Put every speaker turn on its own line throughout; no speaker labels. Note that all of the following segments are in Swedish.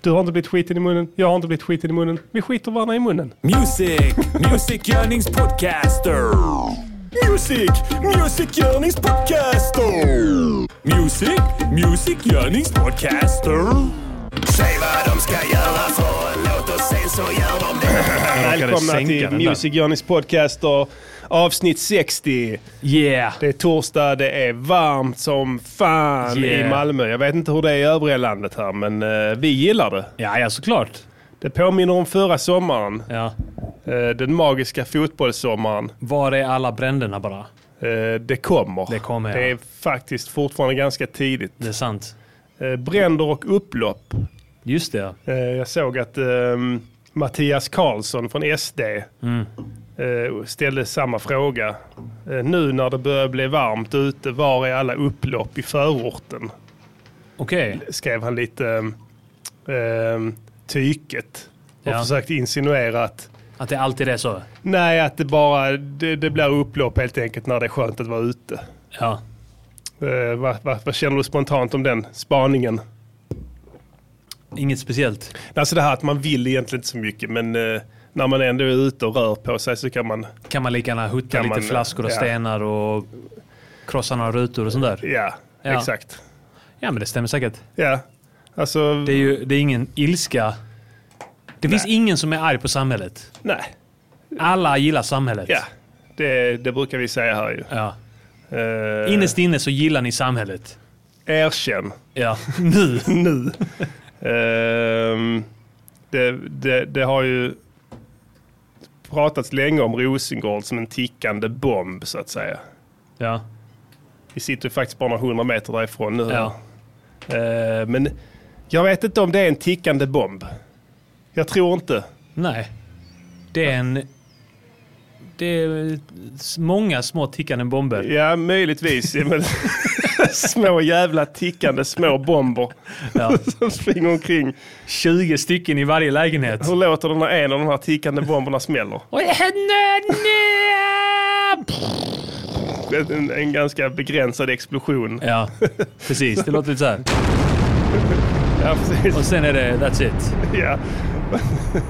Du har inte blivit skiten i munnen, jag har inte blivit skiten i munnen. Vi skiter varandra i munnen.
Music, musikgörningspodcaster. Music, musikgörningspodcaster. Music, musikgörningspodcaster. Säg vad de ska göra för en låt och sen så gör de det.
Välkomna
sänka
till
den där.
Music Journeys podcast och avsnitt 60.
Yeah!
Det är torsdag, det är varmt som fan
Yeah.
i Malmö. Jag vet inte hur det är i övriga landet här, men eh, vi gillar det.
Ja, ja såklart.
Det påminner om förra sommaren,
Ja.
eh, den magiska fotbollssommaren.
Var är alla bränderna bara?
Eh, det kommer.
Det kommer, ja.
Det är faktiskt fortfarande ganska tidigt.
Det är sant.
Eh, bränder och upplopp.
Just det, ja.
Eh, Jag såg att ehm, Mattias Karlsson från SD eh, ställde samma fråga. Eh, Nu när det börjar bli varmt ute, var är alla upplopp i förorten?
Okej.
Skrev han lite ehm, ehm, tyket och
Ja.
försökte insinuera att
Att det alltid är så?
nej, att det bara det, det blir upplopp helt enkelt när det är skönt att vara ute.
Ja.
Eh, vad, vad, vad känner du spontant om den spaningen?
Inget speciellt?
Alltså det här att man vill egentligen inte så mycket, men eh, när man ändå är ute och rör på sig så kan man
Kan man lika gärna hutta
Kan
lite
man,
flaskor och
ja.
stenar och krossa några rutor och sånt där?
Ja,
Ja.
exakt.
Ja, men det stämmer säkert.
Ja, alltså
Det är ju det är ingen ilska. Det finns
Nej.
ingen som är arg på samhället.
nej.
Alla gillar samhället.
Ja, det, det brukar vi säga här ju.
ja.
Eh,
Innerst inne så gillar ni samhället.
Erkänn
Ja, nu.
nu. Ehm, det, det, det har ju pratats länge om Rosengård som en tickande bomb så att säga.
Ja,
Vi sitter ju faktiskt bara några hundra meter därifrån nu.
ja.
Eh, men jag vet inte om det är en tickande bomb. Jag tror inte.
Nej. Det är en... Det är s- många små tickande bomber.
Ja, möjligtvis. Ja, men- små jävla tickande små bomber.
Ja.
som springer omkring.
20 stycken i varje lägenhet.
Hur låter det när en av de här tickande bomberna smäller? En, en ganska begränsad explosion.
Ja, precis. Det låter lite så här.
Ja, precis.
Och sen är det that's it.
Ja.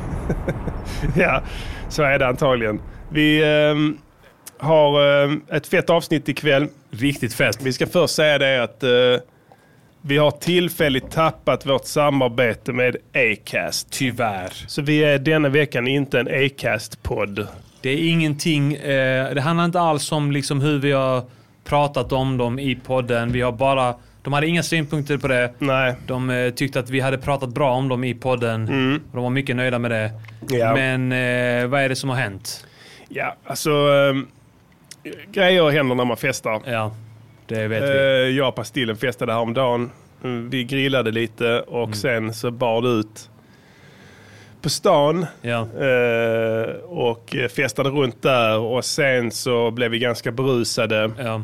ja, så är det antagligen. Vi ehm, har ehm, ett fett avsnitt ikväll.
Riktigt fest.
Vi ska först säga det att eh, vi har tillfälligt tappat vårt samarbete med Acast.
Tyvärr.
Så vi är denna veckan inte en Acast-podd.
Det är ingenting. Eh, det handlar inte alls om liksom hur vi har pratat om dem i podden. Vi har bara... De hade inga synpunkter på det.
Nej.
De eh, tyckte att vi hade pratat bra om dem i podden. Och de var mycket nöjda med det.
Mm. Ja.
Men eh, vad är det som har hänt?
Ja, alltså ehm, grejer händer när man festar.
Ja, det vet vi.
Eh, jag och Pastillen festade häromdagen. Mm, Vi grillade lite och
Mm.
sen så bar det ut på stan
Ja.
eh, och eh, festade runt där och sen så blev vi ganska berusade.
Ja.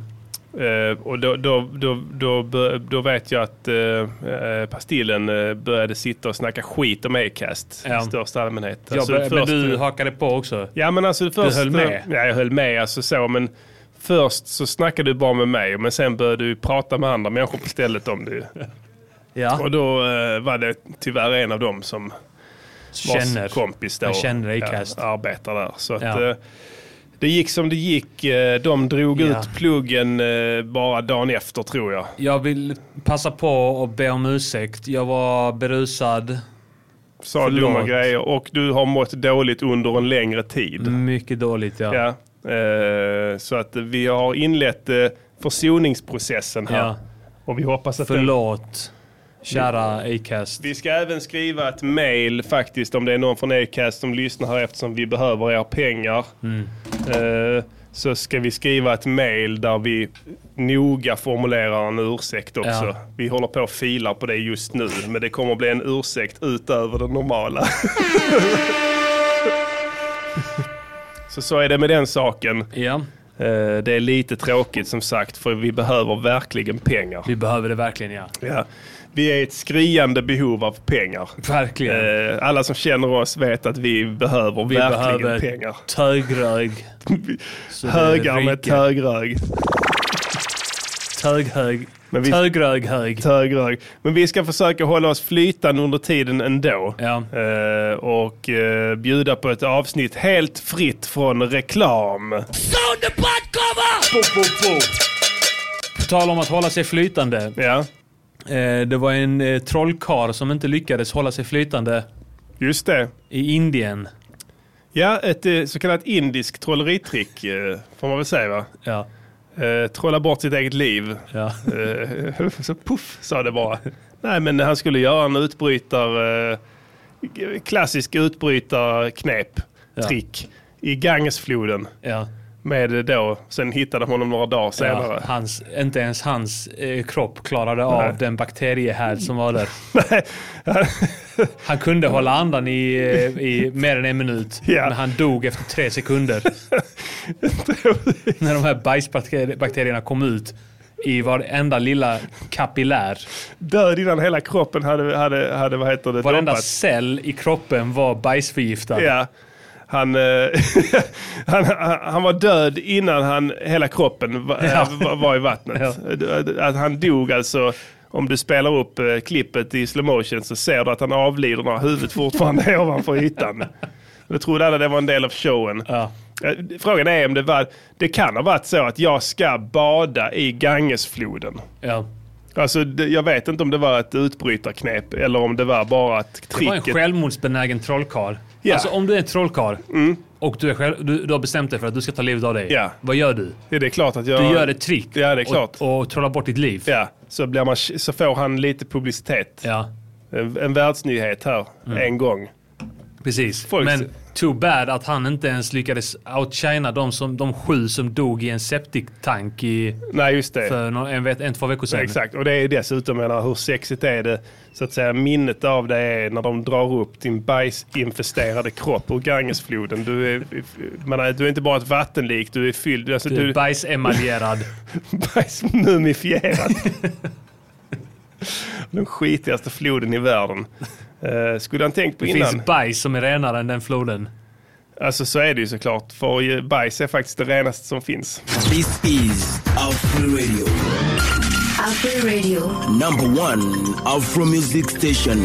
Eh, och då, då, då, då, bör- då vet jag att eh, eh, Pastillen eh, började sitta och snacka skit om Acast
Ja.
i största allmänhet.
Jag
Alltså,
började- men
först-
du hakade på också.
Ja men alltså först...
höll med?
Ja jag höll med alltså så men först så snackade du bara med mig men sen började du prata med andra människor på stället om det.
Ja,
Och då eh, var det tyvärr en av dem som vars
känner.
kompis då
Jag känner Acast.
Ja, arbetar där. Så att,
Ja.
eh, det gick som det gick. Eh, De drog
Ja.
ut pluggen eh, bara dagen efter tror jag.
Jag vill passa på och be om ursäkt. Jag var berusad.
Sa
Förlåt.
dumma grejer och du har mått dåligt under en längre tid.
Mycket dåligt Mm. ja.
Ja. Eh, Så att vi har inlett eh, försoningsprocessen här.
Ja.
Och vi hoppas att den...
Förlåt, kära Acast.
Vi ska även skriva ett mail faktiskt om det är någon från Acast som lyssnar här eftersom vi behöver era pengar.
Mm.
Eh, Så ska vi skriva ett mail där vi noga formulerar en ursäkt också.
Ja.
Vi håller på och filar på det just nu men det kommer att bli en ursäkt utöver det normala. så så är det med den saken.
Ja,
Eh, Det är lite tråkigt som sagt för vi behöver verkligen pengar.
vi behöver det verkligen ja.
Ja. Vi är i ett skriande behov av pengar.
Verkligen.
Eh, Alla som känner oss vet att vi behöver
vi
verkligen
behöver
pengar.
tögrög.
Vi-
så det
Högar med
ryker.
tögrög.
Töghög.
Men vi-
Tögröghög.
Tögrög. Men vi ska försöka hålla oss flytande under tiden ändå.
Ja.
Eh, och eh, bjuda på ett avsnitt helt fritt från reklam. Pop, pop, pop.
På tal om att hålla sig flytande.
Ja,
Eh, det var en eh, trollkarl som inte lyckades hålla sig flytande
just det.
i Indien.
Ja, ett eh, så kallat indiskt trolleritrick eh, får man väl säga va?
Ja.
Eh, trolla bort sitt eget liv.
Ja.
Eh, så puff sa det bara. Nej, men han skulle göra en utbrytar, eh, klassisk utbrytarknep,
Ja.
trick, i Gangesfloden.
ja.
Med eh, då, sen hittade de honom några dagar
ja.
senare.
Hans, inte ens hans eh, kropp klarade
Nej.
av den bakteriehärd som var där. Han kunde hålla andan i, eh, i mer än en minut,
Ja.
men han dog efter tre sekunder. När de här bajsbakterierna kom ut i varenda lilla kapillär.
Död innan hela kroppen hade, hade, hade vad heter det,
Varenda
doppats.
cell i kroppen var bajsförgiftad.
Ja. Han, eh, han, han, han var död innan han, hela kroppen var,
Ja.
var, var i vattnet. Att han dog alltså, om du spelar upp eh, klippet i slow motion så ser du att han avlider när huvudet fortfarande är ovanför ytan. Då trodde alla det var en del av showen.
Ja.
Eh, Frågan är om det var, det kan ha varit så att jag ska bada i Gangesfloden.
Ja.
Alltså, det, jag vet inte om det var ett utbrytarknep eller om det var bara att
Det var en
tricket...
självmordsbenägen trollkarl.
Ja. Mm.
Alltså om du är en trollkarl och du, är själv, du, du har bestämt dig för att du ska ta livet av dig.
Ja.
Vad gör du?
Ja, det är klart att jag...
Du gör ett trick
Ja, det är klart.
Och, och trollar bort ditt liv.
Ja, så, blir man, så får han lite publicitet.
Ja, Mm.
En, en världsnyhet här, en gång.
precis.
Folk-
Men too bad att han inte ens lyckades outshina de, som, de sju som dog i en septiktank i,
Nej, just det.
för någon, en, vet- en, två veckor sedan.
Exakt, och det är dessutom, jag menar, hur sexigt är det? Så att säga, minnet av det är när de drar upp din bajsinfesterade kropp ur Gangesfloden. Du är, jag menar, du är inte bara ett vattenlik, du är fylld, alltså,
Du är
du,
bajsemaljerad.
bajsmumifierad. Den skitigaste floden i världen. Eh, skulle han tänkt på
Det
innan?
finns bajs som är renare än den floden.
Alltså så är det ju såklart. För ju- bajs är faktiskt det renaste som finns.
This is Afro Radio,
Afro Radio.
number one Afro music station.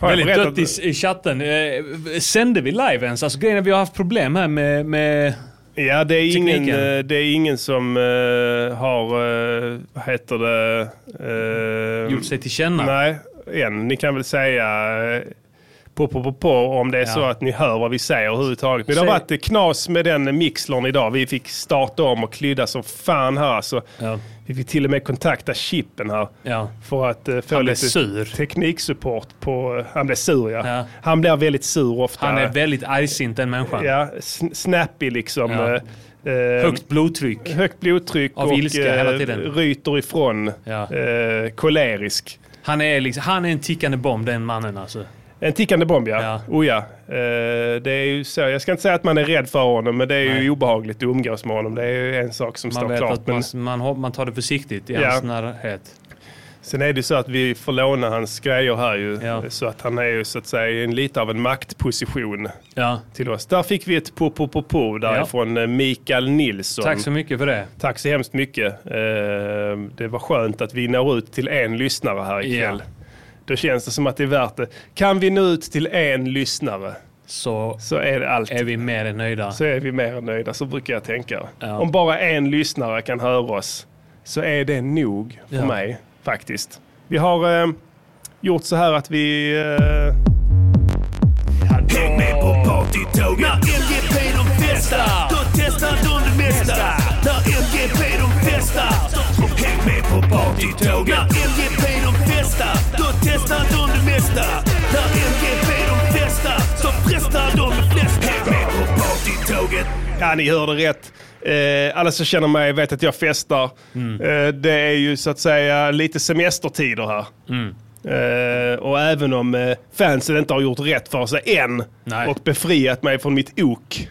Har jag
Väldigt
berättat-
dött i, s- i chatten. Eh, sände vi live ens? Alltså grejen är att vi har haft problem här med... med
Ja, det är, ingen,
tekniken?
eh, det är ingen som eh, har, eh, vad heter det? eh,
gjort sig till känna.
Nej, än. Ni kan väl säga eh, på, på, på, på om det
Ja.
är så att ni hör vad vi säger överhuvudtaget. Men det har
Säg-
varit eh, knas med den mixlern idag. Vi fick starta om och klydda som fan här alltså.
Ja.
Vi fick till och med kontakta chippen här.
Ja.
För att eh, få
Han blev
lite
sur.
tekniksupport på... eh, Han blev sur ja.
Ja.
Han blir väldigt sur ofta.
Han är väldigt argsint den människan.
ja, sn- snappy liksom.
Ja.
eh, eh,
Högt blodtryck.
högt blodtryck
Av
och eh,
ilska hela tiden.
ryter ifrån.
Ja.
Eh, kolerisk.
Han är, liksom, han är en tickande bomb den mannen alltså.
En tickande bomb ja.
Ja.
Oh, ja. Eh, det är ju så. Jag ska inte säga att man är rädd för honom men det är ju
Nej.
obehagligt att umgås med honom. Det är ju en sak som
Man
står
vet
klart.
att
Men
man, man, har- man tar det försiktigt i
Ja.
hans närhet.
sen är det ju så att vi får låna hans grejer här ju.
Ja.
Så att han är ju så att säga i en lite av en maktposition.
Ja.
till oss. Där fick vi ett po po po po därifrån eh, Mikael Nilsson.
Tack så mycket för det.
Tack så hemskt mycket. Eh, Det var skönt att vi når ut till en lyssnare här ikväll. Då känns det som att det är värt det. Kan vi nå ut till en lyssnare
Så
så är det allt.
är vi mer än nöjda.
Så är vi mer än nöjda, så brukar jag tänka.
Ja.
Om bara en lyssnare kan höra oss så är det nog för
Ja.
mig faktiskt. Vi har eh, gjort så här att vi... Eh,
Häng med på partytåget När MGP de festar Då testar de det mesta När MGP de festar Häng med på partytåget När MGP de festar Då testar de det mesta När MGP de festar Så frestar de de flesta Häng med på partytåget
Ja, ni hörde rätt. Eh, alla som känner mig vet att jag festar. Eh, det är ju så att säga lite semestertider här. Eh, och även om eh, fansen inte har gjort rätt för sig än
Nej.
och befriat mig från mitt ok,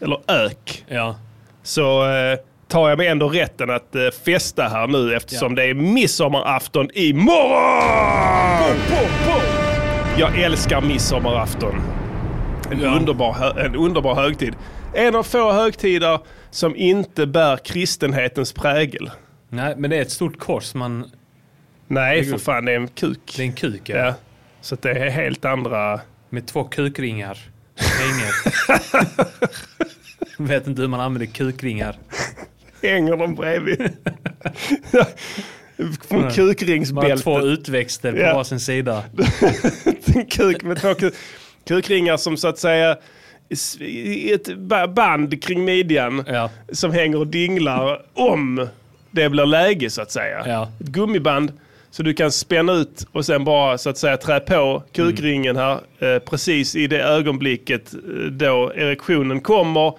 eller ök,
Ja.
så eh, tar jag mig ändå rätten att eh, festa här nu eftersom det är midsommarafton imorgon! Jag älskar midsommarafton. En, underbar, hö- en underbar högtid. En av få högtider som inte bär kristenhetens prägel.
Nej, men det är ett stort kors. Man,
Nej, för fan, det är en kuk.
det är en kuk ja.
Ja. Så att det är helt andra...
Med två kukringar. Hänger. Vet inte hur man använder kukringar.
Hänger de bredvid? Från
Man har
kukringsbältet.
två utväxter på
Ja.
varsin sida.
en kuk med två ku- kukringar som så att säga s- i ett ba- band kring midjan
Ja.
som hänger och dinglar om det blir läge så att säga.
Ja.
Ett gummiband så du kan spänna ut och sen bara så att säga trä på kukringen här eh, precis i det ögonblicket eh, då erektionen kommer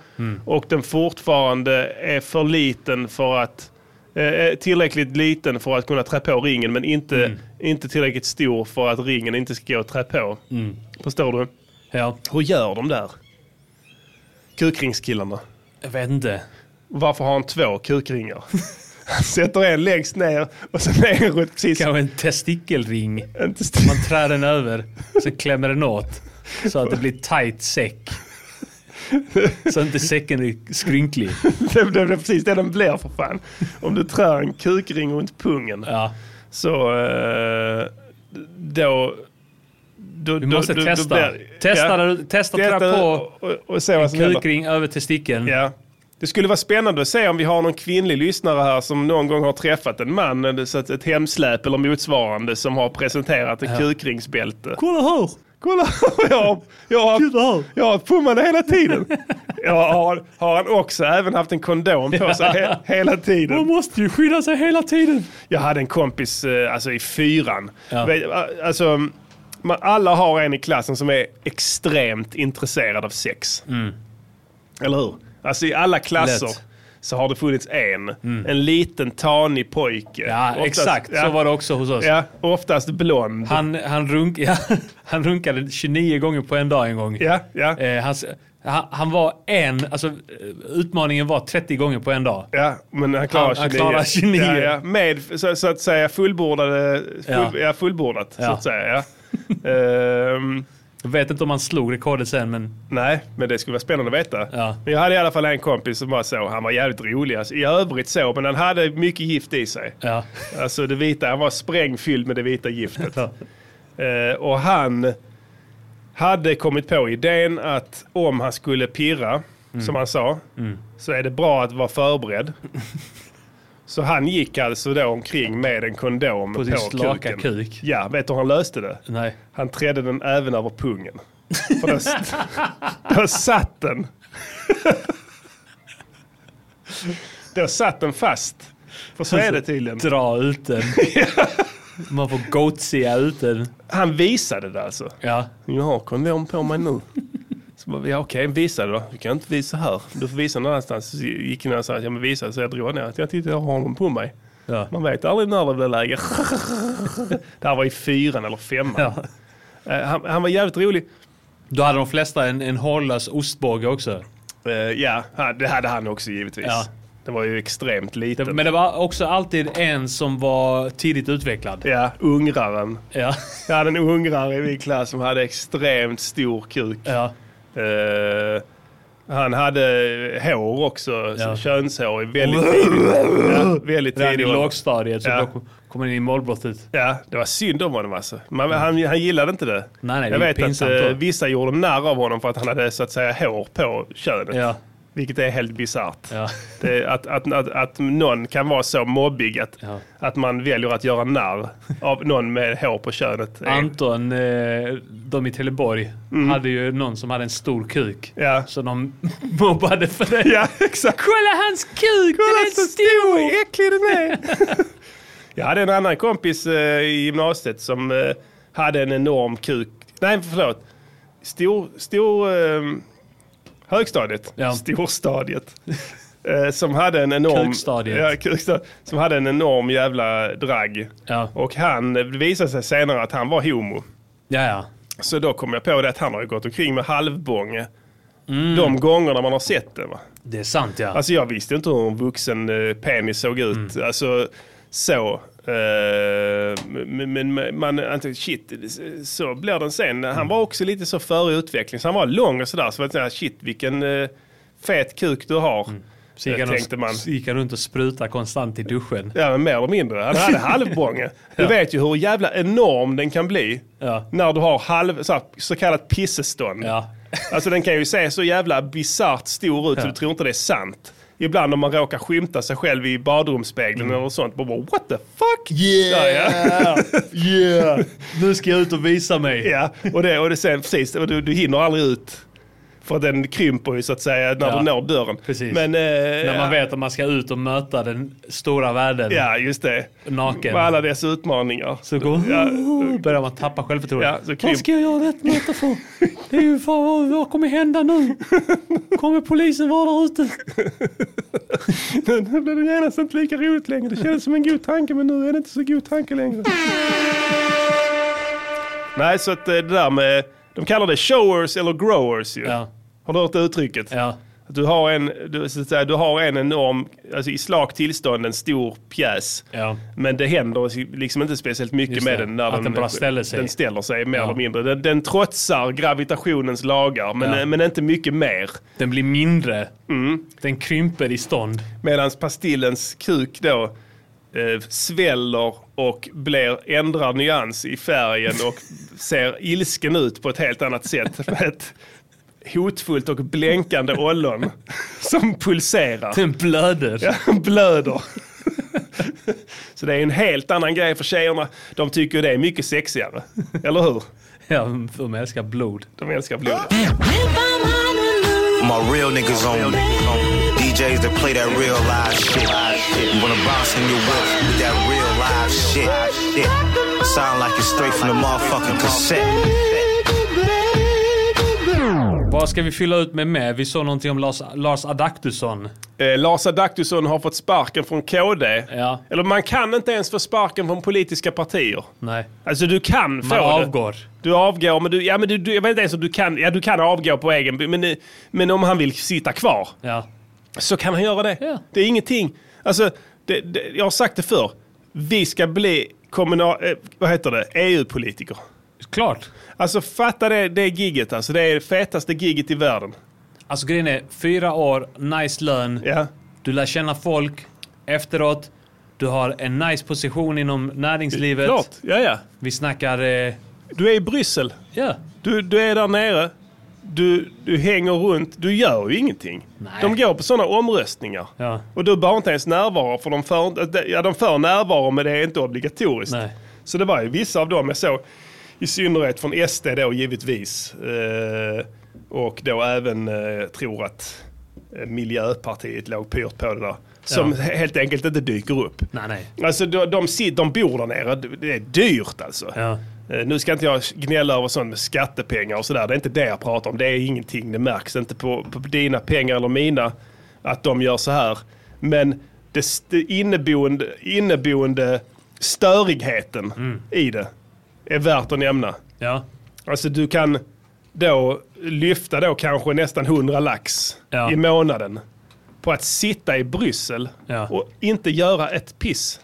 och den fortfarande är för liten för att eh, är tillräckligt liten för att kunna trä på ringen men inte, inte tillräckligt stor för att ringen inte ska gå att trä på. Förstår du?
Ja,
Hur gör de där? Kukringskillarna.
jag vet inte.
Varför har han två kukringar? Han sätter en längst ner och sen en runt precis...
Kanske en testikelring.
Inte st-
Man trär den över, så klämmer den åt. Så att det blir tight säck. Så inte säcken är skrynklig.
det, det, det är precis det den blir för fan. Om du trär en kukring runt pungen
Ja.
så... Eh, då... då-
Vi
då-
måste
då- då
testa.
blir-
testa,
Ja.
där du- testa
Detta
trä på
och, och, och se vad som händer.
kukring över testikeln.
Ja. Det skulle vara spännande att se om vi har någon kvinnlig lyssnare här som någon gång har träffat en man, eller så att ett hemsläp eller motsvarande som har presenterat ett kukringsbälte.
Kolla här!
Kolla, jag har, jag har, jag har pummade hela tiden. Jag har, har han också även haft en kondom på sig he, hela tiden.
måste ju skydda sig hela tiden.
Jag hade en kompis eh, alltså, i fyran.
Ja.
Vet- Alltså, man, alla har en i klassen som är extremt intresserad av sex. Eller hur? Alltså i alla klasser
Mm. Lätt. Mm.
så har det funnits en. En liten tanig pojke.
Ja,
Oftast-
exakt.
Ja,
Så var det också hos oss.
ja, oftast blond.
Han, han, runk, ja, han runkade 29 gånger på en dag en gång.
Ja, ja,
Eh, hans- han, han var en, alltså eh, utmaningen var 30 gånger på en dag.
ja. Men han klarar
Han-
29.
han klarar 29.
Ja, ja. Med så, så att säga fullbordade, full,
Ja.
ja. fullbordat. Så
Ja.
att säga, ja. Ehm,
Jag vet inte om han slog rekordet sen men
Nej, men det skulle vara spännande att veta.
Ja.
Men jag hade i alla fall en kompis som var så, han var jävligt rolig. Alltså, I övrigt så, men han hade mycket gift i sig.
ja.
Alltså det vita, han var sprängfylld med det vita giftet. Eh, och han hade kommit på idén att om han skulle pirra,
Mm.
som han sa, så är det bra att vara förberedd. så han gick alltså då omkring med en kondom på,
På sin slaka
kuken.
kuk.
Ja, vet du hur han löste det?
Nej.
Han trädde den även över pungen. För då, st- då satt den. då satt den fast. För så är det tydligen.
Dra ut den. Man får goatsea ut den.
Han visade det alltså.
Ja.
Jag har kondom på mig nu. Så bara, ja, okej, visa det då. Du kan inte visa här. Du får visa någon annanstans. Så gick jag ner och sa att jag visa. Så jag drog ner. Jag tittade, jag har honom på mig.
Ja.
Man vet aldrig när det blir läge. det här var i fyran eller femman.
Ja.
Eh, Han, han var jävligt rolig.
Då hade de flesta en, en hållös ostbåge också.
Eh, ja, han- det hade han också givetvis.
Ja.
Det var ju extremt liten.
Men det var också alltid en som var tidigt utvecklad.
Ja, ungraren.
Ja.
Jag hade en ungrare i min klass som hade extremt stor kuk.
ja.
Eh, han hade hår också,
Ja.
så könshår, i väldigt tidigt. Ja, väldigt
Redan i
tidigt.
lågstadiet så
Ja.
då kom man in i målbrottet.
Ja, det var synd om honom alltså. Man, han, han gillade inte det.
Nej, nej,
jag
det är
vet
pinsamt
att eh,
då.
vissa gjorde narr av honom för att han hade så att säga hår på könet.
Ja.
Vilket är helt bisarrt.
Ja.
Det, att, att, att, att någon kan vara så mobbig att,
Ja.
att man väljer att göra narr av någon med hår på könet. är-
Anton, eh, de i Trelleborg, hade ju någon som hade en stor kuk.
Ja.
Så de mobbade för det.
Ja, exakt.
Kolla hans kuk, den är
så
stor!
äcklig den är. Jag hade en annan kompis eh, i gymnasiet som eh, hade en enorm kuk. Nej, förlåt. Stor... stor eh, högstadiet.
Ja.
Storstadiet. Eh, som hade en enorm...
Kukstadiet.
Ja, kukstadiet. Som hade en enorm jävla drag.
Ja.
Och han eh, det visade sig senare att han var homo.
Ja, ja.
Så då kom jag på det att han har ju gått omkring med halvbånge.
Mm.
De gångerna man har sett det. Va?
Det är sant ja. Mm.
Alltså jag visste inte hur en vuxen eh, penis såg ut. Alltså, så. Eh, Men, men man, inte- shit, så blir den sen.
Mm.
Han var också lite så före utveckling, så han var lång och sådär. Så var det såhär, shit vilken eh, fet kuk du har.
Mm.
Eh,
Så gick han,
Tänkte man.
och, så gick han runt och sprutade konstant i duschen.
Ja, men mer eller mindre. Han hade halvbånge. Du vet ju hur jävla enorm den kan bli
Ja.
när du har halv, så, här, så kallat pissestånd.
Ja.
Alltså den kan ju se så jävla bisarrt stor ut så
Ja.
du tror inte det är sant. Ibland om man råkar skymta sig själv i badrumsspegeln
Mm.
eller sånt. Bara, bara, what the fuck? Ja, ja.
yeah! Nu ska jag ut och visa mig.
Ja, och det, och det sen precis, och du, du hinner aldrig ut. För den krymper ju så att säga när
Ja.
du når dörren.
Precis.
Men, eh,
När
ja.
man vet att man ska ut och möta den stora världen
Ja, just det.
naken.
Med alla dess utmaningar.
Så går,
Ja.
börjar man tappa
Ja, så
självförtroendet.
krymp-
Vad ska jag göra rätt möte för? Det är ju fan vad, vad kommer hända nu? Kommer polisen vara där ute?
Nu blev det genast inte lika roligt längre. Det kändes som en god tanke men nu är det inte så god tanke längre. Nej, så att eh, det där med... De kallar det showers eller growers ju.
Ja,
Har du hört det uttrycket?
ja,
Att Du, har en, du, så att säga, du har en enorm, alltså i slakt tillstånd, en stor pjäs.
ja.
Men det händer liksom inte speciellt mycket
Just
med
det.
den. När
Att den bara ställer sig.
Den ställer sig mer
Ja.
eller mindre. Den, den trotsar gravitationens lagar, men, eh,
Ja.
men inte mycket mer.
Den blir mindre.
Mm.
Den krymper i stånd.
Medan pastillens kuk då eh, sväller och blir, ändrar nyans i färgen och ser ilsken ut på ett helt annat sätt. Med ett hotfullt och blänkande ollon som pulserar.
Den blöder.
Ja, blöder. Så det är en helt annan grej för tjejerna. De tycker det är mycket sexigare. Eller hur?
Ja, för de älskar blod.
De älskar blodet.
My real niggas on DJs that play that real live shit. You wanna bounce in your whip with that real live shit. shit. Sound like it's straight from the motherfucking cassette.
Vad ska vi fylla ut med mer? Vi såg någonting om Lars, Lars Adaktusson.
Eh, Lars Adaktusson har fått sparken från KD.
Ja.
Eller man kan inte ens få sparken från politiska partier.
Nej.
Alltså du kan få
Man
det.
avgår.
Du avgår, men du, ja men du, du, jag vet inte ens om du kan, ja du kan avgå på egen, men, eh, men om han vill sitta kvar
Ja.
så kan han göra det.
Ja.
Det är ingenting. Alltså, det, det, jag har sagt det förr. Vi ska bli kommunal, eh, vad heter det, EU-politiker.
Klart.
Alltså fatta det, det gigget alltså. Det är det fetaste gigget i världen.
Alltså grejen är, fyra år, nice lön.
Ja.
Du lär känna folk efteråt. Du har en nice position inom näringslivet.
Klart, ja ja.
Vi snackar... Eh,
Du är i Bryssel.
ja.
Du, du är där nere. Du, du hänger runt. Du gör ju ingenting.
Nej.
De går på sådana omröstningar.
Ja.
Och du behöver inte ens närvara. För de för, ja, de för närvaro men det är inte obligatoriskt.
Nej.
Så det var ju vissa av dem jag såg, i synnerhet från SD då givetvis. Eh, och då även eh, tror att eh, Miljöpartiet låg pyrt på det där. Som
Ja.
helt enkelt inte dyker upp.
Nej, nej.
Alltså de, de, sit- de bor där nere, det är dyrt alltså.
Ja.
Eh, Nu ska inte jag gnälla över sånt med skattepengar och sådär. Det är inte det jag pratar om. Det är ingenting. Det märks inte på, på dina pengar eller mina att de gör så här. Men det, s- det inneboende, inneboende störigheten i det är värt att nämna.
Ja.
Alltså du kan då lyfta då kanske nästan 100 lax
Ja.
i månaden på att sitta i Bryssel
Ja.
och inte göra ett piss.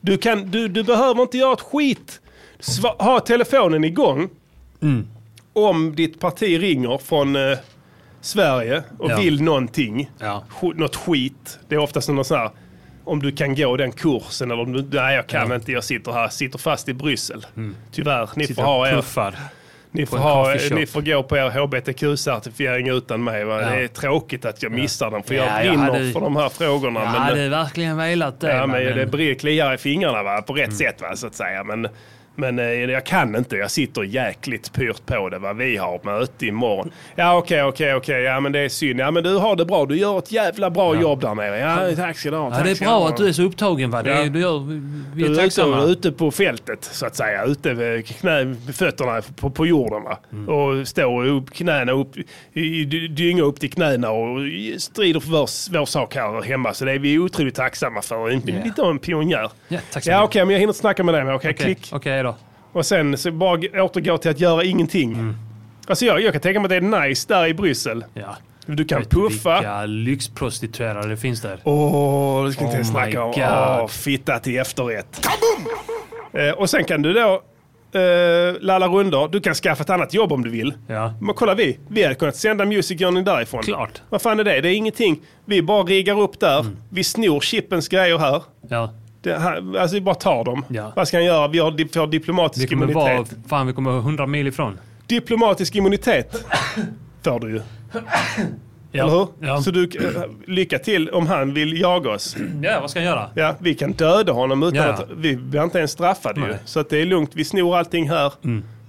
Du, kan, du, du behöver inte göra ett skit. Sva, ha telefonen igång
Mm.
om ditt parti ringer från eh, Sverige och
Ja.
vill någonting.
Ja.
Sk- något skit. Det är oftast någon sån här om du kan gå den kursen eller om du, nej jag kan inte, jag sitter här, sitter fast i Bryssel.
Mm.
Tyvärr, ni får ha er
Puffar.
ni får,
en
ha,
coffee shop.
ni får gå på er hbtq-certifiering utan mig. Va?
Ja.
Det är tråkigt att jag missar den, för jag
Ja, jag
brinner
hade-
för de här frågorna.
Jag
men, eh,
hade verkligen velat det.
ja, men,
mannen.
det blir- kliar i fingrarna va? på rätt
Mm.
sätt, va? så att säga. Men, men eh, jag kan inte, jag sitter jäkligt pyrt på det. Va? Vi har ett möte imorgon. Ja, okej, okej, okej. Ja, men det är synd. Ja, men du har det bra. Du gör ett jävla bra jobb där nere. Ja, tack ska du ha.
ja, det är bra att du är så upptagen. Va? Det är,
Ja.
du gör, vi- vi är
Du är ute,
tacksamma.
ute på fältet så att säga. Ute med knä, med fötterna på, på jorden. Va?
Mm.
Och står upp, knäna upp, i- i- dynga upp till knäna och strider för vår, vår sak här hemma. Så det är vi otroligt tacksamma för. En-
Ja.
Lite av en pionjär.
Ja, tack så
ja,
mycket.
okej, men jag hinner inte snacka med dig. men Okej,
Okej,
klick.
Okej då.
Och sen så bara g- återgå till att göra ingenting. Alltså jag, jag kan tänka mig att det är nice där i Bryssel.
Mm. Ja.
Du kan puffa.
Vilka lyxprostituerade det finns där.
Åh, det ska inte
Oh
ens snacka om.
my God.
Åh, fitta till efterrätt. Eh, och sen kan du då eh, lalla runder. Du kan skaffa ett annat jobb om du vill.
Ja.
Men kolla vi, vi hade kunnat sända Music Journey därifrån.
Klart. Mm.
Vad fan är det? Det är ingenting. Vi bara riggar upp där. Vi snor Chippens grejer här.
Ja.
Det, han, alltså vi bara tar dem.
Ja.
Vad ska han göra? Vi har di- får
Vi
diplomatisk
kommer
immunitet.
vara... Fan, vi kommer vara 100 mil ifrån.
Diplomatisk immunitet får du ju.
Ja.
Eller hur?
Ja.
Så du, eh, lycka till om han vill jaga oss.
ja, vad ska jag göra?
Ja, vi kan döda honom utan
Ja.
att vi blir inte ens straffade ju.
Nej. Mm.
Så att det är lugnt. Vi snor allting här.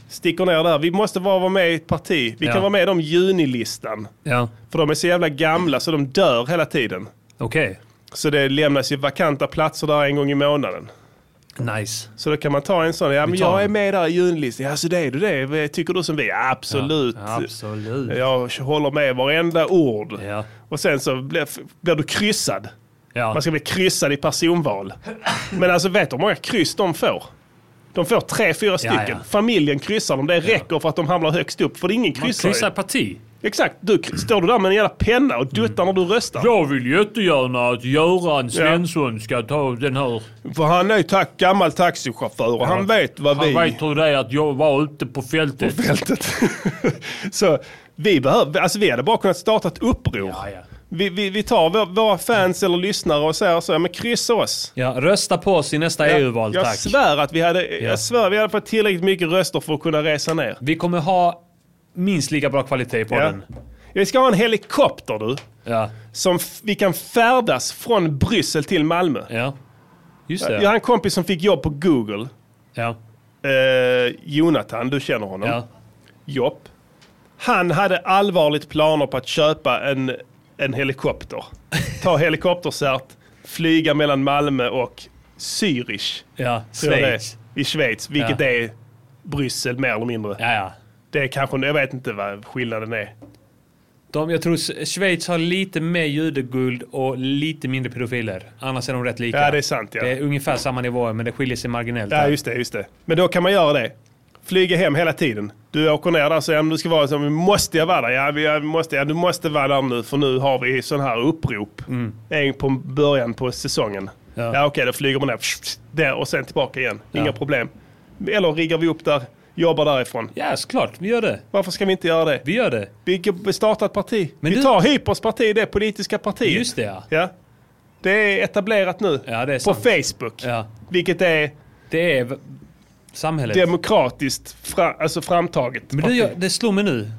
Sticker ner där. Vi måste bara vara med i ett parti. Vi
Ja.
kan vara med i de junilistan.
Ja,
För de är så jävla gamla så de dör hela tiden.
okej.
Så det lämnas ju vakanta platser där en gång i månaden.
Nice.
Så då kan man ta en sån. Ja, men
tar
jag är
den.
med där i junlistan. Ja, så det är du det? Tycker du som vi? Ja, absolut.
Ja, absolut.
Jag håller med varenda ord.
Ja.
Och sen så blir, blir du kryssad.
Ja.
Man ska bli kryssad i personval. Men alltså vet du hur många kryss de får? De får tre, fyra stycken.
ja.
Familjen kryssar dem. Det räcker för att de hamnar högst upp. För det är ingen kryssar
Kryssa
ju.
parti.
Exakt. Du k- står du där med en jävla penna och duttar när du röstar.
Jag vill jättegärna att Göran Svensson ska ta den här.
För han är ju ta- gammal taxichaufför och han vet vad
Han
vi...
vet hur det är att jag var ute på fältet.
fältet. så vi, behöver, alltså vi hade bara kunnat starta ett uppror.
Ja, ja.
Vi, vi, vi tar vår, våra fans eller lyssnare och säger så här, men kryssa oss.
Ja, rösta på oss i nästa EU-val,
jag
tack.
svär att vi hade,
Ja.
jag svär, vi hade fått tillräckligt mycket röster för att kunna resa ner.
Vi kommer ha minst lika bra kvalitet på
Ja.
den.
Vi ska ha en helikopter du,
Ja.
som f- vi kan färdas från Bryssel till Malmö.
ja. Just
Jag har
det.
en kompis som fick jobb på Google.
Ja.
Eh, Jonathan, du känner honom.
Ja.
Jopp. Han hade allvarligt planer på att köpa en, en helikopter. Ta helikoptercert, flyga mellan Malmö och Zürich.
Ja.
tror jag det är,
Schweiz.
I Schweiz, vilket
Ja.
är Bryssel mer eller mindre.
Ja, ja.
Det är kanske, jag vet inte vad skillnaden är.
De, jag tror S- Schweiz har lite mer judeguld och lite mindre pedofiler. Annars är de rätt lika.
Ja, det är sant ja.
Det är ungefär samma nivåer, men det skiljer sig marginellt.
Ja,
här.
just det, just det. Men då kan man göra det. Flyga hem hela tiden. Du åker ner där och säger, "Ja, men du ska vara så, men måste jag vara där? Ja, vi- jag måste, ja, du måste vara där nu för nu har vi sån här upprop. En på början på säsongen. Ja,
Mm. Ja.
okej, då flyger man ner. Där och sen tillbaka igen. Inga
Ja.
problem. Eller riggar vi upp där, jobbar därifrån.
Ja, såklart. Vi gör det.
Varför ska vi inte göra det?
Vi gör det.
Vi startar ett parti.
Men
vi
du-
tar Hypers parti, det politiska partiet.
Just det, ja.
Ja. Det är etablerat nu.
Ja, det är
på
sant.
Facebook.
Ja.
Vilket är
Det är v- samhället.
demokratiskt fra, alltså framtaget.
Men du, jag, det slog mig nu.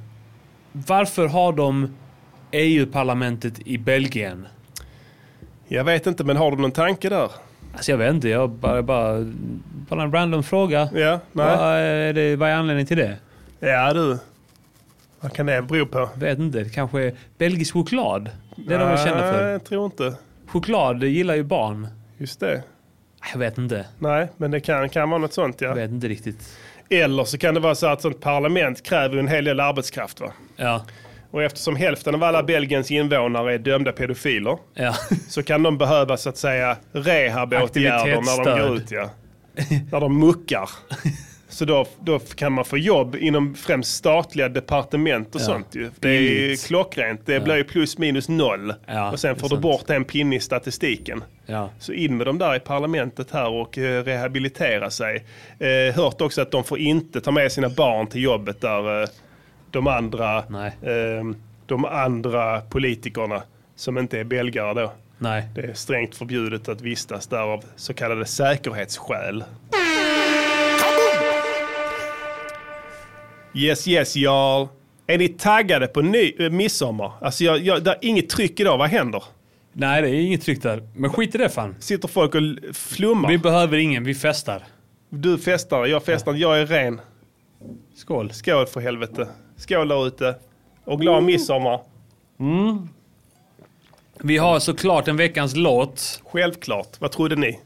Varför har de EU-parlamentet i Belgien?
Jag vet inte, men har du någon tanke där?
Alltså jag vet inte, jag bara, bara, bara en random fråga.
Ja, nej.
Vad är, det, vad är anledningen till det?
Ja du. Vad kan det bero på?
Vet inte, det kanske är belgisk choklad? Det är de jag känner
Nej,
för.
jag tror inte.
Choklad det gillar ju barn. Ah,
Just det.
Jag vet inte,
Nej, men det kan, kan vara något sånt
jag
ja.
vet inte riktigt.
Eller så kan det vara så att sånt parlament kräver ju en hel del arbetskraft va?
Ja,
Och eftersom hälften av alla Belgiens invånare är dömda pedofiler
ja,
så kan de behöva så att säga rehabåtgärder när de går
Aktivitetsstöd.
ut. Ja. När de muckar. Så då, då kan man få jobb inom främst statliga departement och sånt. Ju. Det är ju
Billigt.
klockrent. Det blir ju plus minus noll.
Ja,
och sen
det är
får du
sant.
bort en pinne i statistiken.
ja.
Så in med dem där i parlamentet här och eh, rehabilitera sig. Eh, hört också att de får inte ta med sina barn till jobbet där eh, de andra,
Nej.
eh, de andra politikerna som inte är belgare då.
Nej.
Det är strängt förbjudet att vistas där av så kallade säkerhetsskäl. Yes, yes, y'all. Är ni taggade på ny, eh, midsommar? Alltså, jag, jag, det är inget tryck idag. Vad händer?
Nej, det är inget tryck där. Men skit i det fan.
Sitter folk och l- flummar?
Vi behöver ingen, vi festar.
Du festar, jag festar, jag är ren.
Skål.
Skål för helvete. Skål där ute. Och glad midsommar.
Vi har såklart en veckans låt.
Självklart. Vad trodde ni?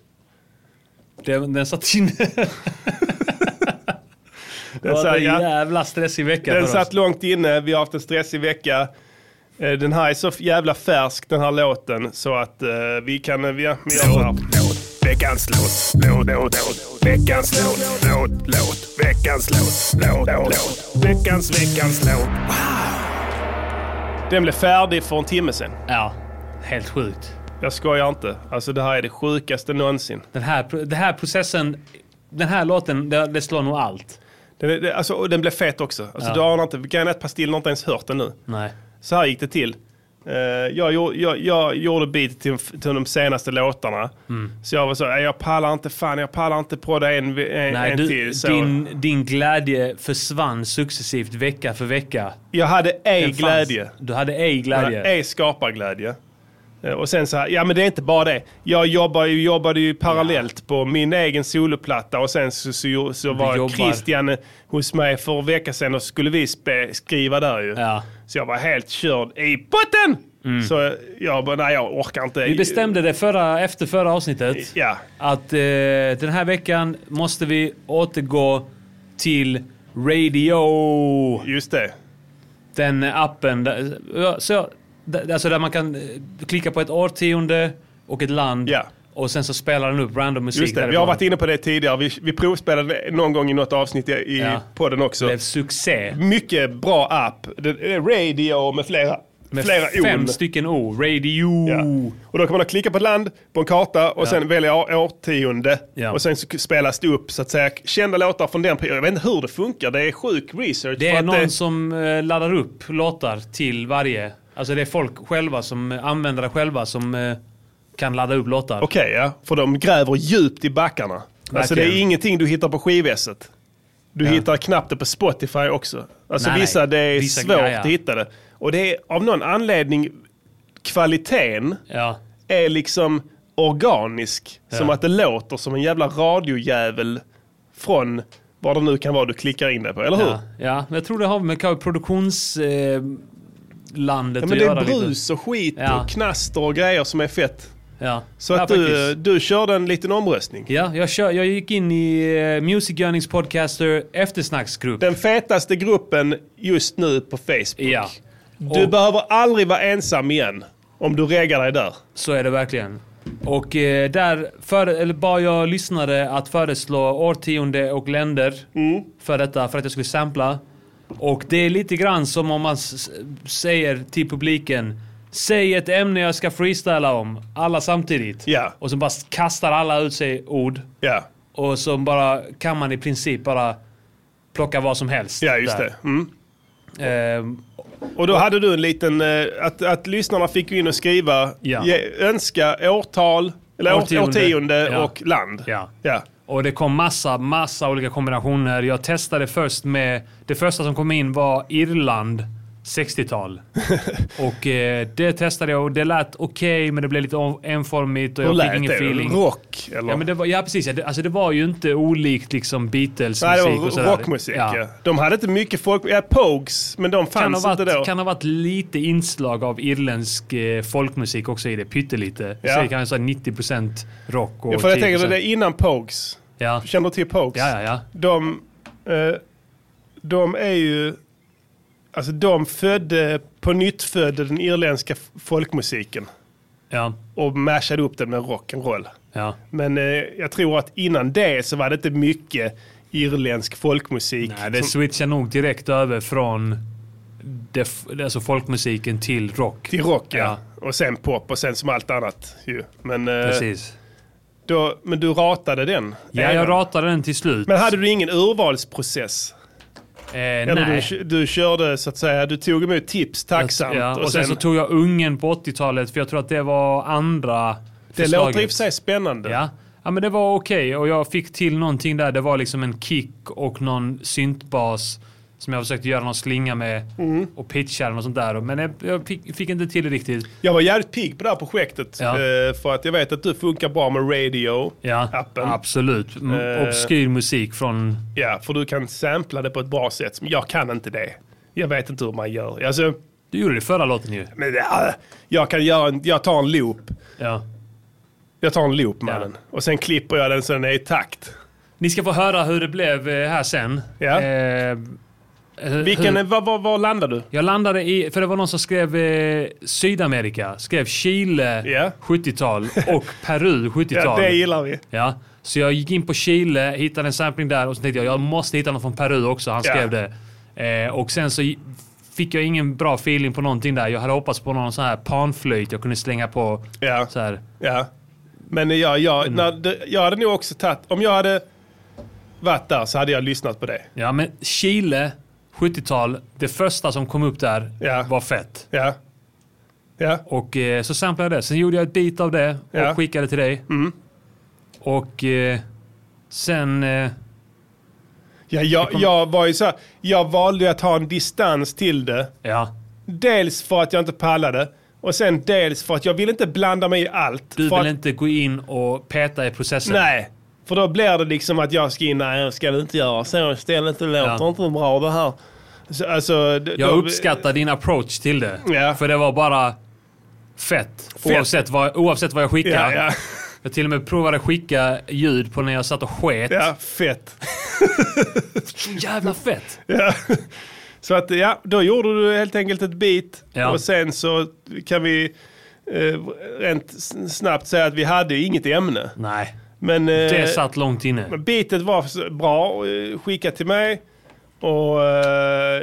Den, den satt inne.
Den,
Det var
sa,
en
ja,
jävla stressig vecka
den
för oss.
satt långt inne, vi har haft en stressig vecka. Eh, Den här är så f- jävla färsk den här låten så att eh, vi kan... eh, Vi, vi gör så här.
Veckans låt, låt, låt, låt. Veckans låt, låt, låt. Veckans låt, låt, låt. Veckans, veckans låt.
Den blev färdig för en timme sedan.
Ja, helt sjukt.
Jag skojar inte. Alltså det här är det sjukaste någonsin.
Den här, den här processen, den här låten, det, det slår nog allt.
Den, är- det- alltså, och den blev fet också. Alltså, Du anar inte. Grejen är att Pastillen har inte ens hört den nu.
Nej.
Så här gick det till. Eh, jag, gjorde- jag, jag gjorde beatet till, till de senaste låtarna.
Mm.
Så jag var så, "Nej, jag pallar inte, fan jag pallar inte på det en, en,
Nej,
en
du,
till. Så
din, din glädje försvann successivt vecka för vecka.
jag hade ej
Den fanns.
glädje.
Du hade ej
Jag
glädje.
hade ej skaparglädje. Eh, Och sen så här, ja men det är inte bara det. Jag jobbar ju, jobbade ju parallellt på min egen soloplatta och sen så, så, så var
jobbar.
Christian eh, hos mig för en vecka sedan och skulle vi spe, skriva där ju.
Ja. Mm.
Så jag var helt körd i botten! Så jag bara, nej jag orkar inte.
Vi bestämde det förra, efter förra avsnittet.
Ja,
Att eh, den här veckan måste vi återgå till radio.
just det.
Den appen. Där, ja, så, där, alltså där man kan eh, klicka på ett årtionde och ett land.
Ja.
Och sen så spelar den upp random musik.
Just det. Vi
därifrån.
har varit inne på det tidigare. Vi, vi provspelade det någon gång i något avsnitt i, i
Ja.
podden också.
blev succé.
Mycket bra app. Det- det är Radio med flera,
Med
flera
fem
on.
stycken O. Radio.
Ja. Och då kan man klicka på ett land, på en karta och sen välja å- årtionde.
Ja.
Och sen så spelas det upp så att säga kända låtar från den perioden. Jag vet inte hur det funkar, det är sjuk research.
Det
för
är
att
någon som eh, laddar upp låtar till varje. Alltså det är folk själva som, eh, användare själva som eh, kan ladda upp låtar.
Okej, ja. För de gräver djupt i backarna. Alltså det är
Verkligen.
ingenting du hittar på skivesset. Du hittar knappt det på Spotify också. Alltså
Nej,
vissa,
nej.
det är
Vissa-
svårt
ja, ja.
att hitta det. Och det är av någon anledning kvaliteten
Ja.
är liksom organisk. Som att det låter som en jävla radiojävel från vad det nu kan vara du klickar in det på, eller hur?
Ja.
Ja.
ja, jag tror det har med kanske produktionslandet eh, landet
men
att
det
göra.
är
Lite.
brus och skit
Ja.
och knaster och grejer som är fett.
Ja.
Så
ja,
att eh, du,
faktiskt.
du körde en liten omröstning.
Ja, jag, kör, jag gick in i eh, Music Yearnings Podcaster eftersnacksgrupp.
Den fetaste gruppen just nu på Facebook.
Ja.
Du
Och-
behöver aldrig vara ensam igen om du reggar dig där.
Så är det verkligen. Och eh, där för, eller bara jag lyssnade att föreslå årtionde och länder
Mm.
för detta, för att jag skulle sampla. Och det är lite grann som om man s- s- säger till publiken Säg ett ämne jag ska freestyla om, alla samtidigt.
Ja.
Och så bara s- kastar alla ut sig ord.
Ja,
Och så bara kan man i princip bara plocka vad som helst.
ja just
där.
det. Mm.
Ehm,
Och då hade du en liten, eh, att, att lyssnarna fick gå in och skriva,
Ja.
ge, önska årtal, eller årtionde,
Årtionde.
årtionde
Ja.
och land.
Ja.
Ja.
Och det kom massa, massa olika kombinationer. Jag testade först med... Det första som kom in var Irland 60-tal. och eh, det testade jag och det lät okej men det blev lite o- enformigt och
Hur
jag fick
lät
ingen
det?
feeling.
Rock? Eller?
Ja, men det var, ja precis. Ja, det, alltså, det var ju inte olikt liksom Beatles
Nej, det
musik
var
och sådär.
rockmusik. Ja. De hade inte mycket folk, ja, Pogues, men de
Kan ha,
fanns inte då.
varit, kan ha varit lite inslag av irländsk eh, folkmusik också i det, pyttelite.
Ja.
Ja. Säg kanske så här 90% rock och
Ja, för jag
10%.
tänker, det är innan Pogues.
ja.
Känner du till Pogues?
ja, ja, ja.
De, eh, de är ju... Alltså de födde, på nytt födde den irländska f- folkmusiken
ja.
och mashade upp den med rock'n'roll.
ja.
Men eh, jag tror att innan det så var det inte mycket irländsk folkmusik.
Nej, det
som,
switchar nog direkt över från def, alltså folkmusiken till rock.
till rock, ja.
Ja.
Och sen pop och sen som allt annat ju. Men, eh,
Precis.
då, men du ratade den?
Ja, jag ratade den till slut.
Men hade du ingen urvalsprocess?
eh,
Eller
nej.
du, du körde så att säga, du tog emot tips tacksamt.
Ja, och, sen, så tog jag Ungen på 80-talet, för jag tror att det var andra
Det
förslaget.
låter i och för sig spännande.
Ja. ja, men det var okej och jag fick till någonting där. Det var liksom en kick och någon syntbas som jag försökte göra någon slinga med
Mm.
och pitcha den och sånt där. Men jag, jag fick, fick inte till det riktigt.
Jag var jävligt pigg på det här projektet.
Ja.
eh, För att jag vet att du funkar bra med radio.
Ja,
Appen. Eh.
absolut. M- Obskyr musik från
Ja, för du kan sampla det på ett bra sätt. Men jag kan inte det. Jag vet inte hur man gör. Alltså,
Du gjorde det i förra låten ju.
men, äh, jag kan göra en, jag tar en loop.
Ja.
Jag tar en loop mannen. Och sen klipper jag den så den är i takt.
Ni ska få höra hur det blev eh, här sen.
Ja.
Eh, hur-
Vilken,
hur-
var, var, var landar du?
Jag landade i, för det var någon som skrev eh, Sydamerika, skrev Chile
Ja.
70-tal och Peru 70-tal.
Ja, det gillar vi.
Ja, så jag gick in på Chile, hittade en sampling där och så tänkte jag jag måste hitta någon från Peru också. Han
Ja.
skrev det. Eh, och sen så fick jag ingen bra feeling på någonting där. Jag hade hoppats på någon sån här panflöjt jag kunde slänga på.
Ja.
Så här.
Ja. Men jag, jag, när, det- jag hade nog också tagit, om jag hade varit där så hade jag lyssnat på det.
ja men Chile, 70-tal, det första som kom upp där
Ja.
var fett.
Ja. Ja.
Och eh, så samplade jag det. Sen gjorde jag ett bit av det och
Ja. Mm.
skickade till dig. Och eh, sen... Eh,
ja jag, jag var ju så här, jag valde ju att ha en distans till det.
ja.
Dels för att jag inte pallade och sen dels för att jag vill inte blanda mig i allt.
Du
för
vill
att,
inte gå in och peta i processen.
Nej. För då blir det liksom att jag ska in, nej jag ska inte göra så istället, det låter
Ja.
inte bra det här. Så, alltså, d-
Jag
då-
uppskattar din approach till det.
Ja.
För det var bara fett. Oavsett, vad, oavsett vad jag skickar.
Ja, ja.
Jag till och med provade att skicka ljud på när jag satt och sket.
Ja, fett.
Jävla fett!
Ja. Så att ja, då gjorde du helt enkelt ett bit
Ja.
och sen så kan vi eh, rent s- snabbt säga att vi hade inget ämne.
Nej,
Men eh,
det satt långt inne.
bitet var så bra och, eh, skickat till mig och eh,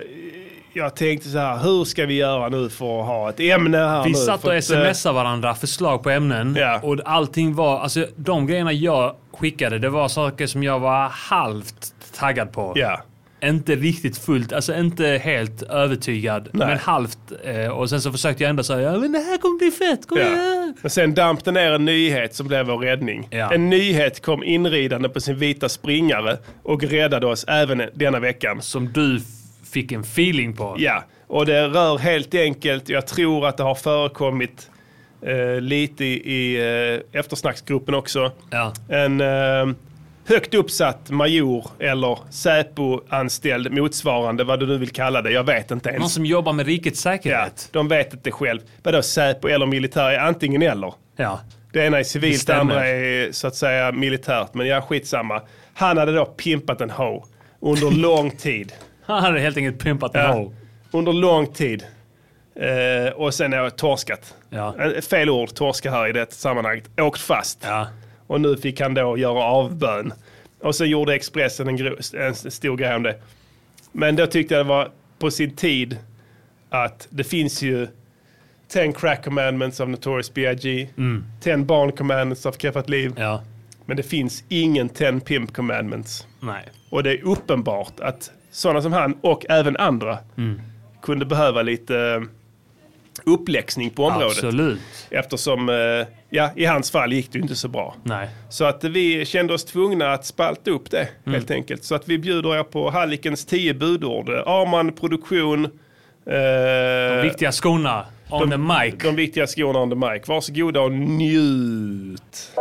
jag tänkte så här, hur ska vi göra nu för att ha ett ämne här
Vi
nu?
satt
För
och
att, eh,
smsade varandra förslag på ämnen.
Ja.
Och allting var, alltså de grejerna jag skickade, det var saker som jag var halvt taggad på.
eh, Ja,
Inte riktigt fullt, alltså inte helt övertygad, men halvt. Eh, och sen så försökte jag ändå säga, ja men det här kommer bli fett, kom
ja.
igen!
Men sen damp det ner en nyhet som blev vår räddning.
Ja.
En nyhet kom inridande på sin vita springare och räddade oss även denna veckan.
Som du f- fick en feeling på.
Ja, och det rör helt enkelt, jag tror att det har förekommit eh, lite i, i eh, eftersnacksgruppen också,
Ja.
en eh, högt uppsatt major eller Säpo-anställd motsvarande, vad du nu vill kalla det, jag vet inte
Någon
ens.
som jobbar med rikets
Ja,
säkerhet.
de vet inte själv. Vadå Säpo eller militär, Ja, antingen eller.
Ja.
Det ena är
Det
civilt, det
stämmer.
andra är så att säga militärt, men ja, skitsamma. Han hade då pimpat en ho under lång tid.
Han hade helt enkelt pimpat en
Ja.
hole.
Under lång tid. Eh, och sen har jag torskat.
Ja.
Eh, Fel ord, torska här i det sammanhanget. Åkt fast.
Ja.
Och nu fick han då göra avbön. Och så gjorde Expressen en, gro- en stor grej om det. Men då tyckte jag det var på sin tid att det finns ju 10 crack commandments of Notorious B.I.G. 10 barn commandments of Keffat Liv.
Mm. Ja.
Men det finns ingen 10 pimp commandments.
Nej.
Och det är uppenbart att sådana som han och även andra
Mm.
kunde behöva lite eh, uppläxning på området.
Absolut.
Eftersom, eh, ja, i hans fall gick det ju inte så bra.
Nej.
Så att vi kände oss tvungna att spalta upp det helt enkelt. Så att vi bjuder er på Hallikens tio budord. Arman Produktion. Eh, de,
Viktiga skorna on the mic.
Eh, de viktiga skorna on the mic. Varsågoda och njut.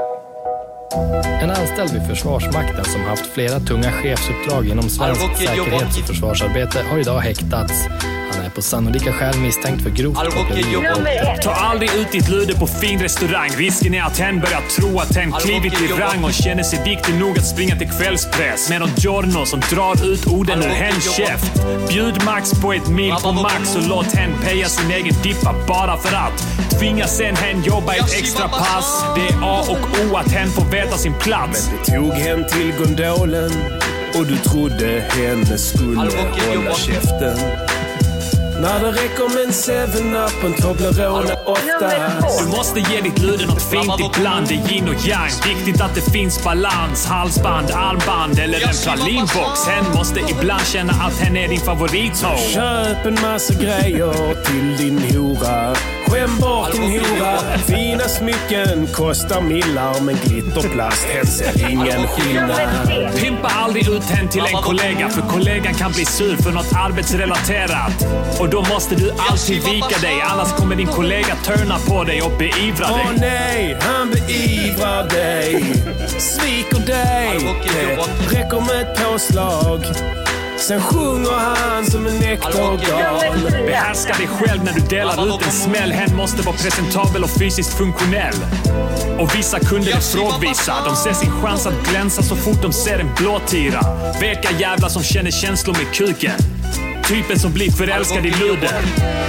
En anställd vid Försvarsmakten som haft flera tunga chefsuppdrag inom svensk säkerhets och försvarsarbete har idag häktats. Han är på sannolika skäl misstänkt för grovt koppleri.
Ta aldrig ut ditt lude på fin restaurang. Risken är att hen börjar tro att hen klivit i rang och känner sig viktig nog att springa till kvällspress. Medan Giorno som drar ut orden ur hens käft. Bjud Max på ett mil på Max och låt hen peja sin egen dippa bara för att. Tvinga sen hen jobba ett extra pass. Det är A och O att hen får veta sin plats.
Tog hen till gondolen och du trodde henne skulle hålla käften. När det räcker med en 7-Up, en Toblerone oftast.
Du måste ge ditt lude något fint ibland. Det är yin och yang. Viktigt att det finns balans. Halsband, armband eller en pralinbox. Hen måste ibland känna att hen är din favorithoj.
Köp en massa grejer till din hora. Skäm bort din hora. Fina smycken kostar millar men glitterplast hen ser ingen skillnad.
Pimpa aldrig ut hen till en kollega. För kollegan kan bli sur för något arbetsrelaterat. Och då måste du alltid vika dig. Annars kommer din kollega törna på dig och beivra dig.
Åh nej, han beivrar dig. Sviker dig. Det räcker med ett påslag. Sen sjunger han som en nektargal.
Behärska dig själv när du delar ut en smäll. Hen måste vara presentabel och fysiskt funktionell. Och vissa kunder är frågvisa. De ser sin chans att glänsa så fort de ser en blåtira. Veka jävlar som känner känslor med kuken. Typen som blir förälskad i luder.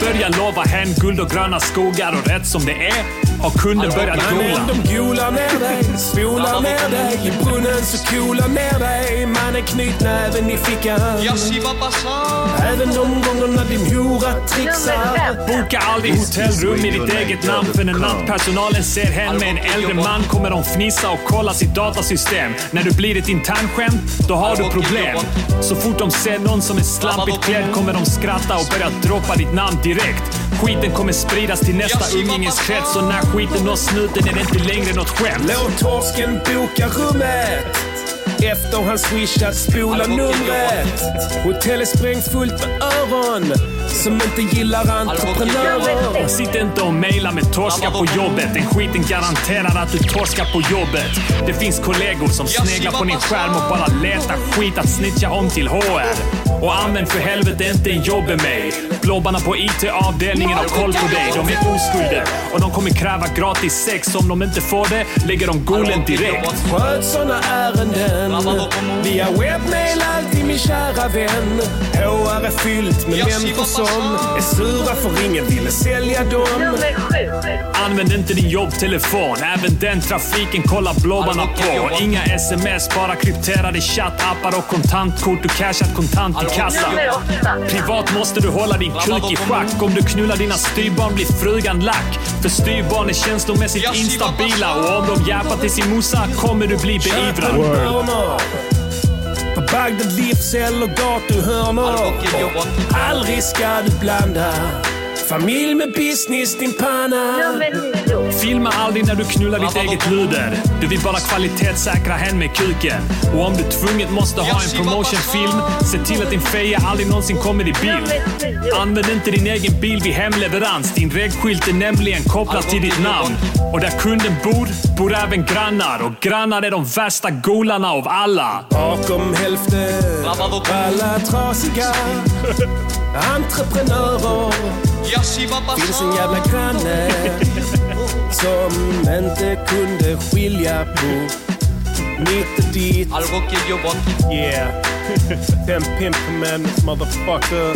Börja lova hen guld och gröna skogar och rätt som det är har kunder börjat
Mannen,
gola.
de golar ner dig, spolar ner dig i brunnen så kolar ner dig. Mannen, knyt näven i fickan. Även de gångerna din hora trixar.
Boka aldrig hotellrum i ditt eget namn för när nattpersonalen ser hem med en äldre man kommer de fnissa och kolla sitt datasystem. När du blir ett internskämt, då har du problem. Så fort de ser någon som är slampigt klädd kommer de skratta och börja droppa ditt namn direkt. Skiten kommer spridas till nästa umgängeskrets och när skiten når snuten är det inte längre något skämt.
Låt torsken boka rummet. Efter han swishat spola numret. Hotellet sprängt fullt med öron som inte gillar entreprenörer.
Sitt inte och mejla med torska på jobbet. Den skiten garanterar att du torskar på jobbet. Det finns kollegor som sneglar på din skärm och bara letar skit att snitcha om till HR. Och använd för helvete inte en jobb med mig. Blobbarna på IT-avdelningen har koll på dig. De är oskulder och de kommer kräva gratis sex. Om de inte får det lägger de golen direkt.
Sköt såna ärenden. Via webmail alltid min kära vän. HR är fyllt med människor som är sura för ingen ville sälja dem.
Använd inte din jobbtelefon. Även den trafiken kollar blobbarna på. Inga sms, bara krypterade chattappar och kontantkort och cashat kontant i kassan. Privat måste du hålla din kuk i schack. Om du knullar dina styvbarn blir frugan lack. För styvbarn är känslomässigt instabila och om de jäpar till sin morsa kommer du bli beivrad.
Bönor. På Bagdad livs eller gatuhörnor. Aldrig ska du blanda familj med business din panna.
Filma aldrig när du knullar ditt eget luder. Du vill bara kvalitetssäkra hen med kuken. Och om du tvunget måste ha en promotionfilm, se till att din feja aldrig någonsin kommer i bild. Använd inte din egen bil vid hemleverans. Din regskylt är nämligen kopplad till ditt namn. Och där kunden bor, bor även grannar. Och grannar är de värsta golarna av alla.
Bakom hälften av alla trasiga entreprenörer finns en jävla granne som inte kunde skilja på mitt och ditt. Yeah. Them pimp men motherfucker.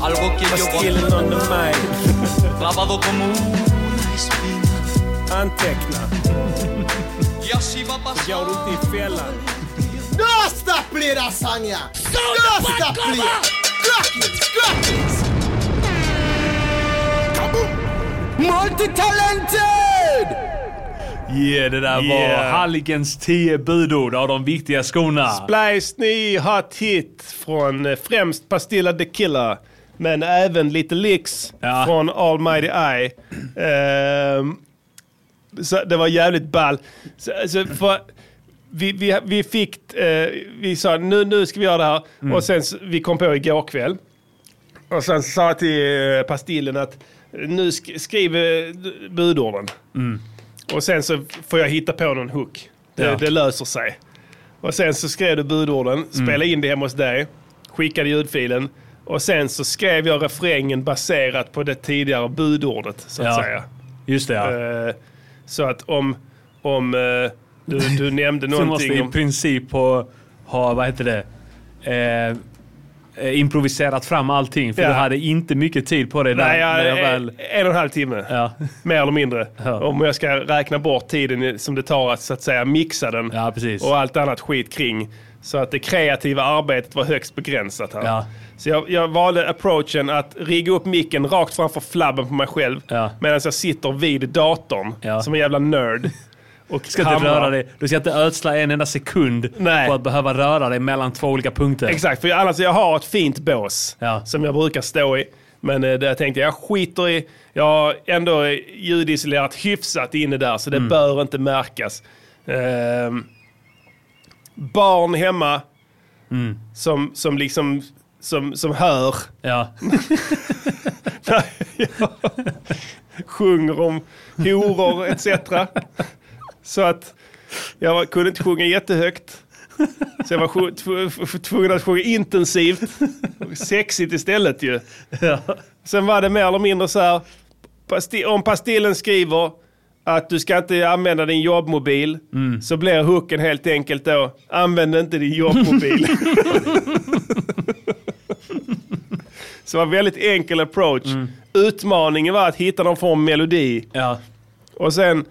Was killen on the mic. Anteckna. Går du inte i fällan.
Nästa blir lasagne! Nästa blir... Grattis, grattis! Multitalented!
Yeah, det där var
Yeah.
Halligens 10 budord av de viktiga skorna.
Splice ny hot hit från eh, främst Pastilla the Killer. Men även lite licks
Ja.
från Almighty Eye. Ehm, så det var jävligt ball. Så, alltså, för, vi, vi, vi fick, eh, vi sa nu, nu ska vi göra det här.
Mm.
Och sen s- vi kom på igår kväll. Och sen sa till eh, Pastillen att nu sk- skriv eh, budorden. Och sen så får jag hitta på någon hook. Det,
Mm. Ja.
det löser sig. Och sen så skrev du budorden,
Mm.
spelade in det hemma hos dig, skickade ljudfilen. Och sen så skrev jag refrängen baserat på det tidigare budordet, så att
Ja.
säga.
Just det, ja.
Eh, så att om, om eh, du, du nämnde
Så måste
någonting
i
om...
princip ha, ha vad heter det, eh, eh, improviserat fram allting. För
Ja.
du hade inte mycket tid på dig
Nej, eh,
när, när
jag,
jag väl...
en, en och en halv timme.
Ja.
Mer eller mindre.
Ja.
Om jag ska räkna bort tiden i- som det tar att så att säga mixa den.
Ja, precis.
Och allt annat skit kring. Så att det kreativa arbetet var högst begränsat här.
Ja.
Så jag, jag valde approachen att rigga upp micken rakt framför flabben på mig själv.
Ja.
Medan jag sitter vid datorn
Ja.
som en jävla nörd. Och
Du ska inte röra dig. Du ska inte ödsla en enda sekund
Nej.
på att behöva röra dig mellan två olika punkter.
Exakt, för jag, annars jag har ett fint bås
Ja.
som jag brukar stå i. Men eh, det tänkte jag, jag skiter i. Jag har ändå ljudisolerat hyfsat inne där, så det bör inte märkas. Ehm, barn hemma som, som liksom som, som hör
Ja.
sjunger om horor etc. Så att jag var- kunde inte sjunga jättehögt. Så jag var sju- tv- f- tvungen att sjunga intensivt. och Sexigt istället ju. Sen var det mer eller mindre så här. pasti- Om pastillen skriver att du ska inte använda din jobbmobil så blir hooken helt enkelt då använd inte din jobbmobil. så det var en väldigt enkel approach. Utmaningen var att hitta någon form av melodi
ja.
Och sen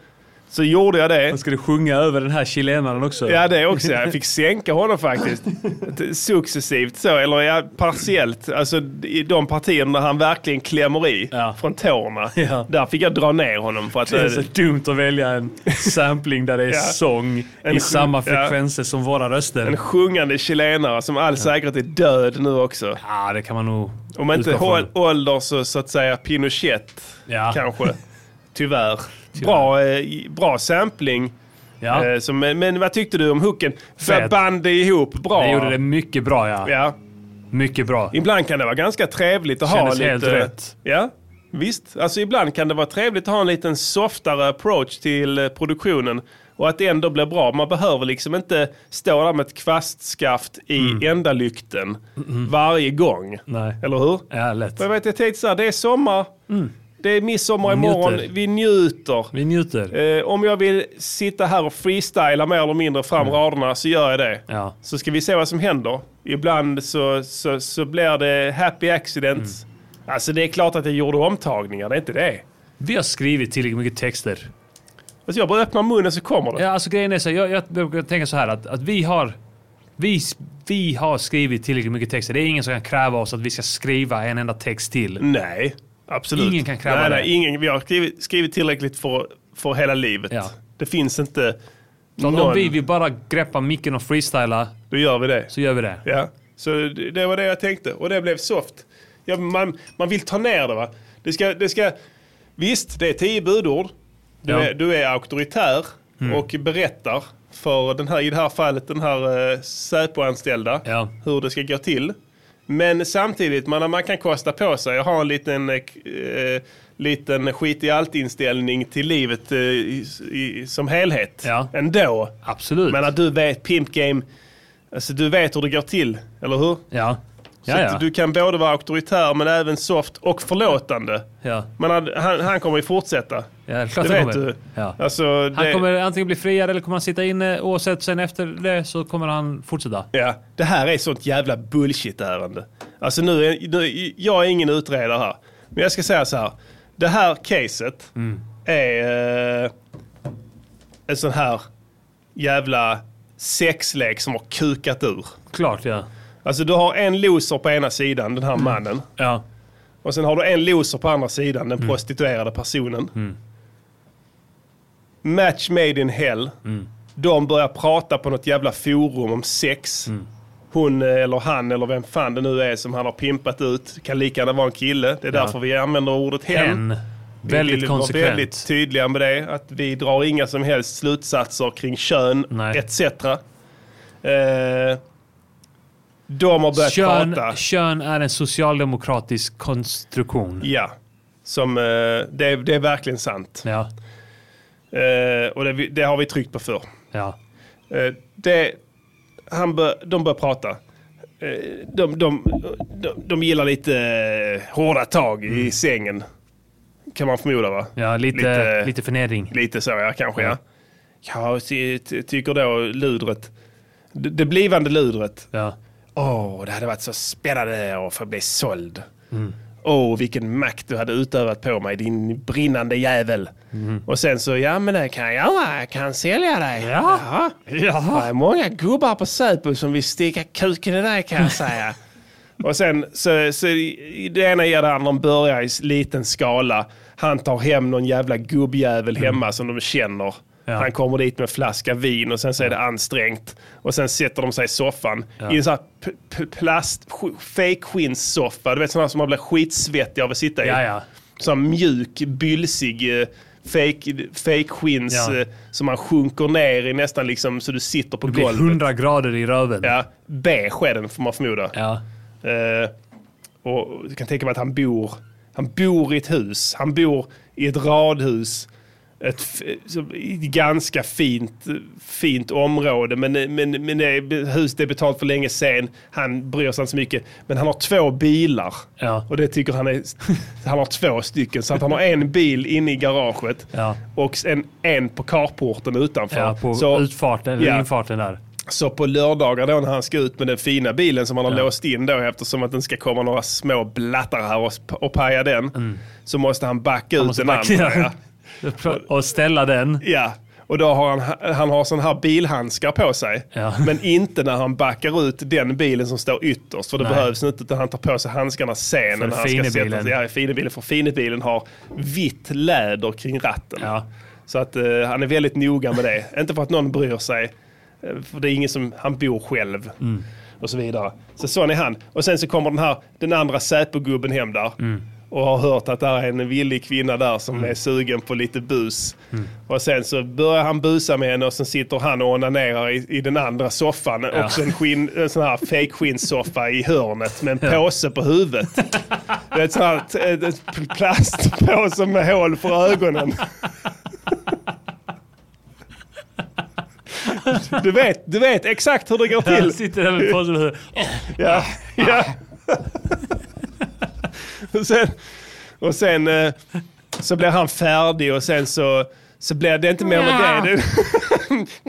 så gjorde jag det.
Då ska du sjunga över den här chilenaren också.
Ja, det också. Jag fick sänka honom faktiskt. Successivt så, eller ja, partiellt. Alltså i de partierna där han verkligen klämmer i
Ja.
från tårna.
Ja.
Där fick jag dra ner honom för att... eh,
Det är så dumt att välja en sampling där det är
Ja.
sång
En
i
sj-
samma
ja.
frekvenser som våra
En
röster.
sjungande chilenare som all säkerhet är död nu också.
Ja, det kan man nog
Om man inte
utgå från.
håll, ålder så, så att säga Pinochet
Ja.
kanske. Tyvärr. Bra, eh, bra sampling.
Ja.
Eh, som, men vad tyckte du om hooken? För
Fet.
band det ihop bra.
Det gjorde det mycket bra ja.
Ja.
Mycket bra.
Ibland kan det vara ganska trevligt att ha
Kändes
lite...
helt rätt.
Ja, visst. Alltså ibland kan det vara trevligt att ha en liten softare approach till eh, produktionen. Och att det ändå blir bra. Man behöver liksom inte stå där med ett kvastskaft i ändalykten varje gång.
Mm. Nej.
Eller hur?
Ja, lätt.
Men jag vet, jag tänkte så här, det är sommar. Det är midsommar imorgon.
njuter.
Vi njuter.
Vi njuter.
Eh, om jag vill sitta här och freestyla mer eller mindre fram raderna så gör jag det.
Mm. Ja.
Så ska vi se vad som händer. Ibland så, så, så blir det happy accidents.
Mm.
Alltså det är klart att jag gjorde omtagningar, det är inte det.
Vi har skrivit tillräckligt mycket texter.
Alltså jag bara öppnar munnen så kommer det.
Ja, alltså grejen är så här, jag, jag brukar tänka så här att, att vi har vi, vi har skrivit tillräckligt mycket texter. Det är ingen som kan kräva oss att vi ska skriva en enda text
Mm.
till.
Nej, absolut.
Ingen kan kräva
nej,
det.
Nej, ingen, vi har skrivit, skrivit tillräckligt för, för hela livet.
Ja.
Det finns inte
Så att om
någon,
vi vill bara greppa micken och freestyla
då gör vi det.
så gör vi det.
Ja, så det det var det jag tänkte. Och det blev soft. Ja, man, man vill ta ner det va. Det ska, det ska, visst, det är tio budord. Du,
Ja. Mm.
är, du är auktoritär och berättar för den här, i det här fallet den här eh, Säpo-anställda
Ja.
hur det ska gå till. Men samtidigt, man, man kan kosta på sig att ha en liten, eh, k- eh, liten skit i allt-inställning till livet eh, i, i, som helhet
Ja.
ändå.
Absolut.
Men att du vet pimp game, alltså du vet hur det går till, eller hur?
ja.
Så
Ja, ja.
att du kan både vara auktoritär men även soft och förlåtande.
ja.
Men han- han, han kommer ju fortsätta.
Ja, det är klart
Det
han
vet
kommer.
du.
Ja.
Alltså, det,
Han kommer antingen bli friad eller kommer han sitta inne oavsett. Sen efter det så kommer han fortsätta.
ja, det här är sånt jävla bullshit-ärende. Alltså nu, är- nu, jag är ingen utredare här. Men jag ska säga så här. Det här caset
Mm.
är eh, en sån här jävla sexlek som har kukat ur.
Klart ja.
Alltså du har en loser på ena sidan, den här mannen.
Ja.
Och sen har du en loser på andra sidan, den prostituerade personen. Match made in hell. De börjar prata på något jävla forum om sex. Hon eh, eller han eller vem fan det nu är som han har pimpat ut. Kan lika gärna vara en kille. Det är därför vi använder ordet hen.
En.
Vi
Väldigt
vill
konsekvent.
Vara väldigt tydliga med det. Att vi drar inga som helst slutsatser kring kön
Nej.
etc. Eh, de har börjat
Kön,
prata.
kön är en socialdemokratisk konstruktion.
Ja, som, eh, det, är, det är verkligen sant.
Ja.
Eh, och det, vi- det har vi tryckt på förr.
Ja.
Eh, det, han bör, de börjar prata. Eh, de, de, de, de gillar lite eh, hårda tag i sängen. Kan man förmoda va?
Mm. Ja, lite,
Lite-
lite, förnedring.
Lite så ja, kanske ja. ja ty, ty, tycker då ludret, det, det blivande ludret,
Ja.
Åh, det hade varit så spännande att få bli såld. Åh, vilken makt du hade utövat på mig, din brinnande jävel. Och sen så, ja men det kan jag göra, jag kan sälja dig.
Ja.
Jaha. Det är många gubbar på Säpo som vill sticka kuken i dig kan jag säga. Och sen så, så i- det ena ger det andra, de börjar i s- liten skala. Han tar hem någon jävla gubbjävel hemma som de känner.
Mm. Ja.
Han kommer dit med en flaska vin och sen så är det ansträngt. Och sen sätter de sig i soffan i en sån här p- p- plast, sk- fake skinnsoffa. Du vet sådana som man blir skitsvettig av att sitta i.
Ja, ja.
Sån mjuk, bylsig eh, fake, fake skins
Ja.
eh, som man sjunker ner i nästan liksom så du sitter på
Det blir
golvet.
100 grader i röven.
Ja, beige är den får man förmoda.
Ja.
Eh, och du kan tänka mig att han bor, han bor i ett hus. Han bor i ett radhus. Ett, f- som- i ett ganska fint, fint område. Men, men, men det är, huset är betalt för länge sen. Han bryr sig inte så mycket. Men han har två bilar.
Ja.
Och det tycker han är... Han har två stycken. Så att han har en bil inne i garaget.
Ja.
Och en, en på carporten utanför.
Ja, på
så,
utfarten, eller
Ja.
infarten där.
så på lördagar då när han ska ut med den fina bilen som han har låst in då eftersom att det ska komma några små blattar här och, sp- och paja den. Så måste han backa ut
Mm. måste
den
backa, ja.
andra. Ja.
Och ställa den.
Ja, och då har han, han har sån här bilhandskar på sig.
Ja.
Men inte när han backar ut den bilen som står ytterst. För det
Nej.
behövs inte, utan han tar på sig handskarna sen. när han ska
finebilen.
sätta sig. Ja, i finebilen. För finebilen har vitt läder kring ratten.
Ja.
Så att eh, han är väldigt noga med det. inte för att någon bryr sig. eh, För det är ingen som, han bor själv.
Mm.
Och så vidare. Så sån är han. Och sen så kommer den här, den andra Säpo-gubben hem där. Och har hört att där är en villig kvinna där som är sugen på lite bus. Och sen så börjar han busa med henne och sen sitter han och onanerar i, i den andra soffan. Också en, skinn, en sån här fejkskinnssoffa i hörnet med en påse på huvudet. Det är ett sånt här t- ett- ett plastpåse med hål för ögonen. Du vet, du vet exakt hur det går
Han
till.
sitter där med påsen och
Ja. ja. och sen, och sen eh, så blir han färdig och sen så, så blir det inte mer med det. det.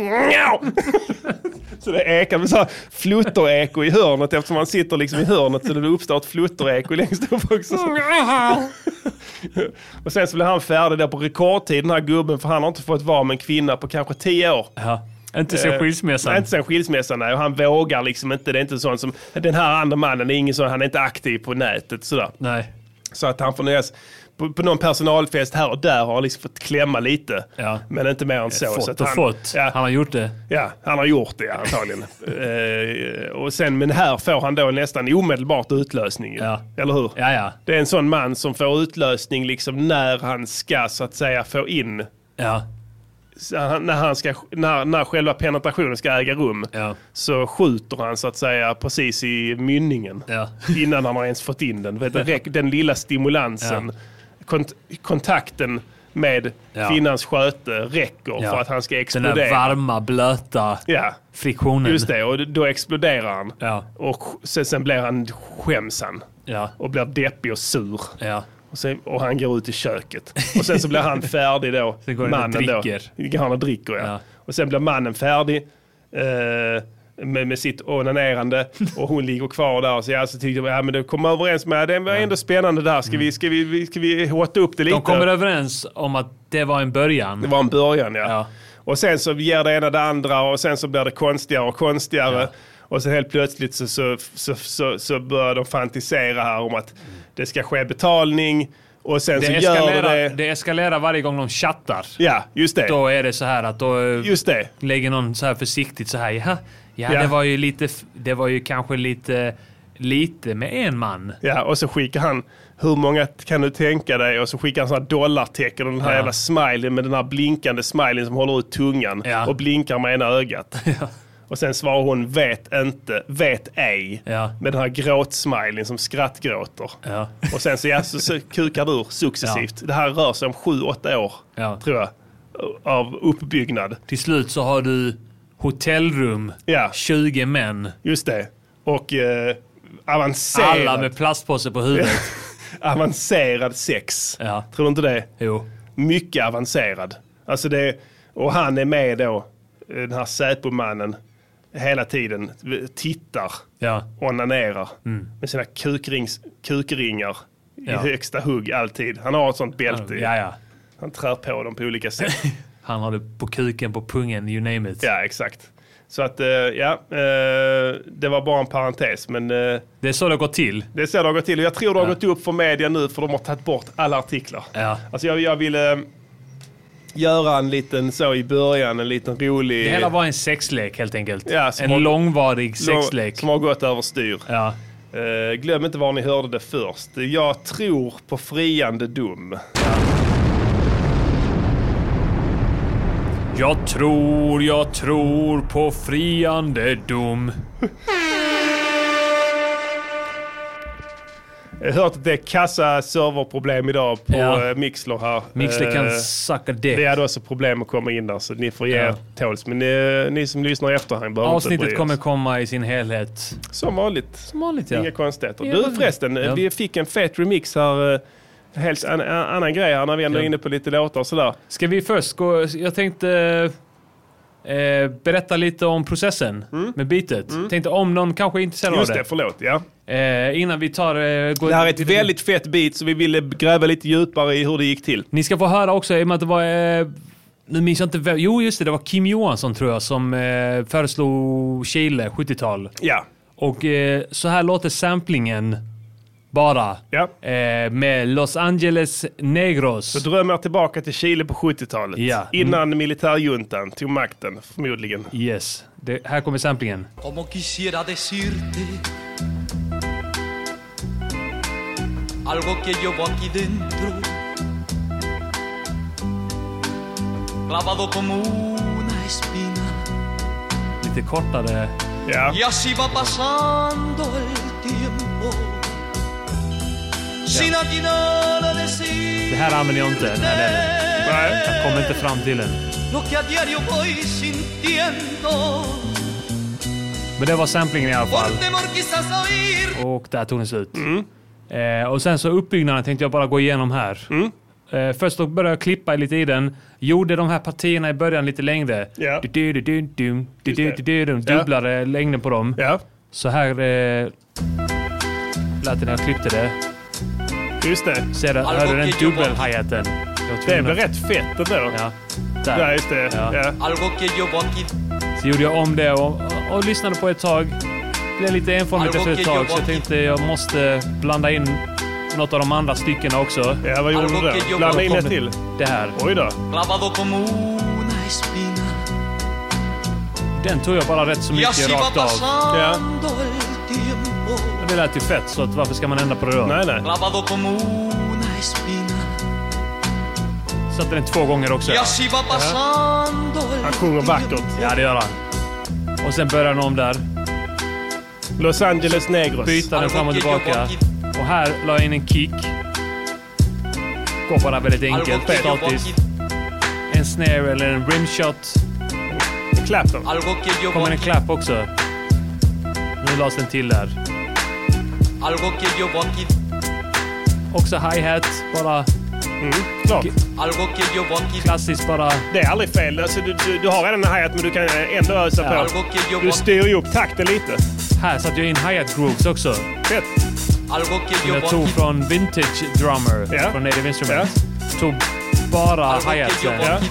Njau! så det ekar med så här fluttereko i hörnet eftersom han sitter liksom i hörnet så det uppstår ett fluttereko längst upp också. och sen så blir han färdig där på rekordtid den här gubben för han har inte fått vara med en kvinna på kanske tio år.
ja. Inte så
Eh, Nej,
skilsmässan.
inte sen skilsmässan. Nej. Och han vågar liksom inte. Det är inte sånt som, den här andra mannen är ingen sån, han är inte aktiv på nätet sådär.
Nej.
Så att han får nöjas på, på någon personalfest här och där har han liksom fått klämma lite.
Ja. Eh,
Men inte mer än så. så
Fått
att
och
han,
fått.
Ja,
Han har gjort det.
Ja, han har gjort det antagligen. Eh, och sen, men här får han då nästan omedelbart utlösning. ju.
Ja.
Eller hur?
Ja, ja.
Det är en sån man som får utlösning liksom när han ska så att säga få in,
Ja.
så han- när, han ska, när, när själva penetrationen ska äga rum
Ja.
så skjuter han så att säga precis i mynningen.
Ja.
Innan han har ens fått in den. Vet du, räck- Den lilla stimulansen, kont- kontakten med
Ja.
kvinnans sköte räcker
Ja.
för att han ska
Den
explodera.
där varma, blöta
ja,
friktionen.
just det. Och då exploderar han.
Ja.
Och sen, sen blir han skämsan.
Ja.
Och blir deppig och sur.
Ja.
Och, sen, och han går ut i köket. Och sen så blir han färdig då.
Sen går han och
Då.
dricker.
Går han och dricker ja.
Ja.
Och sen blir mannen färdig eh, med, med sitt onanerande. Och hon ligger kvar där. Så jag så tyckte jag, ja men det kom överens med, det var ändå spännande där. Ska vi, ska vi, vi- ska vi hotta upp det lite?
Mm. De kommer överens om att det var en
Det
början.
var en början ja.
Ja.
Och sen så ger det ena det andra och sen så blir det konstigare och konstigare. Och sen helt plötsligt så, så, så, så, så börjar de fantisera här om att det ska ske betalning. Och sen
Det
så gör
eskalerar,
det...
det. eskalerar varje gång de chattar.
Ja, just det.
Då är det så här att då eh,
Just det.
lägger någon så här försiktigt så här. Ja, ja,
Ja.
Det, var ju lite, f- det var ju kanske lite, lite med en man.
Ja, och så skickar han hur många kan du tänka dig? Och så skickar han sådana dollartecken och den här
Ja.
jävla smileyn med den här blinkande smileyn som håller ut tungan
Ja.
och blinkar med ena ögat. Och sen svarar hon vet inte, vet ej.
Ja.
Med den här gråtsmileyn som skrattgråter.
Ja.
Och sen så, ja, så, så kukar det ur successivt. Det här rör sig om sju, åtta år,
Ja.
tror jag, av uppbyggnad.
Till slut så har du hotellrum,
Ja.
20 män,
Just det. Och eh, avancerad,
alla med plastpåse på huvudet.
avancerad sex.
Ja.
Tror du inte det?
Jo.
mycket avancerad. Alltså det, och han är med då, den här Säpomannen, hela tiden. Tittar,
Ja.
onanerar med sina kukrings, kukringar
Mm. Ja.
i högsta hugg alltid. Han har ett sånt bälte.
Ja, ja.
Han trär på dem på olika sätt.
Han har det på kuken, på pungen, you name it.
ja, exakt. Så att, eh, ja, eh, det var bara en parentes. Men eh,
Det är så det går till.
det är så det har gått till. Och Jag tror det har gått upp för media nu för de har tagit bort alla artiklar.
Ja.
Alltså jag, jag ville eh, göra en liten så i början, en liten rolig...
Det hela var en sexlek helt enkelt.
Ja, som
en
har-
långvarig
Nå-
sexlek.
Som har gått överstyr.
Ja.
Eh, glöm inte var ni hörde det först. Jag tror på friande dom.
Jag tror, jag tror på friande dom.
Jag har hört att det är kassa serverproblem idag på
Ja.
ja. Mixler här.
Mixley
Eh,
kan sucka dick.
Vi hade också problem att komma in där så ni får ge
Ja.
er tåls. Men ni, ni som lyssnar i efterhand behöver inte bry
Avsnittet
er.
kommer komma i sin helhet.
Som vanligt.
Som vanligt ja.
Inga konstigheter.
Ja.
Du förresten, eh,
Ja.
vi fick en fet remix här. eh, Helt en, en annan grej här när vi ändå är
Ja.
inne på lite låtar och sådär.
Ska vi först gå... Jag tänkte... eh, eh, berätta lite om processen med beatet. Tänkte om någon kanske är intresserad
Mm. Just
av
det,
det.
förlåt. Ja.
Eh, innan vi tar... Eh, går
Det här är ett väldigt fett bit så vi ville gräva lite djupare i hur det gick till.
Ni ska få höra också, i och med att det var... Eh, nu minns jag inte vem. Jo, just det. Det var Kim Johansson tror jag som eh, föreslog Chile, 70-tal.
Ja.
Och eh, så här låter samplingen bara.
Ja.
Eh, med Los Angeles Negros.
Så drömmer tillbaka till Chile på 70-talet.
Ja.
Innan militärjuntan tog makten, förmodligen.
Yes. Det, här kommer samplingen.
Como quisiera decirte algo que llevo aquí dentro, clavado como una espina.
Lite kortare.
Ja.
Y así va pasando el tiempo, sin atinar a
Det
decir
här använder jag inte. Den här delen.
Nej.
Jag kommer inte fram till den.
lo que a diario voy sintiendo,
Men det var samplingen i alla
por
fall.
temor quizás a oír
Och där tog den slut.
Mm.
Eh, och sen så uppbyggnaden tänkte jag bara gå igenom här.
Mm.
Eh, först då började jag klippa lite i den. Gjorde de här partierna i början lite längre.
Ja.
Du-du-du-dum, du-du-du-dum,
Ja.
Dubblade längden på dem.
Ja,
Så här eh, lät det när jag klippte det.
just det.
Ser du, hör du den dubbel-hi-haten?
Det är väl rätt fett ändå?
Ja. Där.
Ja, just det.
Ja.
Ja.
algo que llevo aquí
Så gjorde jag om det och, och, och lyssnade på ett tag. Blev lite enformigt efter ett tag så jag tänkte jag måste blanda in något av de andra styckena också.
Ja, vad gjorde du då? Blanda in ett till.
Det här.
Oj då.
clavado como una espina.
Den tog jag bara rätt så
Y
mycket
así va
rakt av.
pasando el tiempo,
Men Det lät ju fett så att varför ska man ändra på det då?
Nej, nej.
clavado como una espina.
Satte den två gånger också.
Y así va pasando el
Han sjunger vackert.
Ja, det gör han. Och sen börjar den om där.
Los Angeles Negros.
Byta den
Algo
fram och
que
tillbaka.
yo
Och här la jag in en kick. Går bara väldigt
algo
enkelt,
que llevo aquí,
statiskt. En snare eller en rimshot.
Clapton.
algo que llevo
Kommer en
aquí,
clap också. Nu lades den till där.
algo que llevo aquí,
Också hi-hat. Bara
Mm, klart.
algo que llevo aquí,
klassiskt bara.
Det är aldrig fel. Alltså, du, du, du har redan en hi-hat men du kan ändå ösa
Ja.
på.
algo que llevo
Du
aquí,
styr ju upp takten lite.
Här satte jag in hi-hat grooves också.
Fett.
algo que
Jag
llevo
tog
aquí,
från Vintage Drummer
Ja.
från Native Instruments. Tog bara
algo que
hi-hatsen.
llevo
Ja.
aquí,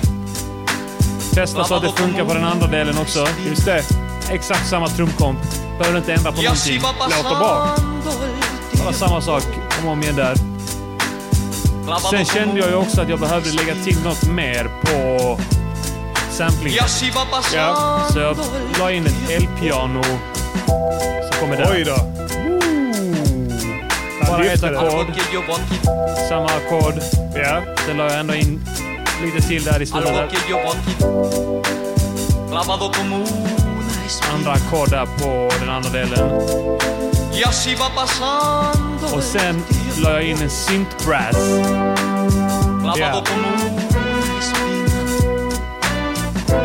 Testa så att det funkar på den andra delen också.
Just det.
Exakt samma trumkomp. Behöver inte ändra på
y así
någonting.
va
Låter bra.
pasando el
Bara
tiempo,
samma sak om och om igen där. Sen
clavado
kände jag ju
como
också att jag behövde lägga till något mer på
y
samplingen.
así va pasando
Så jag
el
la in ett elpiano. Så kommer
Oj
det.
då.
Bara ett
lyfte det.
algo
ackord,
que llevo aquí,
samma ackord.
Ja.
Sen la jag ändå in lite till där i slutet.
algo
där.
que llevo aquí, clavado como una espina.
Andra ackord där på den andra delen.
Y así va pasando
Och sen la jag in en synth brass.
clavado
yeah.
como una espina.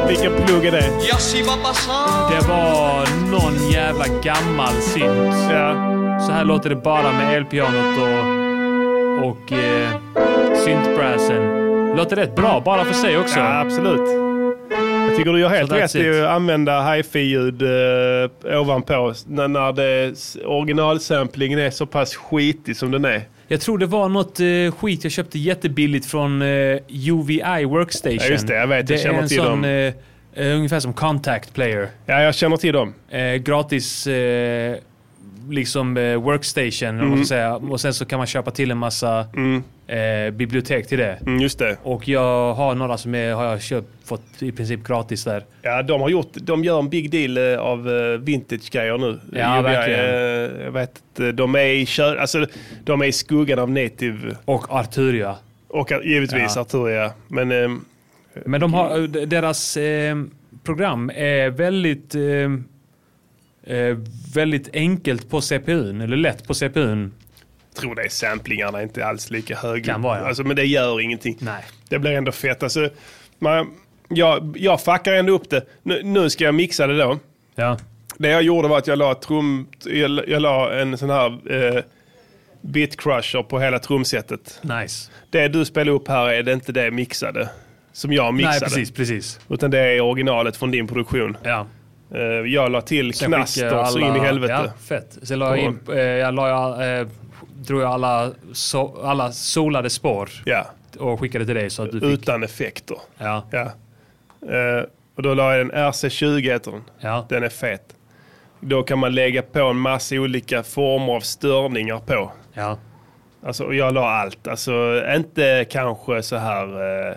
Vilken plugg är det?
Y así va pasando
Det var någon jävla gammal synt.
Ja.
Så här låter det bara med elpianot och, och eh, syntbrassen. Låter rätt bra, bara för sig också.
ja, absolut. Jag tycker du gör helt
Så that's
rätt i
it.
att använda hifi-ljud eh, ovanpå. När, när det, originalsamplingen är så pass skitig som den är.
Jag tror det var något eh, skit jag köpte jättebilligt från eh, UVI Workstation.
Ja, just det. Jag vet. Jag
det
känner
är en
till
sån,
dem.
eh, eh, ungefär som Contact Player.
Ja, jag känner till dem.
Eh, gratis eh, liksom eh, Workstation, om man ska säga. Och sen så kan man köpa till en massa eh, bibliotek till det.
Mm, just det.
Och jag har några som är, har jag köpt, fått i princip gratis där.
Ja, de, har gjort, de gör en big deal eh, av eh, vintage-grejer nu.
Ja,
Jag-
verkligen.
eh, Jag vet, inte, de, är i kö, alltså, de är i skuggan av Native
Och Arturia.
och eh, givetvis
Ja.
Arturia. Men ehm,
Men de har, eh, deras eh, program är väldigt, eh, eh, väldigt enkelt på CPUn, eller lätt på CPUn.
jag tror det är samplingarna inte alls lika höga.
Kan vara, ja.
alltså, men det gör ingenting.
Nej.
Det blir ändå fett. Alltså, man, jag, jag fuckar ändå upp det. Nu, nu ska jag mixa det då.
Ja.
Det jag gjorde var att jag la, trum, jag, jag la en sån här eh, bitcrusher på hela trumsetet.
Nice.
Det du spelar upp här är det inte det mixade. som jag mixade.
Nej, precis, precis.
Utan det är originalet från din produktion.
Ja.
Eh, Jag la till
Sen skickade
knaster
jag
så in i helvete.
Ja, fett. Sen la jag in, eh, jag la jag, eh, drog jag alla, so, alla solade spår
Ja.
och skickade till dig så att du fick.
Utan effekter.
Ja,
Ja. Eh, och då la jag en RC20 heter den.
ja.
Den är fet. Då kan man lägga på en massa olika former av störningar på.
ja.
Alltså, och jag la allt. Alltså, inte kanske så här eh,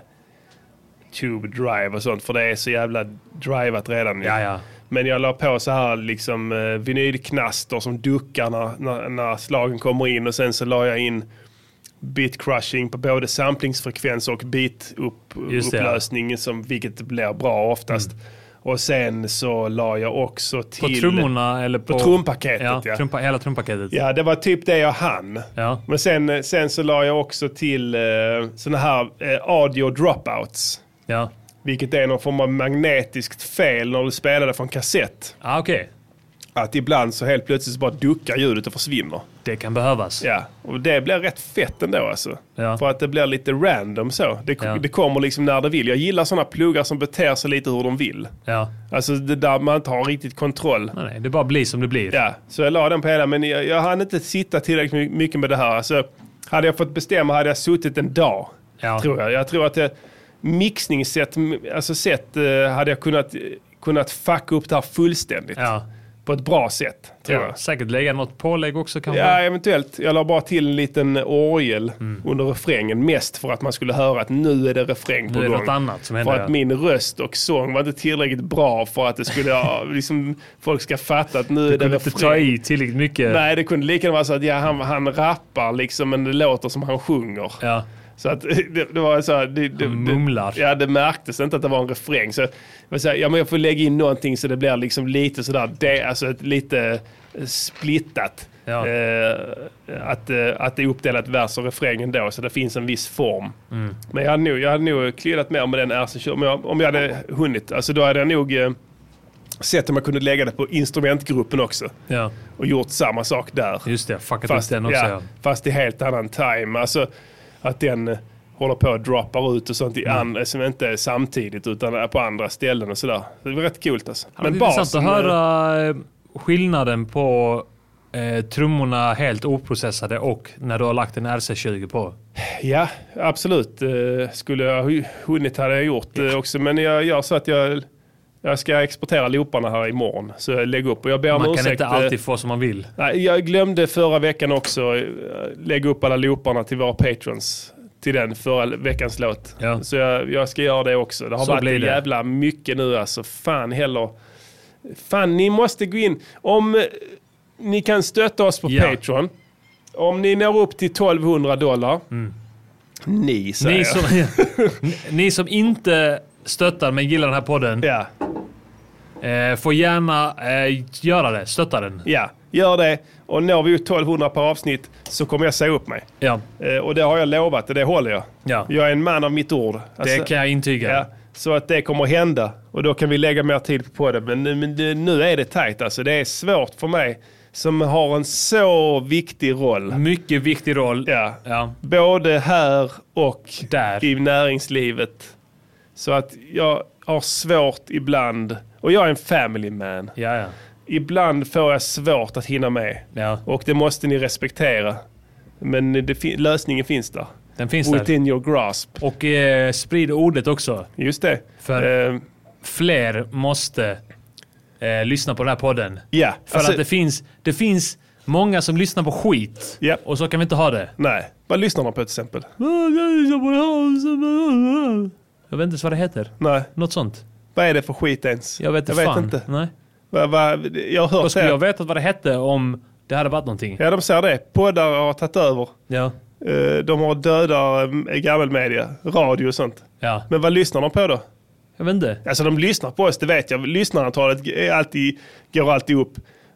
tube drive och sånt, för det är så jävla drivat redan. nu.
Ja, ja.
Men jag la på så här liksom eh, vinylknaster som duckar när, när, när slagen kommer in och sen så la jag in beat crushing på både samplingsfrekvens och beat upp,
Just det, ja. Mm.
upplösning, som, vilket blir bra oftast. Och sen så la jag också
På
till...
trummorna eller på...
På trumpaketet,
ja.
ja.
Trumpa, hela trumpaketet.
Ja, det var typ det jag hann.
Ja.
Men sen, eh, sen så la jag också till eh, såna här eh, audio dropouts.
Ja.
Vilket är någon form av magnetiskt fel när du spelade från kassett.
Ah, Okej.
Att ibland så helt plötsligt så bara duckar ljudet och försvinner.
Det kan behövas.
Ja, och det blir rätt fett ändå alltså.
Ja.
För att det blir lite random så. Det,
Ja.
det kommer liksom när det vill. Jag gillar sådana pluggar som beter sig lite hur de vill.
Ja.
Alltså det där man inte har riktigt kontroll.
Nej, nej, det bara blir som det blir.
Ja, så jag la den på hela, men jag, jag hann inte sitta tillräckligt my- mycket med det här. Alltså, hade jag fått bestämma hade jag suttit en dag,
Ja.
tror jag. Jag tror att det, mixningssätt, alltså sätt, eh, hade jag kunnat, kunnat fucka upp det här fullständigt.
Ja.
På ett bra sätt, tror
Ja.
jag.
Säkert lägga något pålägg också kanske.
Ja, eventuellt. Jag la bara till en liten orgel
Mm.
under refrängen, mest för att man skulle höra att nu är det refräng på
Nu är det
gång.
något annat som
För
händer.
att
ja.
min röst och sång var inte tillräckligt bra för att det skulle, ja, liksom, folk ska fatta att nu är det
kunde inte ta
refräng.
i tillräckligt mycket.
Nej, det kunde lika gärna vara så att ja, han, han rappar liksom, men det låter som han sjunger.
Ja.
Så att det, det var så här, det, det,
Han mumlar.
Det, ja, det märktes inte att det var en refräng. Så jag var så här, ja, men jag får lägga in någonting så det blir liksom lite sådär, det, alltså ett, lite eh, splittat.
Ja.
Eh, att, eh, att det är uppdelat vers och refräng ändå, så det finns en viss form.
Mm.
Men jag hade nog, jag hade nog klirrat mer med den RC20, om jag, om jag hade hunnit. Alltså då hade jag nog eh, sett om jag kunde lägga det på instrumentgruppen också
Ja.
och gjort samma sak där.
Just det, fuckat upp den också.
ja,
Ja.
fast i helt annan time. Alltså att den eh, håller på att droppar ut och sånt
Mm.
i andra, som inte är samtidigt utan är på andra ställen och sådär. Det var rätt coolt alltså.
Men det är intressant att
eh,
höra eh, skillnaden på eh, trummorna helt oprocessade och när du har lagt en RC20 på.
Ja, absolut. Eh, Skulle jag hu- hunnit hade jag gjort det också. Men jag gör så att jag, jag ska exportera looparna här imorgon. Så jag lägger upp och jag ber om
Man
ursäkt.
kan inte
eh,
alltid få som man vill.
Nej, jag glömde förra veckan också eh, lägga upp alla looparna till våra patrons. Till den förra veckans låt.
Ja.
Så jag, jag ska göra det också. Det har
Så
varit
blir det.
jävla mycket nu alltså. Fan heller. Fan, ni måste gå in. Om eh, ni kan stötta oss på
Ja.
Patreon. Om ni når upp till 1200 dollar. Ni säger
Mm. Ni
jag.
som, ni som inte stöttar men gillar den här podden
Ja,
eh, får gärna eh, göra det. Stötta den.
ja, gör det. Och når vi ut 1200 per avsnitt så kommer jag säga upp mig.
Ja,
Eh, Och det har jag lovat och det håller jag.
ja.
Jag är en man av mitt ord.
det
Alltså-
kan jag intyga.
Ja, så att det kommer att hända och då kan vi lägga mer tid på det. Men, nu- men det- nu är det tajt alltså. Det är svårt för mig som har en så viktig roll.
Mycket viktig roll.
Ja.
Mm. Ja.
Både här och
Där.
i näringslivet. Så att jag har svårt ibland, och jag är en family man.
Ja, ja.
Ibland får jag svårt att hinna med.
ja.
Och det måste ni respektera. Men det fin- lösningen finns där.
Den finns där.
Within your grasp.
Och eh, sprid ordet också.
Just det.
För-
Eh,
Fler måste eh, lyssna på den här podden.
Ja.
För
Alltså-
att det finns, det finns många som lyssnar på skit.
Ja.
Och så kan vi inte ha det.
Nej. Vad lyssnar man på till exempel?
Jag vet inte ens vad det heter.
Nej.
Något sånt.
Vad är det för skit ens?
Jag vet inte
jag vet
fan.
inte.
Nej.
Va, va, jag har
Då
hört
skulle
det.
jag vetat vad det hette om det hade varit någonting.
Ja, de säger det. Poddar har tagit över.
Ja.
Eh, De har döda eh, gammelmedia, radio och sånt.
Ja.
Men vad lyssnar de på då?
Jag vet inte.
Alltså de lyssnar på oss, det vet jag. Lyssnarantalet är alltid, går alltid upp.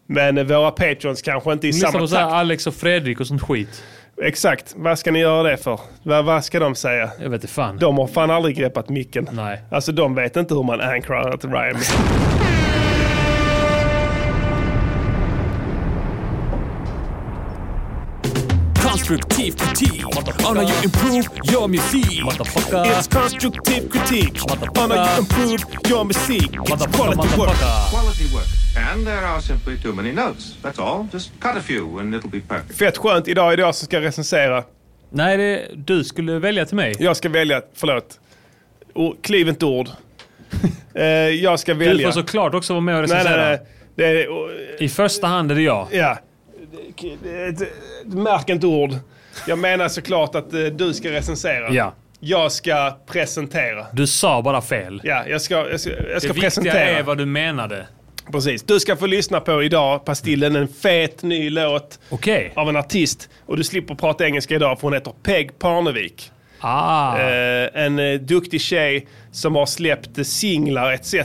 Men eh, våra patrons kanske inte i
De lyssnar
samma
på så här
takt.
Alex och Fredrik och sånt skit.
Exakt. Vad ska ni göra det för? Vad, vad ska de säga?
Jag vet inte fan.
De har fan aldrig greppat micken.
Nej.
Alltså de vet inte hur man ankrar ett rhyme.
Hans
konstruktiv kritik On how you improve your musik
Motherfucker.
It's constructive critique On how you improve your musik It's quality work
Quality work. And there are simply too many notes. That's all. Just cut a few and it'll be perfect.
Fett skönt. Idag är det jag som ska recensera.
Nej, det, du skulle välja till mig.
Jag ska välja, förlåt. O- Kliv inte ord. Eh, jag ska
Du
välja.
får såklart också vara med och
nej, nej,
recensera.
nej. Det är, och,
I första hand är det jag.
ja. Märk inte ord. Jag menar såklart att eh, du ska recensera.
Ja.
Jag ska presentera.
Du sa bara fel.
Ja, jag ska, jag ska, jag
det
ska
viktiga
presentera.
är vad du menade.
Precis. Du ska få lyssna på idag, Pastillen, en fet ny låt
Okej.
av en artist. Och du slipper prata engelska idag för hon heter Peg Parnevik.
Ah.
Eh, en eh, duktig tjej som har släppt eh, singlar etc.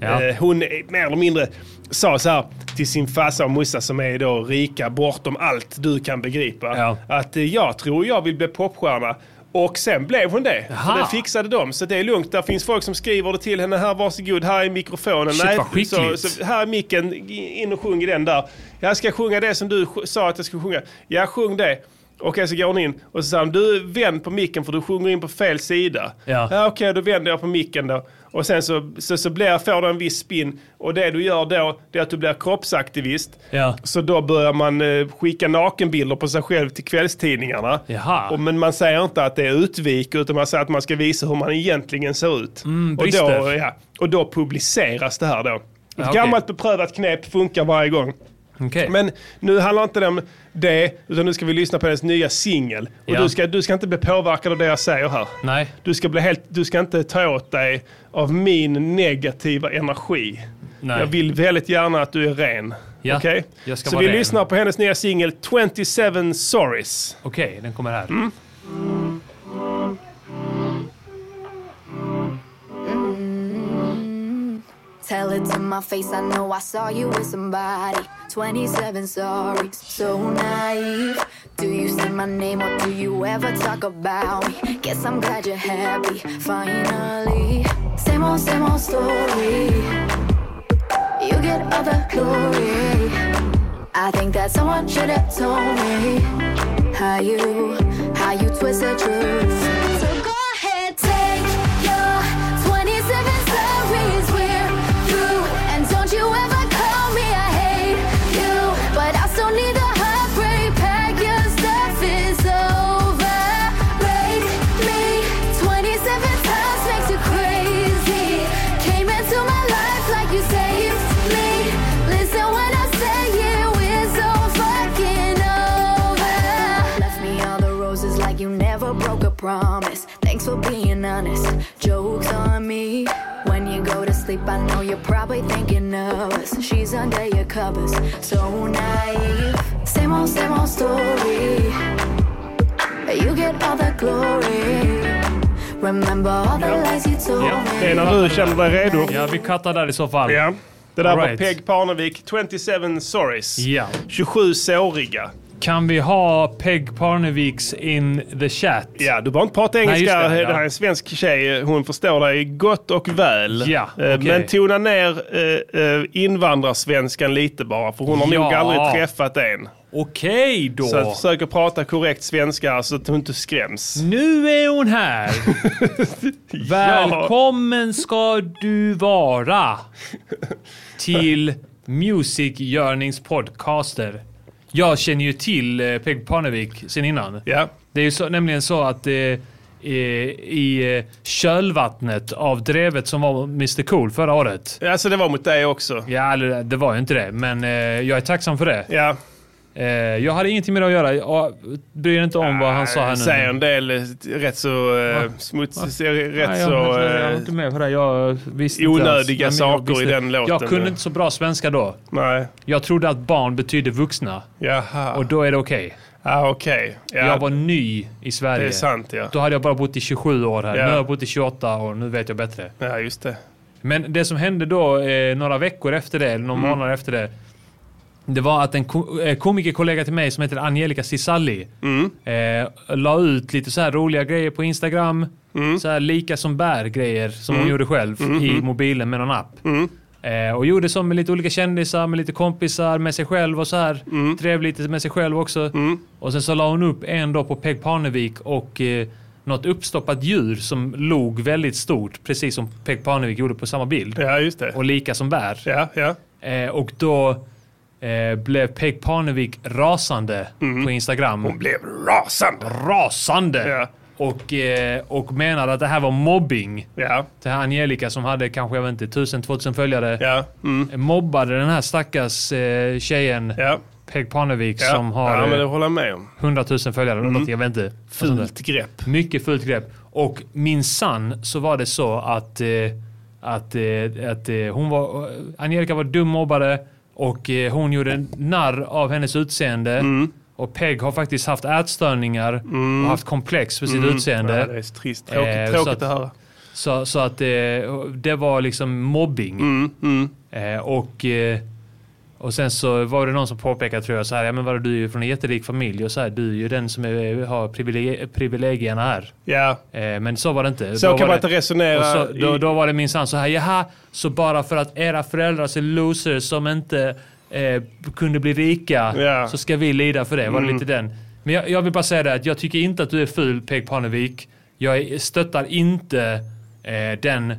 Ja.
Eh, hon eh, mer eller mindre sa så här till sin farsa och morsa som är då rika bortom allt du kan begripa.
Ja.
Att eh, jag tror jag vill bli popstjärna. Och sen blev hon det.
Jaha.
Så det fixade de. Så det är lugnt. Där finns folk som skriver det till henne. Här, varsågod. Här är mikrofonen.
Shit, vad
så,
skickligt.
så här är micken. In och sjung i den där. Jag ska sjunga det som du sj- sa att jag skulle sjunga. Jag sjung det. Okej, så går hon in och så sa hon, du vänd på micken för du sjunger in på fel sida.
Ja.
Okej, då vänder jag på micken då. Och sen så, så, så blir, får du en viss spin. Och det du gör då, det är att du blir kroppsaktivist.
Ja.
Så då börjar man eh, skicka nakenbilder på sig själv till kvällstidningarna.
Jaha.
Och, men man säger inte att det är utvik, utan man säger att man ska visa hur man egentligen ser ut. och, då,
Mm, brister.
ja, och då publiceras det här då. Ett
okej.
gammalt beprövat knep funkar varje gång.
Okej.
Men nu handlar inte det om det, utan nu ska vi lyssna på hennes nya singel. Och
Ja.
du, ska, du ska inte bli påverkad av det jag säger här.
Nej.
Du ska, bli helt, du ska inte ta åt dig av min negativa energi.
Nej.
Jag vill väldigt gärna att du är ren.
Ja,
Okej?
jag ska
Så
vara
vi
ren.
lyssnar på hennes nya singel 27 Sorries.
Okej, den kommer här.
Mm.
Tell it to my face, I know I saw you with somebody. 27 sorries, so naive. Do you say my name or do you ever talk about me? Guess I'm glad you're happy, finally. Same old, same old story. You get all the glory. I think that someone should have told me how you, how you twist the truth. So go ahead, take your 27 stories. We're through, and don't you ever call me. I hate you, but I still need the heartbreak. Pack your stuff, it's over. Rate me 27 times makes you crazy. Came into my life like you saved me. Listen when I say it, we're so fucking over. Left me all the roses like you never broke a promise. Thanks for being honest. Jokes on me. When you go to sleep, I know you're probably thinking of us. She's under your covers, so naive. Same old, same old story. You get all the glory. Remember all the lies you told
Ja, er
me.
Det är när du känner dig redo.
Ja, vi kattar där i så fall.
Ja. Det där
All
var
right.
Peg Parnevik, 27 Sorries.
Ja.
27 såriga.
Kan vi ha Peg Parneviks in the chat?
Ja, du behöver inte prata
just
engelska.
det,
det,
ja.
här är en svensk tjej. Hon förstår dig gott och väl.
Ja,
Eh,
okej.
Men tona ner eh, eh, invandrarsvenskan lite bara, för hon har
Ja.
nog aldrig träffat en.
Okej då.
Så att försök att prata korrekt svenska så att hon inte skräms.
Nu är hon här. Välkommen ska du vara till Musikgörningspodcaster. Jag känner ju till eh, Peg Parnevik sen innan.
Ja.
Det är ju så, nämligen så att eh, i, i eh, kölvattnet av drevet som var Mr Cool förra året.
ja, så Alltså, det var mot dig också.
Ja, eller det var ju inte det, men eh, jag är tacksam för det.
Ja,
Eh, jag hade ingenting med det att göra. Jag bryr inte om vad han sa här nu.
säger en del eh, rätt så eh, smuts, rätt
Nej, jag,
så...
jag, var
eh,
inte med på det. Jag visste inte
onödiga
alls. Nej, men jag
saker
visste-
i den låten.
Jag kunde inte så bra svenska då.
nej,
Jag trodde att barn betyder vuxna
jaha.
och då är det okej.
ah, Okej,
Jag
ja,
var ny i Sverige.
det är sant ja.
Då hade jag bara bott i 27 år här.
Ja.
Nu har jag bott i 28 år. Nu vet jag bättre.
Ja, just det.
Men det som hände då, eh, några veckor efter det, eller några
Mm.
månader efter det. Det var att en ko- eh, komikerkollega till mig som heter Angelica Cisalli eh, la ut lite så här roliga grejer på Instagram. Så här lika som bär grejer som hon gjorde själv i mobilen med någon app. Eh, och gjorde som med lite olika kändisar, med lite kompisar, med sig själv och så här. Drev lite med sig själv också. Och sen så la hon upp en dag på Peg Parnevik och eh, något uppstoppat djur som log väldigt stort, precis som Peg Parnevik gjorde på samma bild.
Ja, just det.
Och lika som bär.
Ja, ja.
Eh, och då eh, blev Peg Parnevik rasande på Instagram. Hon
Mhm. blev rasande!
Rasande! Och, eh, och menade att det här var mobbing.
Ja.
Det här Angelica som hade kanske, jag vet inte, 1000-2000 följare.
Ja.
Mobbade den här stackars eh, tjejen Peg Parnevik
Ja.
som har
Ja, men det
eh,
håller jag med om.
100 000 följare. eller
Mm.
Något, jag vet inte.
Fult
Något sånt där.
grepp.
Mycket fult grepp. Och min sann så var det så att, eh, att, eh, att eh, hon var, Angelica var dum mobbare och eh, hon gjorde narr av hennes utseende.
Mm.
Och Peg har faktiskt haft ätstörningar och haft komplex för sitt
Mm.
utseende.
Ja, det är trist. Tråkigt-
Eh, så
tråkigt att höra.
Så, så att eh, det var liksom mobbing.
Mm,
Eh, och, eh, och sen så var det någon som påpekade tror jag så här, ja men vadå du är ju från en jätterik familj och så här, du är ju den som är, har privilegie, privilegierna här.
Ja.
Eh, men så var det inte.
Så
Då
kan
var
man
det-
inte resonera
och Så, då,
i-
då var det minsann så här, jaha, så bara för att era föräldrar är losers som inte eh, kunde bli rika
Ja.
så ska vi lida för det. Var det
Mm.
lite den. Men jag, jag vill bara säga det att jag tycker inte att du är ful Peg Parnevik. Jag är- stöttar inte eh, den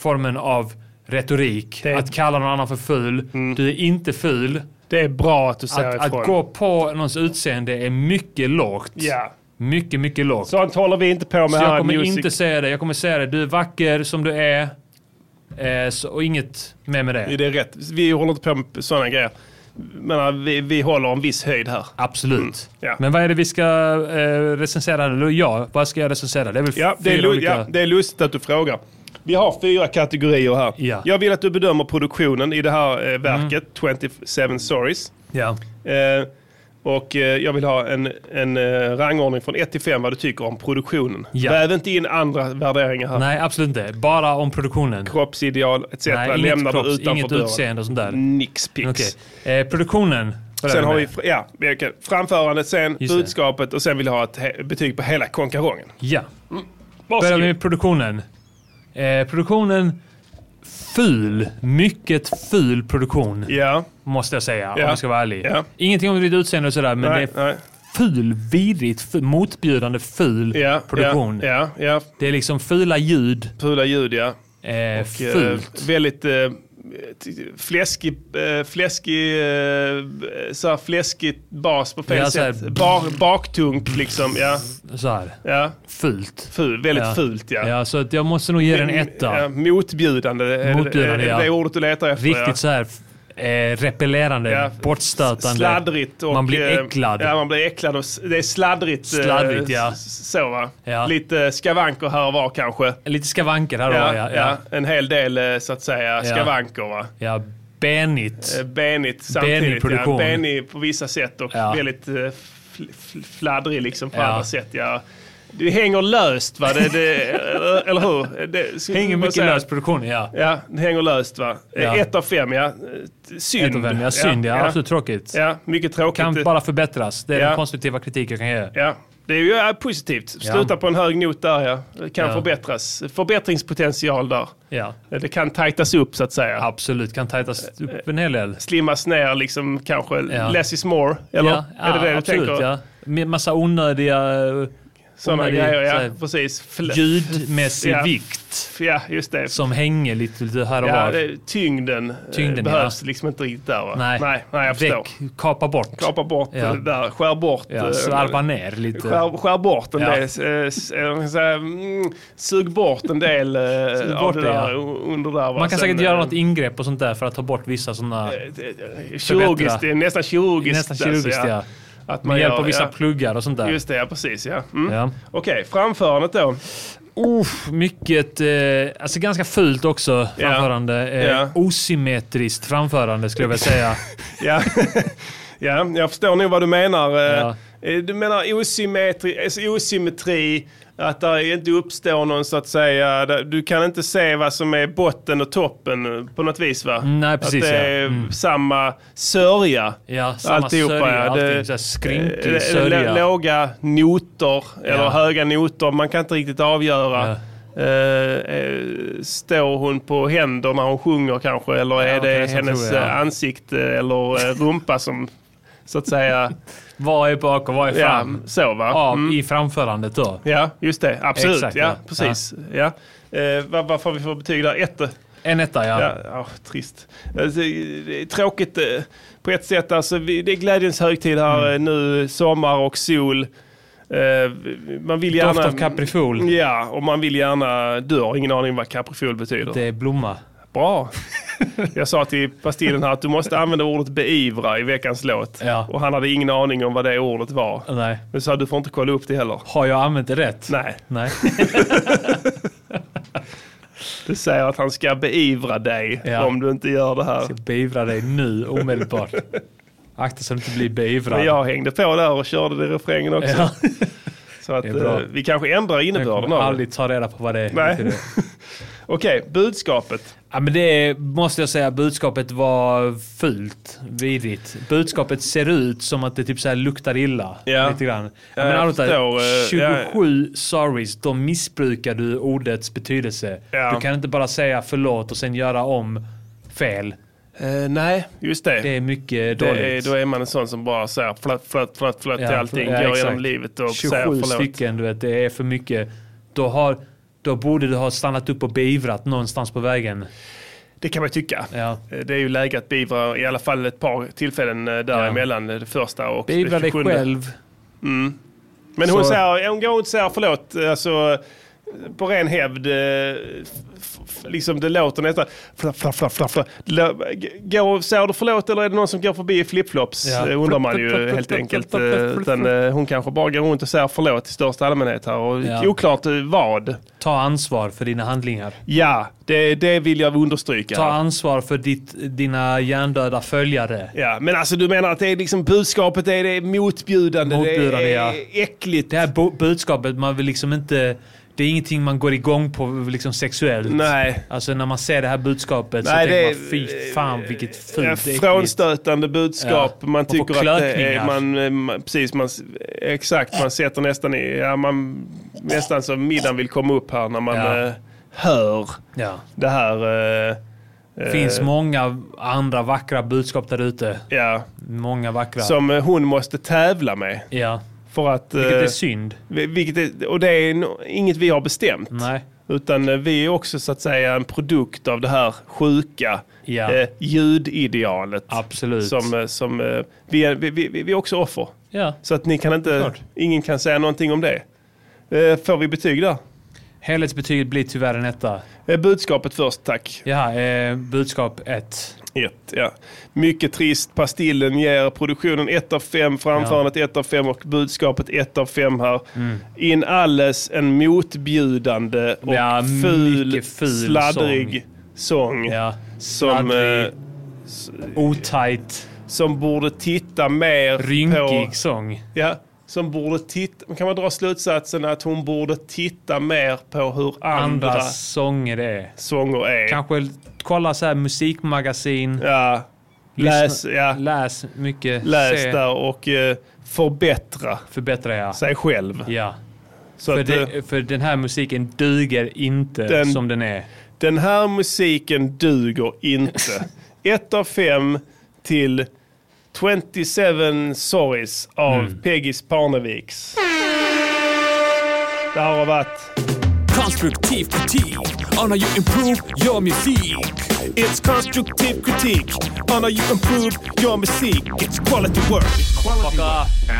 formen av retorik. Att kalla någon annan för ful. Du är inte ful.
Det Mm. är bra att du säger
att,
ifrån.
att gå på någons utseende är mycket lågt.
Ja.
Mycket, mycket lågt.
Sånt håller vi inte på med
Så
här
jag
i
kommer
music.
inte säga det. Jag kommer säga det. Du är vacker som du är. Eh, så, och inget mer med det.
Det är rätt. Vi håller inte på med sådana grejer. Men eh, vi, vi håller en viss höjd här.
Absolut.
Mm. Ja.
Men vad är det vi ska eh, recensera? Eller jag? Vad ska jag recensera? Det är väl
Ja, det är,
fyra
lu-
olika...
ja, det är lustigt att du frågar. Vi har fyra kategorier här.
Ja. Mm.
Jag vill att du bedömer produktionen i det här eh, verket, 27 Stories.
Ja.
Eh, och eh, jag vill ha en, en eh, rangordning från 1 till 5 vad du tycker om produktionen.
Ja.
Väv inte in andra värderingar här.
Nej, absolut inte. Bara om produktionen.
Kroppsideal etc.
Nej, inget
Lämnar
proffs,
du utanför
inget
dörren.
utseende och sånt där.
Nix
Okej. Eh, produktionen. börjar
Sen har vi
med.
fr- ja, vi kan- framförandet, sen
Just det.
budskapet och sen vill jag ha ett he- betyg på hela konkarongen.
Ja. Börjar vi med produktionen. Eh, produktionen. Ful. Mycket ful produktion.
Ja.
Måste jag säga,
Ja.
om jag ska vara ärlig.
Ja.
Ingenting om ditt utseende och sådär, men
Nej,
det är ful, vidrigt, ful, motbjudande ful produktion.
Ja, ja.
Det är liksom fula ljud.
Fula ljud, ja.
Eh,
Och, eh,
fult.
väldigt eh, t- fläskig, eh, fläskig, eh, så här fläskigt bas på fel
Ja, så här-
sätt. Bar, baktunk liksom, ja.
Så här.
ja.
Fult.
Ful, väldigt
Ja.
fult, ja.
Ja, så att jag måste nog ge den en etta.
Ja, motbjudande, är det-
Motbjudande,
är det,
ja.
det ordet du letar efter.
Riktigt
ja.
så här eh, repellerande,
Ja.
bortstötande.
Sladdrigt. Och,
Man blir
eh,
äcklad.
Ja, man blir äcklad. Och s- det är sladdrigt. eh,
Sladdrigt, ja.
s- Så va?
Ja.
Lite skavanker här och var kanske.
Lite skavanker här och var, ja, ja.
En hel del eh, så att säga skavanker va?
Ja, benigt.
Eh, Benigt samtidigt.
Benig produktion.
Ja, benig på vissa sätt och
Ja.
väldigt eh, fl- fl- fladdrig liksom på
Ja.
andra sätt. Ja. Det hänger löst va? Det, det, eh, eller hur? Det, ska-
Hänger
vad
mycket
säger jag?
lös produktion, ja.
Ja, det hänger löst va? Eh,
Ja.
Ett av fem ja. Eh, Synd.
Ett av fem, ja. Synd, ja. Absolut tråkigt.
Ja, mycket tråkigt.
Kan bara förbättras. Det är
Ja.
den konstruktiva kritik jag kan ge.
Ja, det är ju ja, positivt.
Ja.
Sluta på en hög not där ja. Det kan
Ja.
förbättras. Förbättringspotential där.
Ja.
Det kan tajtas upp så att säga.
Absolut, kan tajtas upp en hel del.
Slimmas ner liksom kanske.
Ja.
Less is more, eller?
Ja,
är det det du
absolut,
tänker?
ja. Med massa onödiga... eh,
Sådana
onödiga,
grejer, ja.
så här,
Precis. Fl-
Ljudmässig
ja.
vikt.
Ja, just det.
Som hänger lite, lite här och
Ja,
var.
det, tyngden, eh,
Tyngden,
behövs
ja.
liksom inte riktigt där va?
Nej.
nej, nej jag förstår.
Väck, kapa bort.
Kapa bort
Ja.
det där, skär bort. eh,
Ja, slarva ner lite.
Skär, skär bort en
Ja.
del, eh, s- eh, vad ska jag säga, mm, sug bort en del eh,
Sug
av
bort
det
det,
där
ja.
o- under där. va?
Man kan
Sen,
säkert göra
eh,
något ingrepp och sånt där för att ta bort vissa sådana...
Kirurgiskt, det är
förbättra.
nästan kirurgiskt.
Nästan kirurgiskt,
alltså,
ja.
Att man
Med hjälp
gör-
av vissa
ja.
pluggar och sånt där.
Just det, ja precis ja. Mm.
Ja.
Okej, framförandet då.
Uff, mycket, eh, alltså ganska fult också framförande. Eh,
Ja.
Osymmetriskt framförande skulle jag vilja säga.
Ja. ja, jag förstår nog vad du menar. Eh, Du menar osymmetri, alltså osymmetri, att det inte uppstår någon så att säga, där- du kan inte se vad som är botten och toppen eh, på något vis va?
Nej, precis,
Att det
ja.
är
Mm.
samma sörja.
Ja, samma sörja, allting, så här skrynklig
eh,
sörja.
lå- Låga noter, eller
Ja.
höga noter, man kan inte riktigt avgöra. Eh, eh, står hon på händer när hon sjunger kanske? Eller är
Ja, det
det
är så
hennes
tror jag.
eh, ansikte eller eh, rumpa som så att säga...
Vad är bak och vad är fram?
Ja, så va?
Ja,
Mm.
I framförandet då.
Ja, just det. Absolut.
Exakt,
ja,
ja.
precis. Ja. Eh, vad, vad får vi för betyg där? Ett? eh?
En etta, ja.
ja åh, trist. Alltså, det är tråkigt eh, på ett sätt. Alltså, vi, det är glädjens högtid här
Mm.
eh, nu. Sommar och sol. Eh, man vill gärna...
Doft av kaprifol.
Ja, och man vill gärna dö. Har Ingen aning vad kaprifol betyder.
Det är blomma.
Bra. Jag sa till Pastillen här att du måste använda ordet beivra i veckans låt. Och han hade ingen aning om vad det ordet var.
Nej.
Men sa du får inte kolla upp det heller.
Har jag använt det rätt?
Nej.
Nej.
Du säger att han ska beivra dig
Ja.
om du inte gör det här.
Jag ska beivra dig nu omedelbart. Akta så att du inte blir beivrad.
Men jag hängde på där och körde det i refrängen också.
Ja.
Så att
Det är bra.
eh, vi kanske ändrar
Jag
innebörden
kommer
av det.
aldrig ta reda på vad det är.
Nej.
Inte det.
Okej, budskapet.
Ja, men det måste jag säga, budskapet var fult, vidrigt. Budskapet ser ut som att det typ så här luktar illa.
Ja.
Lite grann.
Ja,
men
jag
Arota,
förstår, eh,
27 sorries, de missbrukar du ordets betydelse.
Ja.
Du kan inte bara säga förlåt och sen göra om fel.
Eh, nej, just det.
Det är mycket
Det
dåligt.
är, då är man en sån som bara säger flött, flött, flött, flött till allting. går genom
exakt.
livet och
27
säger förlåt.
stycken, du vet, det är för mycket. Då, har, då borde du ha stannat upp och beivrat någonstans på vägen.
Det kan man tycka.
Ja.
Eh, Det är ju läge att beivra i alla fall ett par tillfällen eh, däremellan. Det första och
Beivra
det
dig
27.
själv.
Mm. Men hon
Så-
säger, hon går inte och säger förlåt, alltså eh, på ren hävd, eh, f- f- liksom det låter nästan... fla- fla- fla- fla- fla- lö- g- Går, säger du förlåt eller är det någon som går förbi i flipflops?
Ja.
Eh, Undrar man ju helt enkelt. eh, Utan eh, hon kanske bara går runt och säger förlåt i största allmänhet här. Och
Ja.
oklart eh, vad.
Ta ansvar för dina handlingar.
Ja, det, det vill jag understryka.
Ta ansvar för ditt, dina hjärndöda följare.
Ja, men alltså du menar att det är liksom budskapet är det är motbjudande,
Motbjudande,
det
ja.
är äckligt.
Det här bu- budskapet, man vill liksom inte... Det är ingenting man går igång på liksom sexuellt.
Nej.
Alltså när man ser det här budskapet
Nej,
så
det
tänker man fy fan vilket fult
Ja,
äckligt."
Frånstötande budskap.
Ja.
Man
Man får
tycker att det är,
klökningar.
man, eh, man, precis, man, exakt, man sätter nästan i, ja, man, nästan så middagen vill komma upp här när man
Ja.
eh, hör
Ja.
det här. eh, eh,
finns många andra vackra budskap där ute.
ja,
Många vackra.
som eh, hon måste tävla med.
ja.
För att,
Vilket är
eh,
synd.
vi- Vilket är, och det är no- inget vi har bestämt.
Nej.
Utan eh, vi är också så att säga en produkt av det här sjuka
Ja.
eh, ljudidealet.
Absolut.
Som, eh, som, eh, vi, är, vi, vi, vi vi är också offer.
Ja.
Så att ni kan inte,
Klart.
ingen kan säga någonting om det. Eh, Får vi betyg där?
Helhetsbetyget blir tyvärr en etta.
Eh, Budskapet först, tack.
Ja, eh, budskap ett.
Ett, ja. Mycket trist. Pastillen ger produktionen 1 av 5, framförandet 1 av 5 och budskapet 1 av 5 här.
Mm.
In alles en motbjudande och
Ja,
ful,
mycket ful
sladdrig sång.
Ja.
som,
Sladdrig.
eh,
Otajt.
som borde titta mer
Rynkig
på...
sång.
Ja, som borde titta... Kan man dra slutsatsen att hon borde titta mer på hur andra,
Andra sånger det är.
sånger är?
Kanske kolla så här musikmagasin.
Ja. Läs,
Lyssna-
ja.
Läs mycket.
Läs
se,
där och eh, förbättra
Förbättra ja.
sig själv.
ja.
Så
För,
att, eh,
det, för den här musiken duger inte
Den-
som den är.
den här musiken duger inte. Ett av fem till 27 Sorries av
Mm.
Peggy Parneviks. Det här har varit...
Constructive critique on how you improve your music. It's constructive critique on how you improve your music. It's quality work.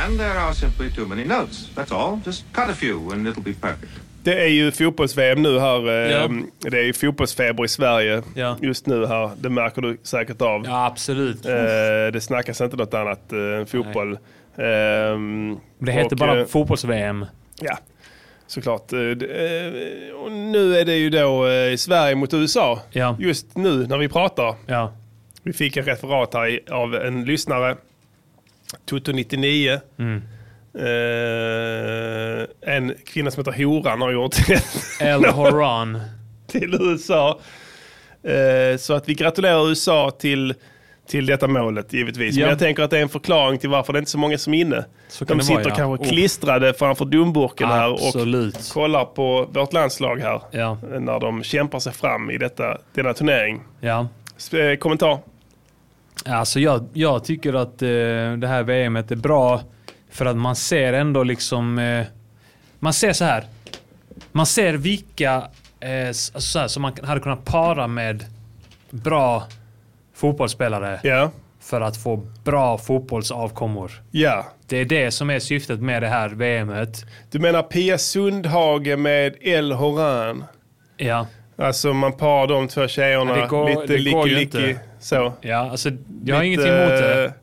And there are simply too many notes. That's all. Just cut a few and it'll be perfect.
Det är ju fotbolls-VM nu här. eh,
Ja.
Det är ju fotbollsfeber i Sverige
Ja.
just nu här. Det märker du säkert av.
Ja, absolut.
Eh, det snackas inte något annat eh, än fotboll. Ehm,
det heter
och,
bara
eh,
fotbolls-VM.
Ja, såklart. Eh, det- eh, och nu är det ju då eh, Sverige mot USA.
Ja.
Just nu när vi pratar.
Ja.
Vi fick ett referat här i- av en lyssnare. Toto99.
Mm.
Eh, en kvinna som heter Horan har gjort
El Horan.
till USA. Eh, så att vi gratulerar USA till till detta målet givetvis.
Ja.
Men jag tänker att det är en förklaring till varför det är inte är så många som är inne.
Så kan
De
det
sitter
vara, ja.
kanske
Oh.
klistrade framför dumburken här
Absolut.
och kollar på vårt landslag här.
Ja.
När de kämpar sig fram i detta, denna turnering.
Ja.
Sp- eh, Kommentar?
Alltså jag, jag tycker att eh, det här VMet är bra för att man ser ändå liksom... Eh, man ser så här. Man ser vilka eh, s- alltså så här, som man kan- hade kunnat para med bra fotbollsspelare för att få bra fotbollsavkommor.
Ja.
Det är det som är syftet med det här VMet.
Du menar Pia Sundhage med El Horan?
Ja.
Alltså man parar de två tjejerna
Ja, det går-
lite
det går ju
licky-licky.
inte.
Så.
Ja, alltså jag har ingenting emot det. Jag har
att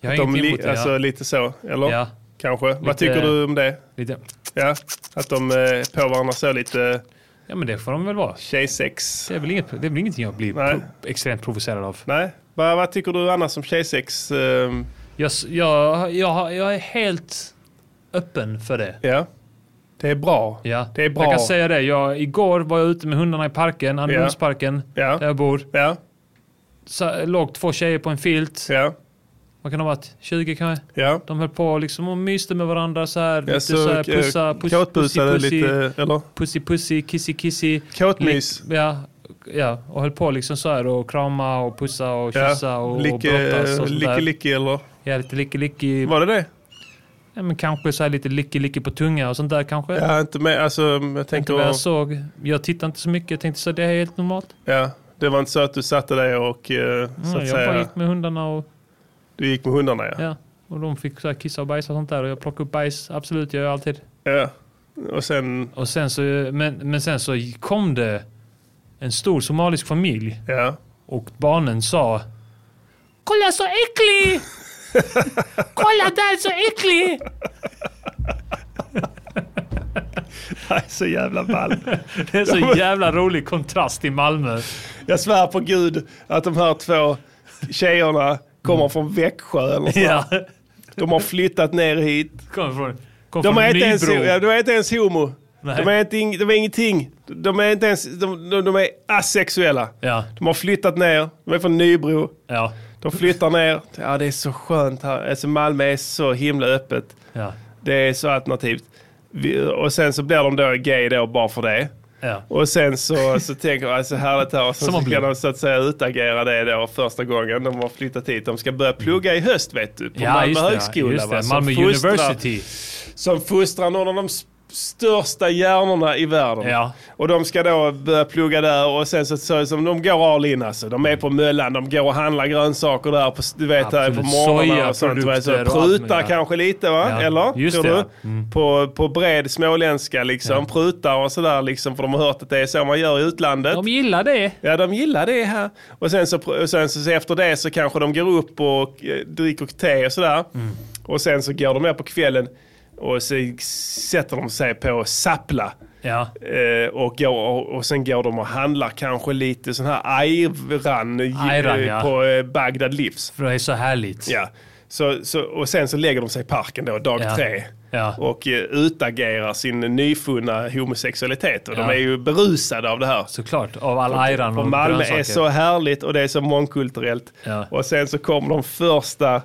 de
ingenting
li-
emot det, ja.
Alltså lite så, eller?
Ja.
Kanske. Vad
Lite-
tycker du om det?
Lite.
Ja, att de eh, på varandra så lite...
Ja men det får de väl vara.
Tjejsex.
Det är väl, inget, det är väl ingenting jag blir pro- extremt provocerad av.
Nej. Vad, vad tycker du annars om tjejsex? ehm?
Jag, s- jag, jag, har- jag är helt öppen för det.
Ja. Det är bra.
Ja.
Det är bra.
Jag kan säga det. Jag, igår var jag ute med hundarna i parken, Andersparken, där jag bor.
Ja.
Så, låg två tjejer på en filt.
Ja.
Vad kan de ha varit? 20 kanske?
Ja.
De höll på liksom och myste med varandra så här. lite
så,
så, här
eh,
pussa, puss, pussy,
kåtbusade
pussy,
lite, eller?
pussy, pussy, kissy, kissy.
Kåtmys.
Lick- Ja, ja, och höll på liksom så här och krama och pussa och
Ja.
kyssa och, och
Licke-
brottas och sånt där.
licke-licke, eller?
Ja, lite licke-licke.
Var det det?
Ja, men kanske så här lite licke-licke på tunga och sånt där kanske.
Ja, inte med. Alltså, jag
Inte
tänker...
vad jag såg. Jag tittade inte så mycket. Jag tänkte så här, det här är helt normalt.
Ja, det var inte så att du satte dig och eh, så
Ja,
att
Mm, jag bara
säga,
gick med hundarna och,
du gick med hundarna ja.
ja, och de fick så här kissa och bajsa och sånt där. Och jag plockade upp bajs. Absolut, jag gör jag alltid.
Ja. Och sen...
Och sen så, men, men sen så kom det en stor somalisk familj. Och barnen sa Kolla så äcklig! Kolla där så äcklig!
Nej, så jävla ball.
Det är så jävla rolig kontrast i Malmö.
Jag svär på gud att de här två tjejerna kommer från Växjö eller så.
Ja.
De har flyttat ner hit.
Kom från, kom
De
från
är, inte ens,
Nybro.
ja, de är inte ens homo.
Nej.
De är, inte, ing- de är ingenting. De är, inte ens, de, de, de är asexuella.
Ja.
De har flyttat ner. De är från Nybro.
Ja.
De flyttar ner. Ja, det är så skönt här. Alltså Malmö är så himla öppet.
Ja.
Det är så alternativt. Vi, och sen så blir de då gay då bara för det.
Ja.
Och sen så, så tänker jag, alltså härligt här. Och sen
Som man
så kan
blir.
de så att säga utagera det då första gången de har flyttat hit. De ska börja plugga i höst vet du. På
Ja,
Malmö
just det,
högskola.
just det.
va, som
Malmö
fostrar-
University.
Som fostrar någon av de s- största hjärnorna i världen.
Ja.
Och de ska då börja plugga där och sen så, så som de går all in alltså. De är på möllan, de går och handlar grönsaker där på, du vet, här på
Absolut.
morgonen och sånt. va. Så
Sojaprodukter och allt
prutar
möjligt.
kanske lite va?
Ja,
Eller?
just
Tror
det, Mm.
du?
ja.
På, på bred småländska liksom. Prutar och sådär liksom. För de har hört att det är så man gör i utlandet. De
gillar det.
Ja, de gillar det här. Och sen så, pr- och sen så, så efter det så kanske de går upp och eh, dricker te och sådär.
Mm.
Och sen så går de med på kvällen och så sätter de sig på Sapla.
Ja.
Eh, och, går, och, och sen går de och handlar kanske lite sån här ayran
Ayran, ja.
på eh, Bagdad Livs.
För det är så härligt.
Ja. Så, så, och sen så lägger de sig i parken då, dag
Ja.
tre.
Ja.
Och eh, utagerar sin nyfunna homosexualitet. Och
Ja.
de är ju berusade av det här.
Såklart, av all ayran
och,
och
Malmö
grönsaker.
är så härligt och det är så mångkulturellt. Och sen så kommer de första,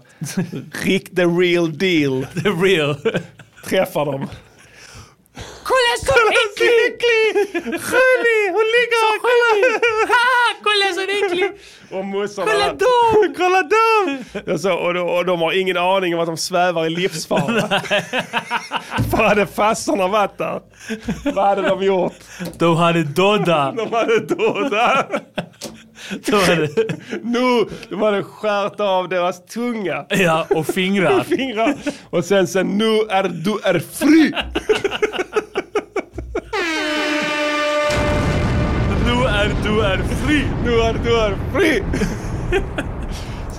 rikt the real deal.
The real.
Träffar dem.
Kolla så äcklig! Skönlig! Hon ligger och kollar! Ha, kolla så äcklig!
Och mussarna.
Kolla dem!
Kolla dem! Och, så, och, de, och de har ingen aning om att de svävar i livsfara. För hade fassarna varit där, vad hade de gjort?
De hade dodda.
De hade dodda.
De hade...
Nu, de hade skärt av deras tunga.
Ja, och fingrar.
Och fingrar. Och sen så, nu är du är fri!
Nu är du är fri!
Nu är du är fri!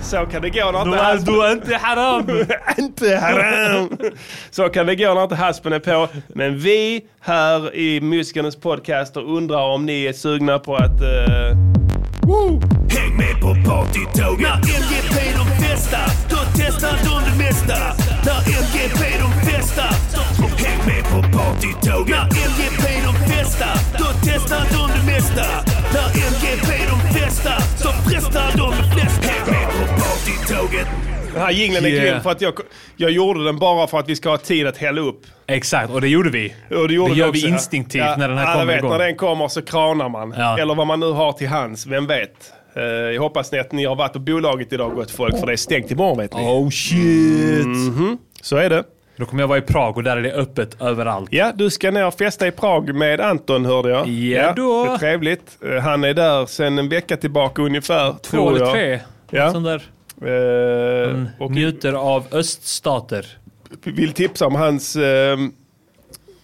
Så kan det gå när
Nu är du inte haram!
inte haram! Så kan det gå när inte haspen är på. Men vi här i Musikernas podcaster undrar om ni är sugna på att... eh,
Häng med på partytåg När MGP de festar Då testar de det mesta När MGP de festar Häng med på partytåg När MGP de festar Då testar de det mesta När MGP de festar Så frestar de flesta Häng med på taget.
Den här jingeln är
Yeah.
grym för att jag, jag gjorde den bara för att vi ska ha tid att hälla upp.
Exakt, och det gjorde vi.
Och det gjorde
det
vi
gör
också,
vi
ja.
instinktivt
Ja,
när den här
alla
kommer
vet,
igång.
När den kommer så kranar man.
Ja.
Eller vad man nu har till hands, vem vet. Eh, Jag hoppas ni att ni har varit på bolaget idag gott folk, för det är stängt imorgon vet ni. Mhm.
Oh shit!
Så är det.
Då kommer jag vara i Prag och där är det öppet överallt.
Ja, du ska ner och festa i Prag med Anton hörde jag. Ja,
då.
Det är trevligt. Eh, Han är där sedan en vecka tillbaka ungefär.
Två
tror
eller
jag.
tre.
Ja.
Sån där.
Eh, och
Mm. Njuter av öststater.
vill tipsa om hans eh,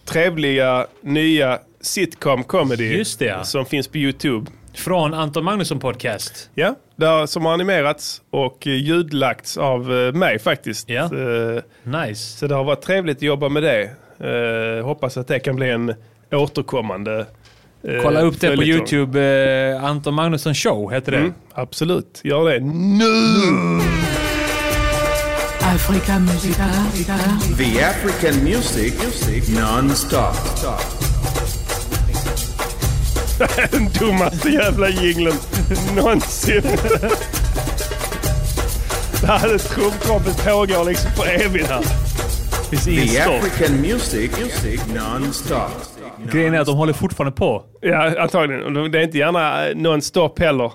trevliga nya sitcom comedy
Just det, ja.
som finns på Youtube.
Från Anton Magnusson Podcast.
Ja, där, som har animerats och eh, ljudlagts av eh, mig faktiskt.
Ja.
Eh,
Nice.
Så det har varit trevligt att jobba med det. Eh, hoppas att det kan bli en återkommande eh,
Kolla upp det på
följetong.
YouTube. Eh, Anton Magnusson Show heter det.
Mm, absolut, gör det nu!
Africa Musica.
The African music, non-stop.
Den dummaste jävla jinglen någonsin. Det här är trumkompet pågår liksom för evigt här. Det finns
The
ingen stopp.
African music, music non-stop.
Grejen
er-
är att de håller fortfarande på.
Ja, antagligen. Och Det är inte gärna eh, non-stop heller.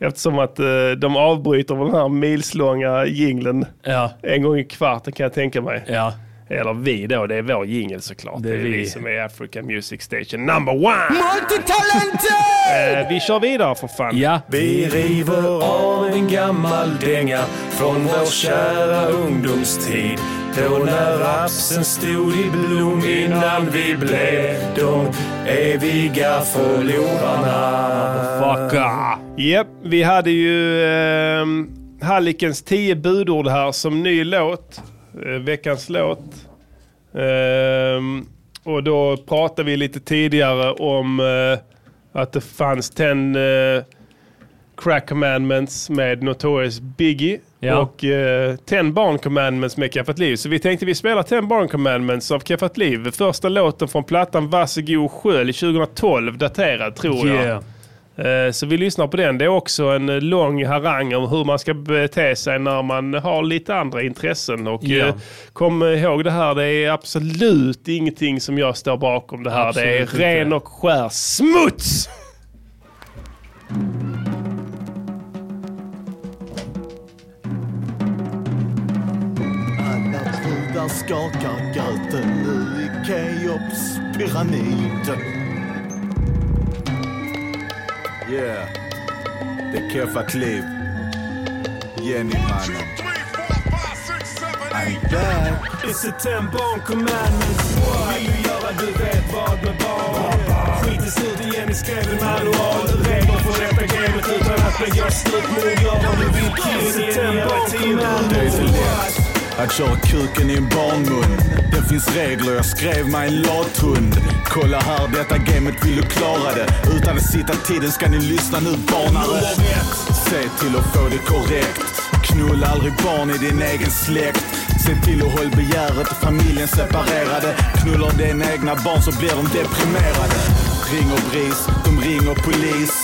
Eftersom att eh, de avbryter den här milslånga jinglen
Ja.
en gång i kvarten kan jag tänka mig.
Ja.
Eller vi då, det är vår jingel såklart. Det är, vi som är African Music Station number one!
Multitalented!
Eh, vi kör vidare för fan.
Vi river av en gammal dänga från vår kära ungdomstid. Då när rapsen stod i blom innan vi blev de eviga förlorarna.
Japp, vi hade ju eh, Hallikens tio budord här som ny låt. Eh, veckans låt. Ehm, och då pratade vi lite tidigare om eh, att det fanns 10 eh, crack commandments med Notorious Biggie
Ja.
och eh, 10 barn commandments med Kaffat Liv. Så vi tänkte vi spelar 10 barn commandments av Kaffat Liv. Första låten från plattan Varsågod skölj 2012, daterad tror
Yeah.
jag. Eh, Så vi lyssnar på den. Det är också en eh, lång harang om hur man ska bete sig när man har lite andra intressen. Och
Ja.
eh, kom ihåg det här, det är absolut ingenting som jag står bakom det här. det
Absolut
är
inte.
ren och skär smuts!
Alla brudar skakar göten nu i Keops pyramid.
Yeah, det är Keffa Kliv. Jenny mannen. I'm back.
It's a ten barn commandment. Vill du göra du vet vad med barn. Skites ut i Jenny skrev en manual. Regler för detta gamet utan att begå slutmord. Gör vad du vill
Alltså,
killen i en jävla
Det är så
timme.
lätt att köra kuken i en barnmun. Det finns regler, jag skrev mig en lathund. Kolla här, detta gamet vill du klara det. Utan att sitta tiden ska ni lyssna nu barnare. Se till att få det korrekt. Knulla aldrig barn i din egen släkt. Se till att håll begäret och familjen separerade. Knullar dina egna barn så blir de deprimerade. Ringer BRIS, de ringer polis.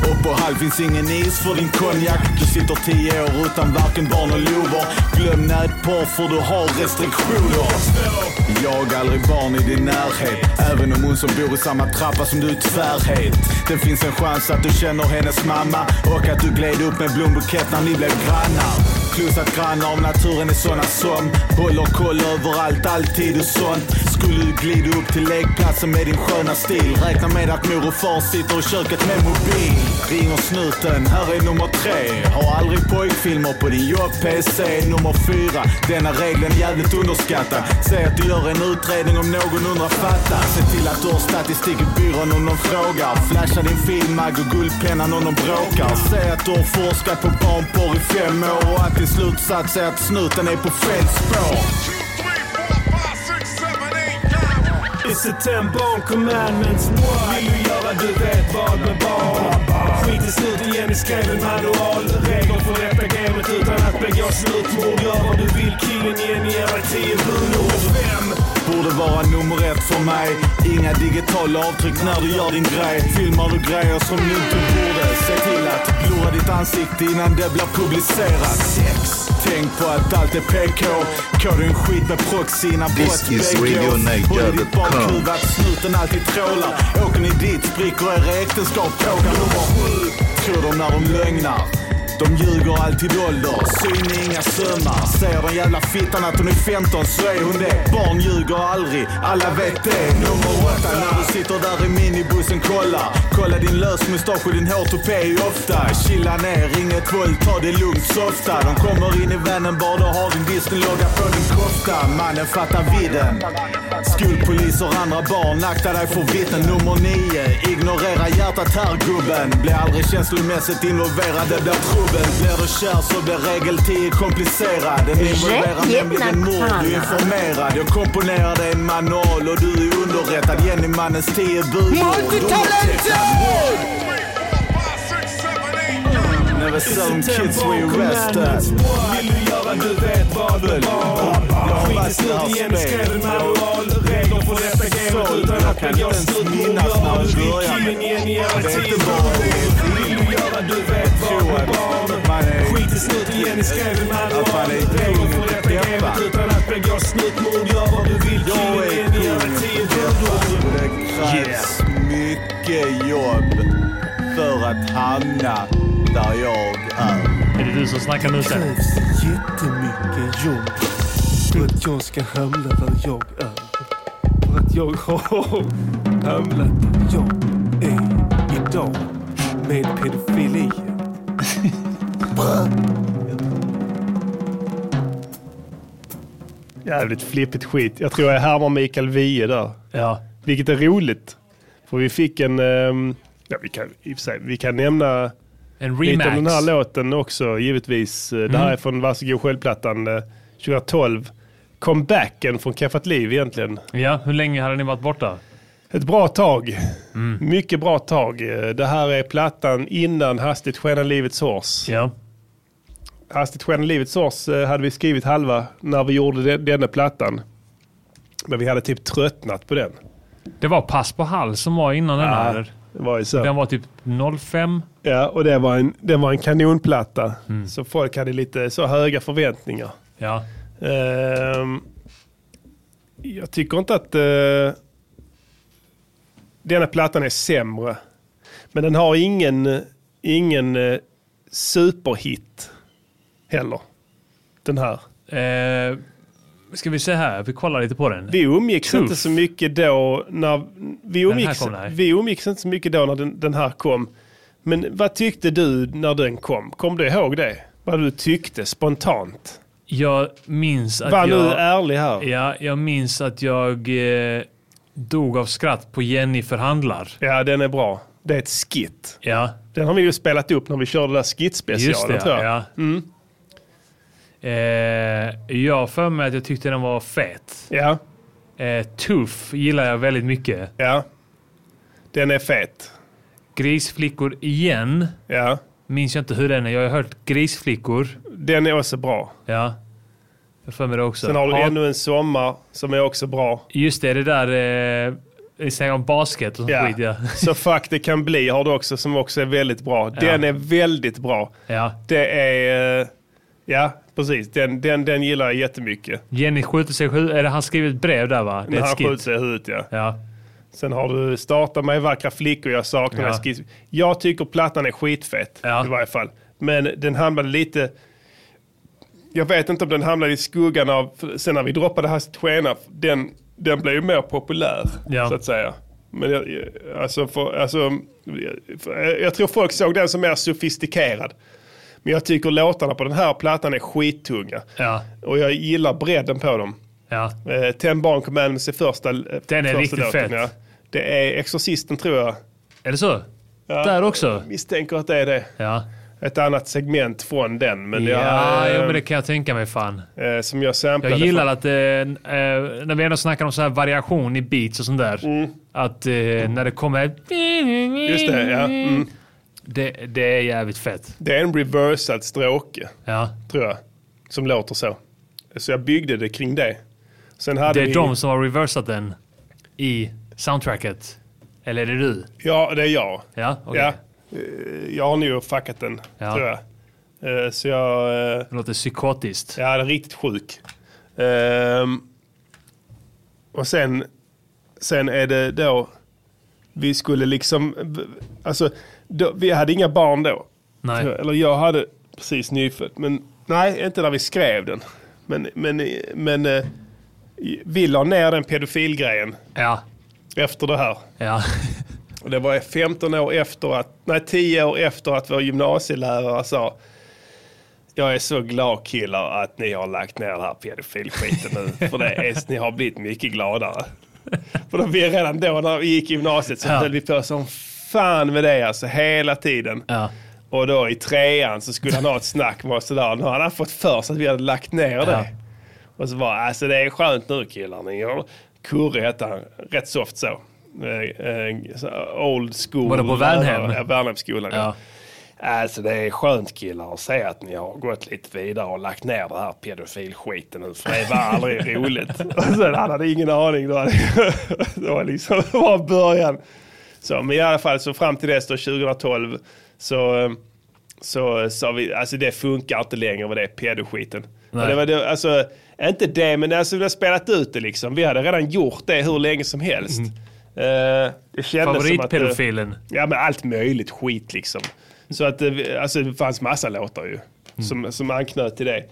Och på halv finns ingen is för din konjak. Du sitter tio år utan varken barn och lover. Glöm nätporr för du har restriktioner. Jag aldrig barn i din närhet. Även om hon som bor i samma trappa som du är tvärhet. Det finns en chans att du känner hennes mamma. Och att du gled upp med blombukett när ni blev grannar. Plus att grannar om naturen är såna som håller koll överallt, alltid och sånt. Skulle du glida upp till lekplatsen med din sköna stil. Räkna med att mor och far sitter i köket med mobil. Ringer snuten, här är nummer tre. Har aldrig pojkfilmer på din jobb-PC. Nummer fyra, denna regeln är jävligt underskattad. Säg att du gör en utredning om någon undrar fattar. Se till att du har statistik i byrån om de frågar. Flasha din filmmagg och guldpennan om de bråkar. Säg att du har forskat på barnporr i fem år och att din slutsats är att snuten är på fel spår.
It's a ten barn commandments. Vill du göra du vet vad med barn. Skit i snuten, Jenny skrev en manual. Regler för detta gamet utan att begå slutmord. Gör vad du vill killen Jenny ger dig tio budord. Vem
Borde vara nummer ett för mig Inga digitala avtryck när du gör din grej Filmar du grejer som du inte borde Se till att blurra ditt ansikte innan det blir publicerat Sex Tänk på att allt är PK. Kör en skit med proxyna på
This
ett
is
bäck
Radio
åt.
Nigeria
Håll i
dot
ditt
com.
bakhuvud att snuten alltid trålar. Åker ni dit spricker era äktenskap. Fråga nummer sju. Tror de när de lögnar. De ljuger alltid ålder, syn är inga sömmar. Säger den jävla fittan att hon är 15 så är hon det. Barn ljuger aldrig, alla vet det. Nummer åtta, när du sitter där i minibussen, kolla. Kolla din lösmustasch och din hårtupé ofta. Chilla ner, inget våld, ta det lugnt, softa. De kommer in i vännen bara du har din Disney-logga på din kofta. Mannen fattar vidden. Skolpolis och andra barn, akta dig för vittnen. Nummer nio, ignorera hjärtat här gubben. Blir aldrig känslomässigt involverad, det blir trubbel. Blir du kär så blir regel 10 komplicerad. Den involverar
Rätt
nämligen mord, du är
jävla fan.
informerad. Jag komponerade en manual och du är underrättad. Jennymannens tio budord. Never some kids we rest at.
Vill du göra du vet vad du Jag har varit slut igen, skrev en manual. Regler för detta gamet utan att det gör slut på minnas när du började. Jag vet inte vad du vill. Vill du göra du vet vad du Skit i slut igen, ni skrev en manual. Regler för detta gamet utan att det gör slut. Mord gör vad du vill. Killen igen, gör ett tio
Och Det krävs mycket jobb för att hamna där jag är.
Är det du som snackar nu
Det
sen?
krävs jättemycket jobb för att jag ska hamna där jag är. För att jag har hamnat där jag är idag med pedofili.
Jävligt flippigt skit. Jag tror jag härmar Mikael Wiehe där.
Ja.
Vilket är roligt. För vi fick en... ehm, Ja, vi, kan, i och för sig, vi kan nämna
En
lite om
remax.
den här låten också givetvis. Eh, Det här är från Varsågod självplattan eh, 2012. Comebacken från Kaffat Liv egentligen.
Ja, hur länge hade ni varit borta?
Ett bra tag. Mycket bra tag. Eh, Det här är plattan innan Hastigt skenar livets hårs.
Ja.
Hastigt skenar livets hårs eh, hade vi skrivit halva när vi gjorde de- denna plattan. Men vi hade typ tröttnat på den.
Det var Pass på hall som var innan den
Ja,
här.
Det var ju så.
Den var typ 05.
Ja, och det var en, det var en kanonplatta. Så folk hade lite så höga förväntningar.
Ja.
Ehm, jag tycker inte att uh, denna plattan är sämre. Men den har ingen, ingen eh, superhit heller. Den här.
Eh, ska vi se här, vi kollar lite på den.
Vi umgicks
Tuff.
inte så mycket då när vi
Den här
umgicks,
kom, nej.
vi umgicks inte så mycket då när den, den här kom. Men vad tyckte du när den kom? Kom du ihåg det? Vad du tyckte spontant?
Jag minns att
Var
jag...
nu ärlig här.
Ja, jag minns att jag eh, dog av skratt på Jenny förhandlar.
Ja, den är bra. Det är ett skit.
Ja,
Den har vi ju spelat upp när vi körde där skitspecialen
just det.
tror jag. Mm.
Ja. Eh, jag har för mig att jag tyckte den var fet.
Ja.
Eh, tuff gillar jag väldigt mycket.
Ja. Den är fet.
Grisflickor igen.
Ja.
Minns jag inte hur den är. Jag har hört grisflickor.
Den är också bra.
Ja. Jag har för mig det också.
Sen har du
Ja,
ännu en sommar som är också bra.
Just det, det där... Eh, vi säger om basket och sånt
Ja.
skit ja.
Så fuck det kan bli har du också som också är väldigt bra. Den är väldigt bra.
ja.
Det är... eh, Ja, precis. Den, den, den gillar jag jättemycket.
Jenny skjuter sig i huvudet. Eller han skriver ett brev där va? Det
När
är
han
ett
skjuter
skit.
sig i huvudet, ja.
Ja.
Sen har du Starta mig vackra flickor, jag saknar
Ja.
ja. skiss. Jag tycker plattan är skitfett i varje fall. Men den hamnade lite... Jag vet inte om den hamnade i skuggan av... för Sen när vi droppade Hastigt skena, den, den blev ju mer populär,
Ja.
så att säga. Men jag, jag- alltså, för, alltså, för, jag tror folk såg den som mer sofistikerad. Men jag tycker låtarna på den här plattan är skittunga.
Ja.
Och jag gillar bredden på dem.
Ja.
Eh, Ten Barn Commandments är första Den
Den är riktigt fet.
Ja. Det är Exorcisten tror jag.
Är det så?
Ja,
Där också?
jag Misstänker att det är det.
Ja.
Ett annat segment från den. Men jag,
Ja,
eh,
jo, men det kan jag tänka mig fan.
eh, som jag samplade.
Jag gillar
från-
att eh, n- eh, när vi ändå snackar om så här variation i beats och sånt där. Att eh, när det kommer...
Mm. Just det, ja. Mm.
Det, det är jävligt fett.
Det är en reversad stråke.
Ja.
Tror jag. Som låter så. Så jag byggde det kring det. Sen hade
det är
vi,
de som har reversat den i soundtracket. Eller är det du?
Ja, det är jag.
Ja, okej.
Ja. Eh, Jag har nog fuckat den,
Ja.
tror jag. Eh, Så jag... Det
låter psykotiskt.
Ja, den är riktigt sjuk. Ehm, och sen, sen är det då... Vi skulle liksom... Alltså, då, vi hade inga barn då.
Nej.
Eller jag hade precis nyfött. Men nej, inte när vi skrev den. Men, men, men eh, vi la ner den pedofilgrejen.
Ja.
Efter det här.
Ja.
Och det var 15 år efter att, nej 10 år efter att vår gymnasielärare sa jag är så glad killar att ni har lagt ner den här pedofilskiten nu. För det är, ni har blivit mycket gladare. För då, vi redan då när vi gick i gymnasiet så
Ja.
höll vi på som fan med det alltså hela tiden. Och då i trean så skulle han ha ett snack med oss sådär. Nu hade han fått för sig att vi hade lagt ner det.
Ja.
Och så bara, alltså det är skönt nu killar. Ni har- Kurre hette han, rätt soft så. Eh, eh, så Old school.
Var det på Värnhem?
Ja, Värnhemsskolan. Ja. Alltså det är skönt killar att se att ni har gått lite vidare och lagt ner den här pedofilskiten nu. För det var aldrig roligt. Och sen han hade ingen aning. Då. Det var liksom det var början. Så, men i alla fall så fram till dess då 2012 så, eh, så sa vi alltså det funkar inte längre med det pedoskiten.
Nej.
Och Det var det, alltså, inte det men alltså, vi har spelat ut det liksom. Vi hade redan gjort det hur länge som helst. Eh, det kändes
Favoritpedofilen.
Som att, eh, ja men allt möjligt skit liksom. Så att eh, vi- alltså, det fanns massa låtar ju.
Mm.
Som, som anknöt till det.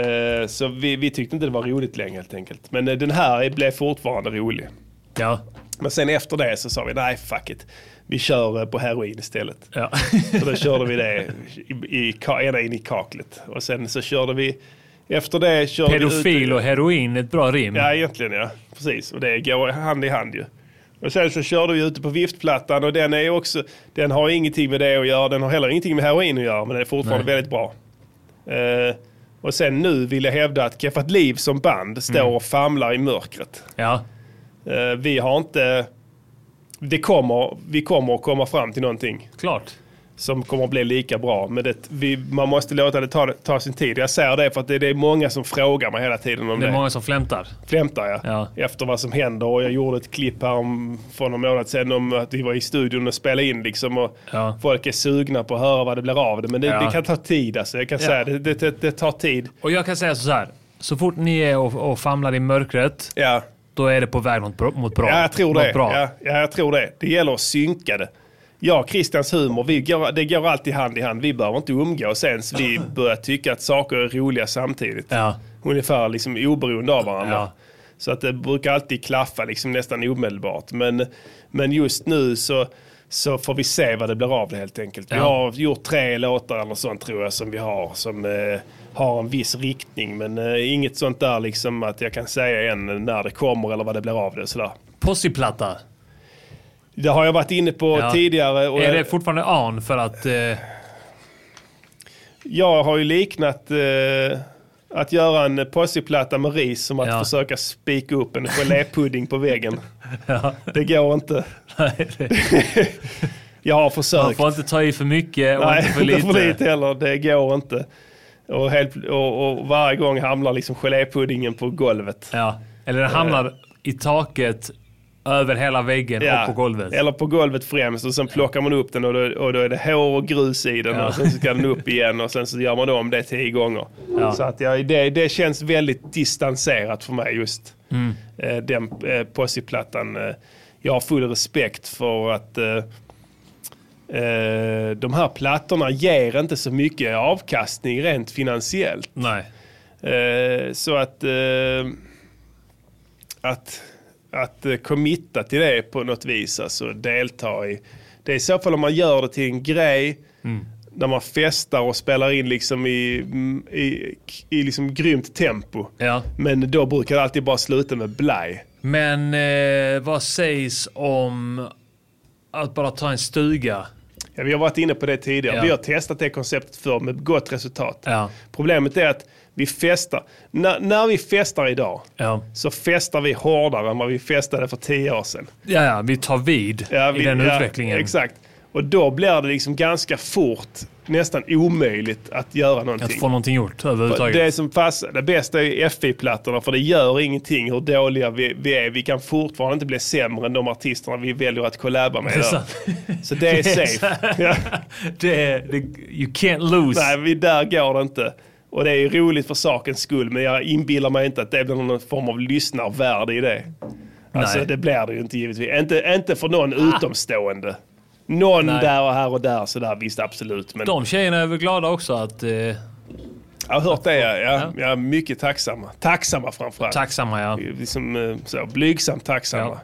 Eh, så vi, vi tyckte inte det var roligt längre helt enkelt. Men eh, den här blev fortfarande rolig.
Ja.
Men sen efter det så sa vi nej fuck it. Vi kör eh, på heroin istället.
Ja.
Så då körde vi det i, i, ka- ända in i kaklet. Och sen så körde vi efter det körde vi ut,
Pedofil och heroin, ett bra rim.
Ja egentligen ja. Precis. Och det går hand i hand ju. Och sen så körde vi ute på viftplattan och den är ju också, den har ingenting med det att göra. Den har heller ingenting med heroin att göra men den är fortfarande
Nej.
väldigt bra. Eh, och sen nu vill jag hävda att Keffat Liv som band står
Mm.
och famlar i mörkret.
Ja.
Eh, Vi har inte... Det kommer, vi kommer att komma fram till någonting.
Klart.
Som kommer att bli lika bra. Men det, vi, man måste låta det ta, ta sin tid. Jag säger det för att det, det är många som frågar mig hela tiden om
Det
det.
är många som flämtar.
Flämtar jag. Efter vad som händer. Och jag gjorde ett klipp här om, för någon månad sedan om att vi var i studion och spelade in. Liksom, och Folk är sugna på att höra vad det blir av det. Men det,
Ja.
det kan ta tid alltså. Jag kan
Ja.
säga det, det, det, det tar tid.
Och jag kan säga så här. Så fort ni är och, och famlar i mörkret, då är det på väg mot, bra- mot bra.
Ja, jag tror
Något
det.
Bra.
Ja, ja, jag tror det. Det gäller att synka det. Jag och Christians humor, vi går, det går alltid hand i hand. Vi behöver inte umgås ens. Vi börjar tycka att saker är roliga samtidigt.
Ja.
Ungefär liksom oberoende av varandra. Så att det brukar alltid klaffa liksom nästan omedelbart. Men, men just nu så, så får vi se vad det blir av det helt enkelt. Vi
Ja.
har gjort tre låtar eller sånt tror jag som vi har som eh, har en viss riktning. Men eh, inget sånt där liksom att jag kan säga än när det kommer eller vad det blir av det. och Sådär.
Possiplatta.
Det har jag varit inne på
Ja.
tidigare. Och
är det
jag,
fortfarande an för att... Eh,
jag har ju liknat eh, att göra en possiplatta med ris som att försöka spika upp en gelépudding på väggen. Det går inte. jag har försökt.
man får inte ta i för mycket och
Nej,
inte för lite.
heller. Det går inte. Och, helt, och, och varje gång hamnar liksom gelépuddingen på golvet.
Ja. Eller den hamnar i taket, över hela väggen och på golvet.
Eller på golvet främst och sen plockar man upp den och då, och då är det hår och grus i den
Ja.
och sen ska den upp igen och sen så gör man då om det tio gånger.
Ja.
Så att jag, det, det känns väldigt distanserat för mig just
Mm.
eh, den eh, Possi-plattan. Eh, jag har full respekt för att eh, eh, de här plattorna ger inte så mycket avkastning rent finansiellt.
Nej.
Eh, så att, eh, att, att eh, committa till det på något vis, alltså delta i. Det är i så fall om man gör det till en grej
Mm.
där man festar och spelar in liksom i, mm, i, i liksom grymt tempo.
Ja.
Men då brukar det alltid bara sluta med blaj.
Men eh, vad sägs om att bara ta en stuga?
Ja, vi har varit inne på det tidigare.
Ja.
Vi har testat det konceptet förr med gott resultat. Problemet är att vi festar. När- när vi festar idag
Ja.
så festar vi hårdare än vad vi festade för tio år sedan.
Ja, ja, vi tar vid
Ja,
i
vi-
den
ja,
utvecklingen.
Exakt. Och då blir det liksom ganska fort nästan omöjligt att göra någonting.
Att få någonting gjort överhuvudtaget.
Det som passar, det bästa är FI-plattorna för det gör ingenting hur dåliga vi, vi är. Vi kan fortfarande inte bli sämre än de artisterna vi väljer att collaba med.
Det är
då.
sant.
Så det är
Det är
safe.
sant. det är, you can't lose.
Nej, vi- där går det inte. Och det är ju roligt för sakens skull men jag inbillar mig inte att det blir någon form av lyssnarvärde i det. Alltså
Nej. Ah.
det blir det ju inte givetvis. Inte, inte för någon utomstående. Någon
Nej.
där och här och där sådär visst absolut. Men
De tjejerna är väl glada också att... Eh,
Jag har hört det, ja. ja. ja mycket tacksamma. Tacksamma framförallt.
Tacksamma, ja.
Liksom, eh, så, blygsamt tacksamma.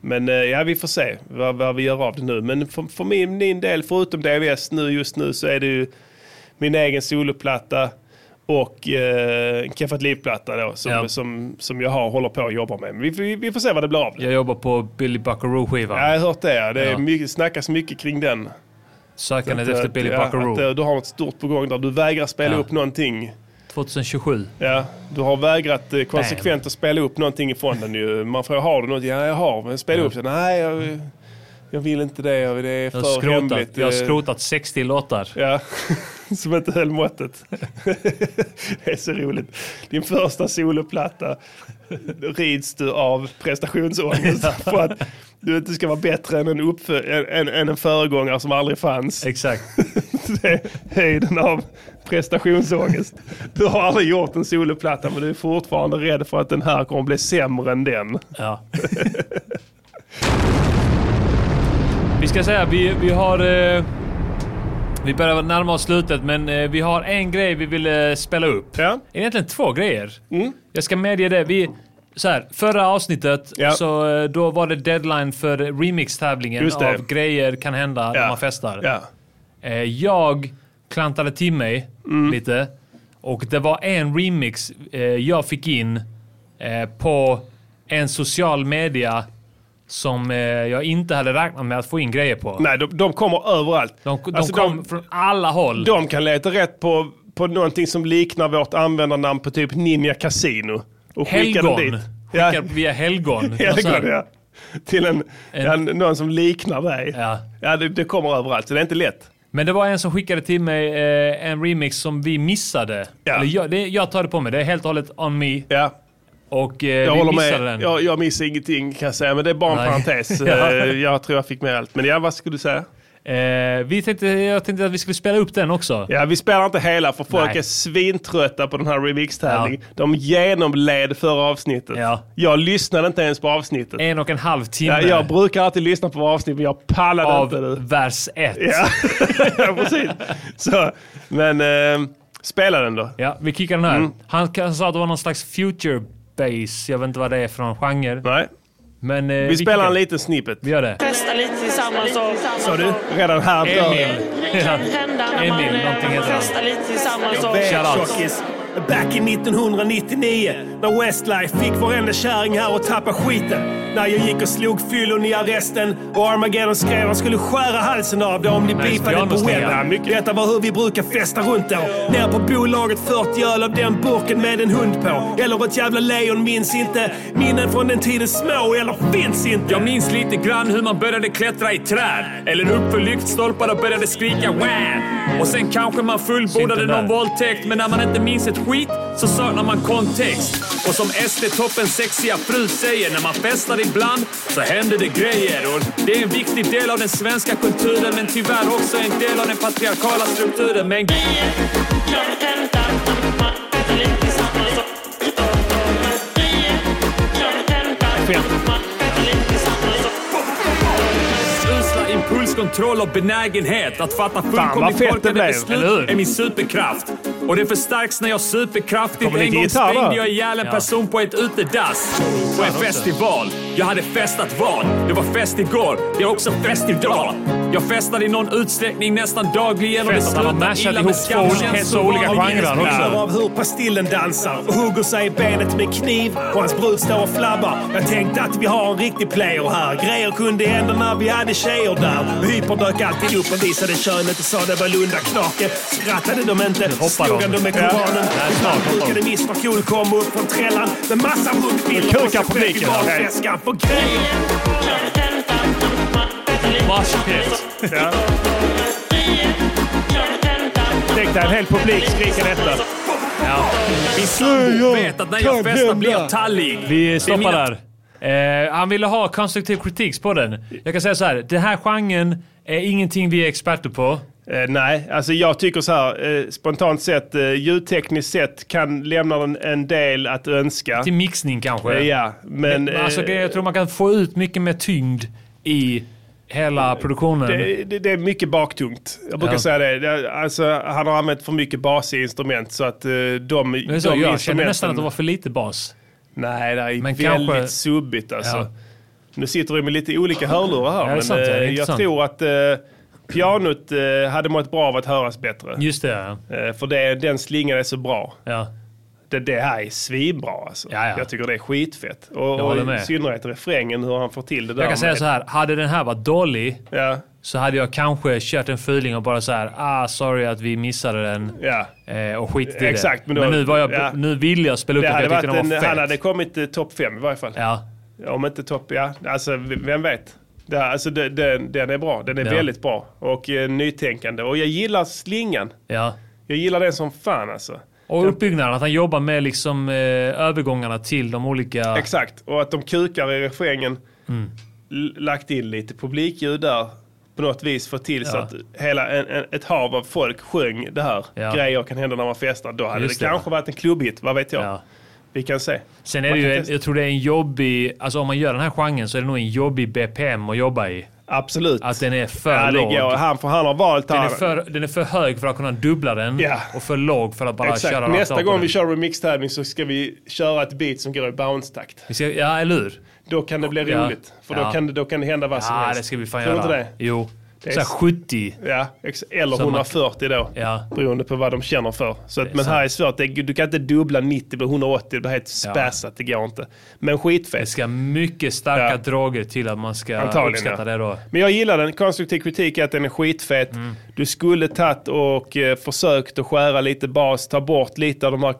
Men eh, ja, vi får se vad, vad vi gör av det nu. Men för, för min, min del, förutom DVS nu just nu, så är det ju min egen soloplatta och eh, en Keffat Liv-platta då, som,
Ja.
som, som jag har, håller på att jobba med. Men vi, vi, vi får se vad det blir av det.
jag jobbar på Billy Buckaroo-skivan.
Ja, jag har hört det, ja. Det är
Ja.
mycket, snackas mycket kring den.
Sökandet
Att,
efter
eh,
Billy
ja,
Buckaroo.
att, eh, Du har något stort på gång där du vägrar spela
Ja.
upp någonting.
2027.
Ja, du har vägrat eh, konsekvent att spela upp någonting ifrån den ju. Man frågar, har du något? Ja, jag har. Men spela upp det. Nej, jag, jag vill inte det. Jag, det är för
Jag har, skrotat,
hemligt.
jag har
Eh,
skrotat 60 låtar.
Ja, som inte höll måttet. det är så roligt. Din första soloplatta rids du av prestationsångest för att du inte ska vara bättre än en, uppfö- än, än en föregångare som aldrig fanns.
Exakt.
det är höjden av prestationsångest. Du har aldrig gjort en soloplatta men du är fortfarande rädd för att den här kommer bli sämre än den.
Ja. Vi ska säga, vi, vi har... Eh, vi börjar närma oss slutet, men eh, vi har en grej vi vill eh, spela upp. Egentligen två grejer.
Mm.
Jag ska medge det. Vi, så här, förra avsnittet, så, eh, då var det deadline för remix-tävlingen
Just det.
av grejer kan hända när man festar. Eh, jag klantade till mig
Mm.
lite och det var en remix eh, jag fick in eh, på en social media som eh, jag inte hade räknat med att få in grejer på.
Nej, de, de kommer överallt. Alltså,
De, de kom från alla håll.
De kan leta rätt på, på någonting som liknar vårt användarnamn på typ Ninja Casino. Och skicka dem
helgon.
dit.
Skickar via helgon. Alltså,
Helgon, ja. Till en,
En-
en, någon som liknar dig.
Ja.
det, det kommer överallt, så det är inte lätt.
Men det var en som skickade till mig eh, en remix som vi missade. Eller jag, det, jag tar det på mig. Det är helt och hållet on me. Och eh,
Jag
vi
håller
missade
med.
den.
Jag, jag missar ingenting kan jag säga, men det är bara en
Nej.
parentes.
Ja.
Eh, Jag tror jag fick med allt. Men ja, vad skulle du säga?
Eh, vi tänkte, jag tänkte att vi skulle spela upp den också.
Ja, vi spelar inte hela för folk
Nej.
är svintrötta på den här remix-tävlingen. De genomled förra avsnittet. Jag lyssnade inte ens på avsnittet.
En och en halv timme.
Ja, jag brukar alltid lyssna på avsnitt, men jag pallade
Av
inte det.
vers 1.
Ja, ja, precis. Så, men eh, spela den då.
Ja, vi kickar den här.
Mm.
Han, han sa att det var någon slags future bass. Jag vet inte vad det är för någon genre.
Nej.
Men, eh,
Vi spelar en
kickar.
liten snippet.
Vi gör det.
Festa lite tillsammans och...
Sa du? Redan här dör
Emil.
Det kan hända när man,
Emil, någonting
eh, när man
heter han.
festar lite tillsammans och...
Tjockis. Back i 1999 när Westlife fick varenda kärring här och tappa skiten. När jag gick och slog fyllon i arresten och Armageddon skrev han skulle skära halsen av dig om ni
Nice
beefade på
pianoslinga.
webben. Detta var hur vi brukar festa runt då. Ner på bolaget 40 öl av den burken med en hund på. Eller ett jävla lejon minns inte. Minnen från den tiden små eller finns inte.
Jag minns lite grann hur man började klättra i träd. Eller upp för lyktstolpar och började skrika wow. Och sen kanske man fullbordade någon våldtäkt. Men när man inte minns ett skit så saknar man kontext. Och som SD-toppen sexiga fru säger, när man festar ibland så händer det grejer. Och det är en viktig del av den svenska kulturen men tyvärr också en del av den patriarkala strukturen. Men grejer kan hända när man festar lite tillsammans. Usla impulskontroll och benägenhet att fatta
vad fett
fullkomligt
det
korkade
blev,
beslut
eller hur?
är min superkraft. Och det förstärks när jag superkraftigt
Kommer det
en gång
gitarr, va?
sprängde jag ihjäl en
Ja.
person på ett utedass. På en
också.
festival. Jag hade festat vad? Det var fest igår. Det är också fest idag. Jag festar i någon utsträckning nästan dagligen och det
Festar, man har mashat
slutar illa
ihop
med
två
skam.
olika- så olika genrer också.
av hur pastillen dansar och hugger sig i benet med kniv och hans brud står och flabbar. Jag tänkte att vi har en riktig player här. Grejer kunde hända när vi hade tjejer där. Hyper dök alltid upp och visade könet och sa det var lundaknake. Skrattade de inte,
hoppar
slog han
de.
dem med
Ja.
koranen.
Nej, snart hoppar de.
Brukade Mr Cool kom upp från trällan med massa runkbilder
Nu kukar publiken här.
bakväskan. För grejer
Varsitt.
Ja. Tänk dig en hel publik skrika detta.
Ja.
Min sambo
vet att när jag festar blir jag tallig. Vi stoppar
mina-
där. Eh, han ville ha konstruktiv kritik på den. Jag kan säga så här, den här genren är ingenting vi är experter på.
Eh, nej, alltså jag tycker så här, eh, spontant sett, eh, ljudtekniskt sett kan lämna en, en del att önska.
Till mixning kanske.
Eh, ja, men...
men alltså,
eh,
grejen- jag tror man kan få ut mycket mer tyngd i hela produktionen.
det, det, det är mycket baktungt. Jag brukar
Ja.
säga det. det. Alltså, han har använt för mycket basiga instrument så att eh, de,
Men
de
så, jag känner
instrumenten-
nästan att det var för lite bas.
Nej, det är
Men
väldigt
kanske-
subbigt alltså.
Ja.
Nu sitter vi med lite olika hörlurar här,
Ja, det är
men
sant, ja, det är
eh, jag
intressant.
tror att eh, pianot eh, hade mått bra av att höras bättre.
Just det,
Eh, för det, den slingan är så bra.
Ja.
Det, det här är svinbra alltså.
ja.
Jag tycker det är skitfett. Och,
Jag håller
och i
med.
synnerhet refrängen, hur han får till det där.
Jag kan säga
med-
så här, hade den här varit dålig så hade jag kanske kört en feeling och bara så här, ah sorry att vi missade den eh, och skitit i
Exakt,
det.
men
Men,
då-
nu, var jag,
ja.
nu vill jag spela upp
Det
den för
hade
jag
varit
tyckte den
en,
var fet.
han hade kommit eh, topp fem i varje fall. Om inte topp, ja. Alltså, v- vem vet? Det, här, alltså, det, den, den är bra. Den är
Ja.
väldigt bra och eh, nytänkande. Och jag gillar slingan.
Ja.
Jag gillar den som fan alltså.
Och uppbyggnaden, att han jobbar med liksom, eh, övergångarna till de olika...
Exakt, och att de kukar i refrängen.
Ah. Mm.
L- Lagt in lite publikljud där. På något vis få till så
Ja.
att hela en, en, ett hav av folk sjöng det här.
Ja.
Grejer kan hända när man festar. Då hade
Just
det,
det.
kanske varit en klubbhit, vad vet jag. Vi kan se.
Sen är
Man
det
kan
ju, en,
testa.
jag tror det är en jobbig, alltså om man gör den här genren så är det nog en jobbig BPM att jobba i.
Absolut.
Att den är för
Ja, det
låg.
går. Han, för han har valt
Den är,
här.
för, den är för hög för att kunna dubbla den och för låg för att bara köra
Exakt.
rakt av
Nästa
på
gång
den.
vi kör remix-tävling så ska vi köra ett beat som går i bounce-takt.
Vi ska- Ja, eller hur?
Då kan det bli
Ja.
roligt. För då,
Ja.
kan, det- då kan det hända vad som
Ja,
helst.
det ska vi fan
Tror du
göra.
inte det?
Jo.
Det är
Såhär
s-
70.
Ja, ex- eller
Så man-
140 då. Beroende på vad de känner för. Så att, men här är svårt. Det, du kan inte dubbla 90 på 180. Det blir helt spassat. Det går inte. Men skitfett.
Det ska mycket starka droger till att man ska
Antagligen,
uppskatta
ja.
det då. Mm.
Men jag gillar den. Konstruktiv kritik är att den är skitfet. Du skulle tagit och eh, försökt att skära lite bas, ta bort lite av de här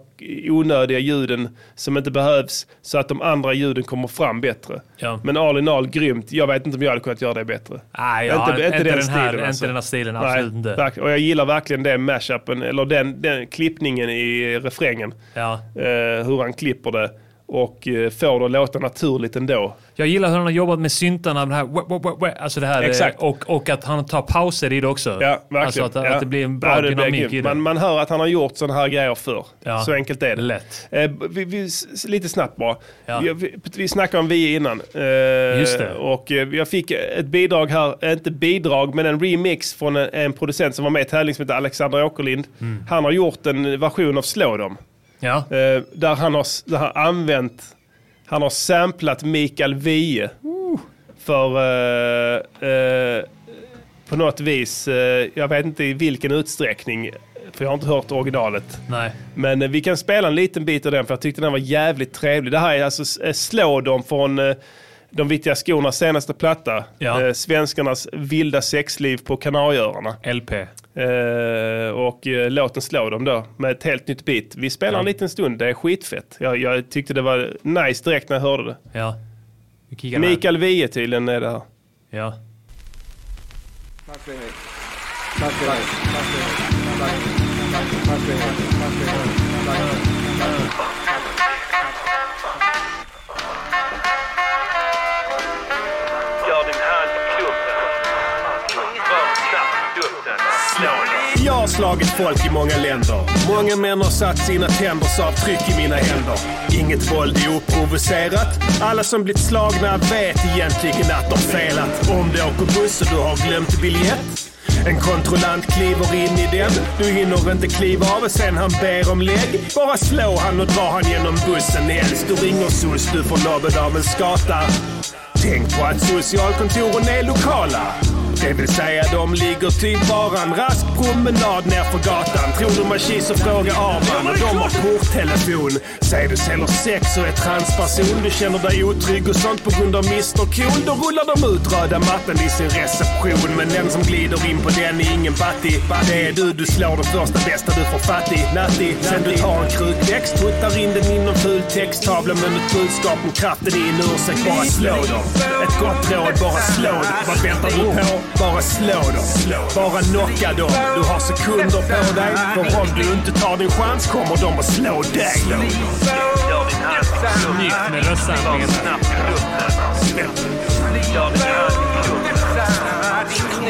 onödiga ljuden som inte behövs så att de andra ljuden kommer fram bättre.
Ja.
Men all in all, grymt. Jag vet inte om jag hade kunnat göra det bättre.
Nej, ja, inte, den, här, inte den här stilen. Absolut
alltså. Nej,
inte.
verk- Och jag gillar verkligen den mashupen, eller den, den klippningen i refrängen.
Ja.
Eh, hur han klipper det och eh, får det att låta naturligt ändå.
Jag gillar hur han har jobbat med syntarna, den här, wah, wah, wah, wah, alltså det här eh,
Exakt.
Och, och att han tar pauser i det också.
Ja, verkligen.
Alltså att,
ja.
att det blir en bra
Ja, det blir
dynamik
grymt.
i det.
Man, man hör att han har gjort sådana här grejer förr.
Ja.
Så enkelt är det.
Lätt.
Eh, vi, vi, s- lite snabbt bara.
Ja.
Vi, vi, vi snackade om vi innan. Eh,
Just det.
Och eh, jag fick ett bidrag här, eh, inte bidrag, men en remix från en, en producent som var med i tävlingen som heter Alexander Åkerlind.
Mm.
Han har gjort en version av Slå dem.
Ja.
Eh, där han har, s- där han har använt, han har samplat Mikael Wiehe. För eh, eh, på något vis, eh, jag vet inte i vilken utsträckning, för jag har inte hört originalet.
Nej.
Men eh, vi kan spela en liten bit av den för jag tyckte den var jävligt trevlig. Det här är alltså s- eh, Slå dem från eh, De Vittiga Skornas senaste platta.
Ja.
Eh, svenskarnas vilda sexliv på Kanarieöarna.
LP.
Eh, och eh, låten Slå dem då med ett helt nytt beat. Vi spelar en liten stund, det är skitfett. Jag, jag tyckte det var nice direkt när jag hörde det.
Ja. Vi kikar med.
Mikael Wiehe tydligen är det här.
Ja.
Tack för er. Tack för er. Tack för er. Tack. Tack för er. Tack för er. Tack.
Gör din hand i klubben. Var snabbt i luften. Slå dem.
Jag har slagit folk i många länder. Många män har satt sina tänders avtryck i mina händer. Inget våld är oprovocerat. Alla som blivit slagna vet egentligen att de felat. Om du åker buss och du har glömt biljett. En kontrollant kliver in i den. Du hinner inte kliva av och sen han ber om lägg. Bara slå han och dra han genom bussen helst. Du ringer soc, du får nobben av en skata. Tänk på att socialkontoren är lokala. Det vill säga de ligger typ bara en rask promenad nerför gatan. Tror de har kiss och fråga Arman och de har porttelefon. Säg du säljer sex och är transperson. Du känner dig otrygg och sånt på grund av Mr Cool. Då rullar de ut röda mattan i sin reception. Men den som glider in på den är ingen batti. Det är du, du slår den första bästa du får fatt i. Natti, sen du tar en krukväxt. Puttar in den inom ful texttavla men ett budskap om kraften i en ursäkt. Bara slå dem.
Ett gott råd, bara slå dem. Vad väntar du på? Bara slå dem. Bara knocka dem. Du har sekunder på dig. För om du inte tar din chans kommer de att slå dig.
Snyggt med röstsamlingen.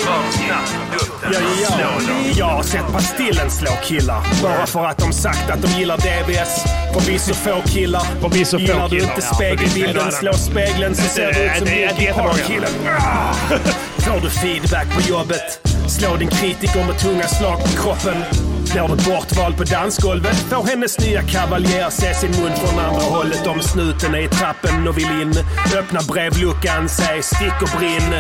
Ja, ja, ja. Jag har sett Pastillen slå killar. Bara för att de sagt att de gillar DBS. Förvisso få killar.
Förvisso få
Gillar du
killar,
inte
ja, förvisso.
spegelbilden,
Nej,
slå spegeln så
Det-
ser du ut som
det- det- det-
Jocke Park-killen. Ah! Får du feedback på jobbet? Slå din kritiker med tunga slag på kroppen. Blir du bortvald på dansgolvet får hennes nya kavaljer se sin mun från andra hållet om snuten är i trappen och vill in. Öppna brevluckan, säg stick och brinn.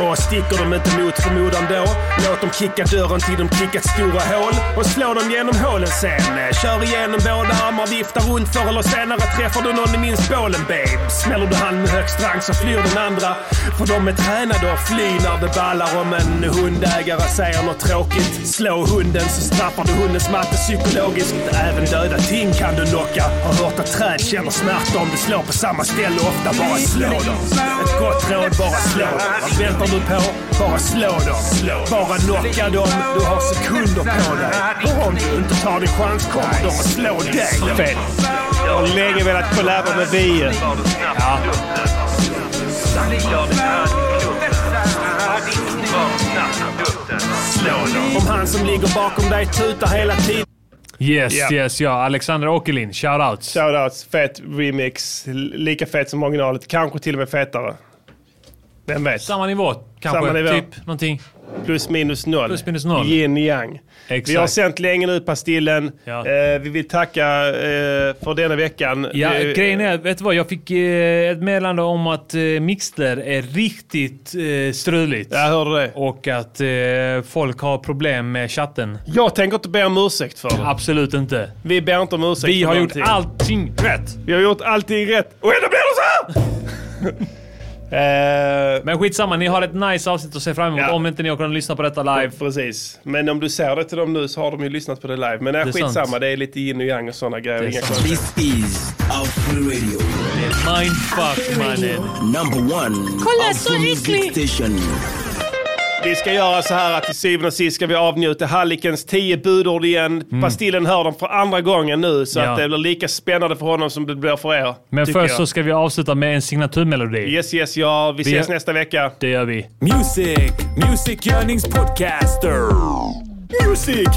Och sticker de inte mot förmodan då, låt dem kicka dörren till de kickat stora hål och slå dem genom hålen sen. eh, Kör igenom båda armar, viftar runt förr eller senare träffar du någon i min bålen babe. Smäller du han med högst rang så flyr den andra. För de är tränade att fly när det ballar om en hundägare säger något tråkigt. Slå hunden så straffar du hundens matte psykologiskt. Även döda ting kan du knocka. Har hört att träd känner smärta om du slår på samma ställe ofta. Bara slå dem. Ett gott råd, bara slå dem. Vad väntar du på? Bara slå dem. Bara knocka dem. Du har sekunder på dig. Och om du inte tar din chans kommer de att slå dig.
Fel. Jag har länge velat kollaba med Vie. Ja.
Om han som ligger bakom dig tutar hela tiden.
Yes,
Ja.
yes, ja. Alexandra Åkerlind, shoutouts.
Shoutouts, fet remix. L- Lika fet som originalet. Kanske till och med fetare. Vem vet?
Samma nivå kanske.
Samma nivå.
Typ någonting.
Plus minus noll.
Plus minus noll.
Yin yang.
Exakt.
Vi har sänt länge nu Pastillen.
Ja.
Eh, vi vill tacka eh, för denna veckan. Eh,
Ja,
Vi-
grejen är, vet du vad? Jag fick eh, ett meddelande om att eh, Mixler är riktigt eh, struligt. Jag
hörde det.
Och att eh, folk har problem med chatten.
Jag tänker inte be om ursäkt för det.
Absolut inte.
Vi ber inte om ursäkt
Vi
för
har gjort
någonting.
allting rätt.
Vi har gjort allting rätt. Och ändå blir det så här!
Men skitsamma, ni har ett nice avsnitt att se fram emot om inte ni har kunnat lyssna på detta live.
Precis. Men om du säger det till dem nu så har de ju lyssnat på det live. Men nej,
Det är
skitsamma,
sant.
det är lite yin och yang och sådana grejer.
Det är
Inga
sant.
konstigheter.
Mindfuck mannen.
Number one.
Kolla, så
Afro
äcklig!
Music Station.
Vi ska göra så här att till syvende och sist ska vi avnjuta Hallikens tio budord igen. Pastillen hör dem för andra gången nu så
Mm. Ja.
att det blir lika spännande för honom som det blir för er.
Men
tycker
först
jag.
så ska vi avsluta med en signaturmelodi.
Yes, yes, ja. Vi
Vi-
ses nästa vecka.
Det gör vi.
Music, musikgörningspodcaster. Music,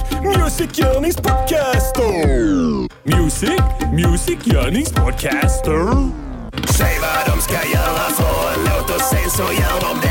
musikgörningspodcaster. Music, musikgörningspodcaster.
Säg vad de ska göra för en låt och sen så gör de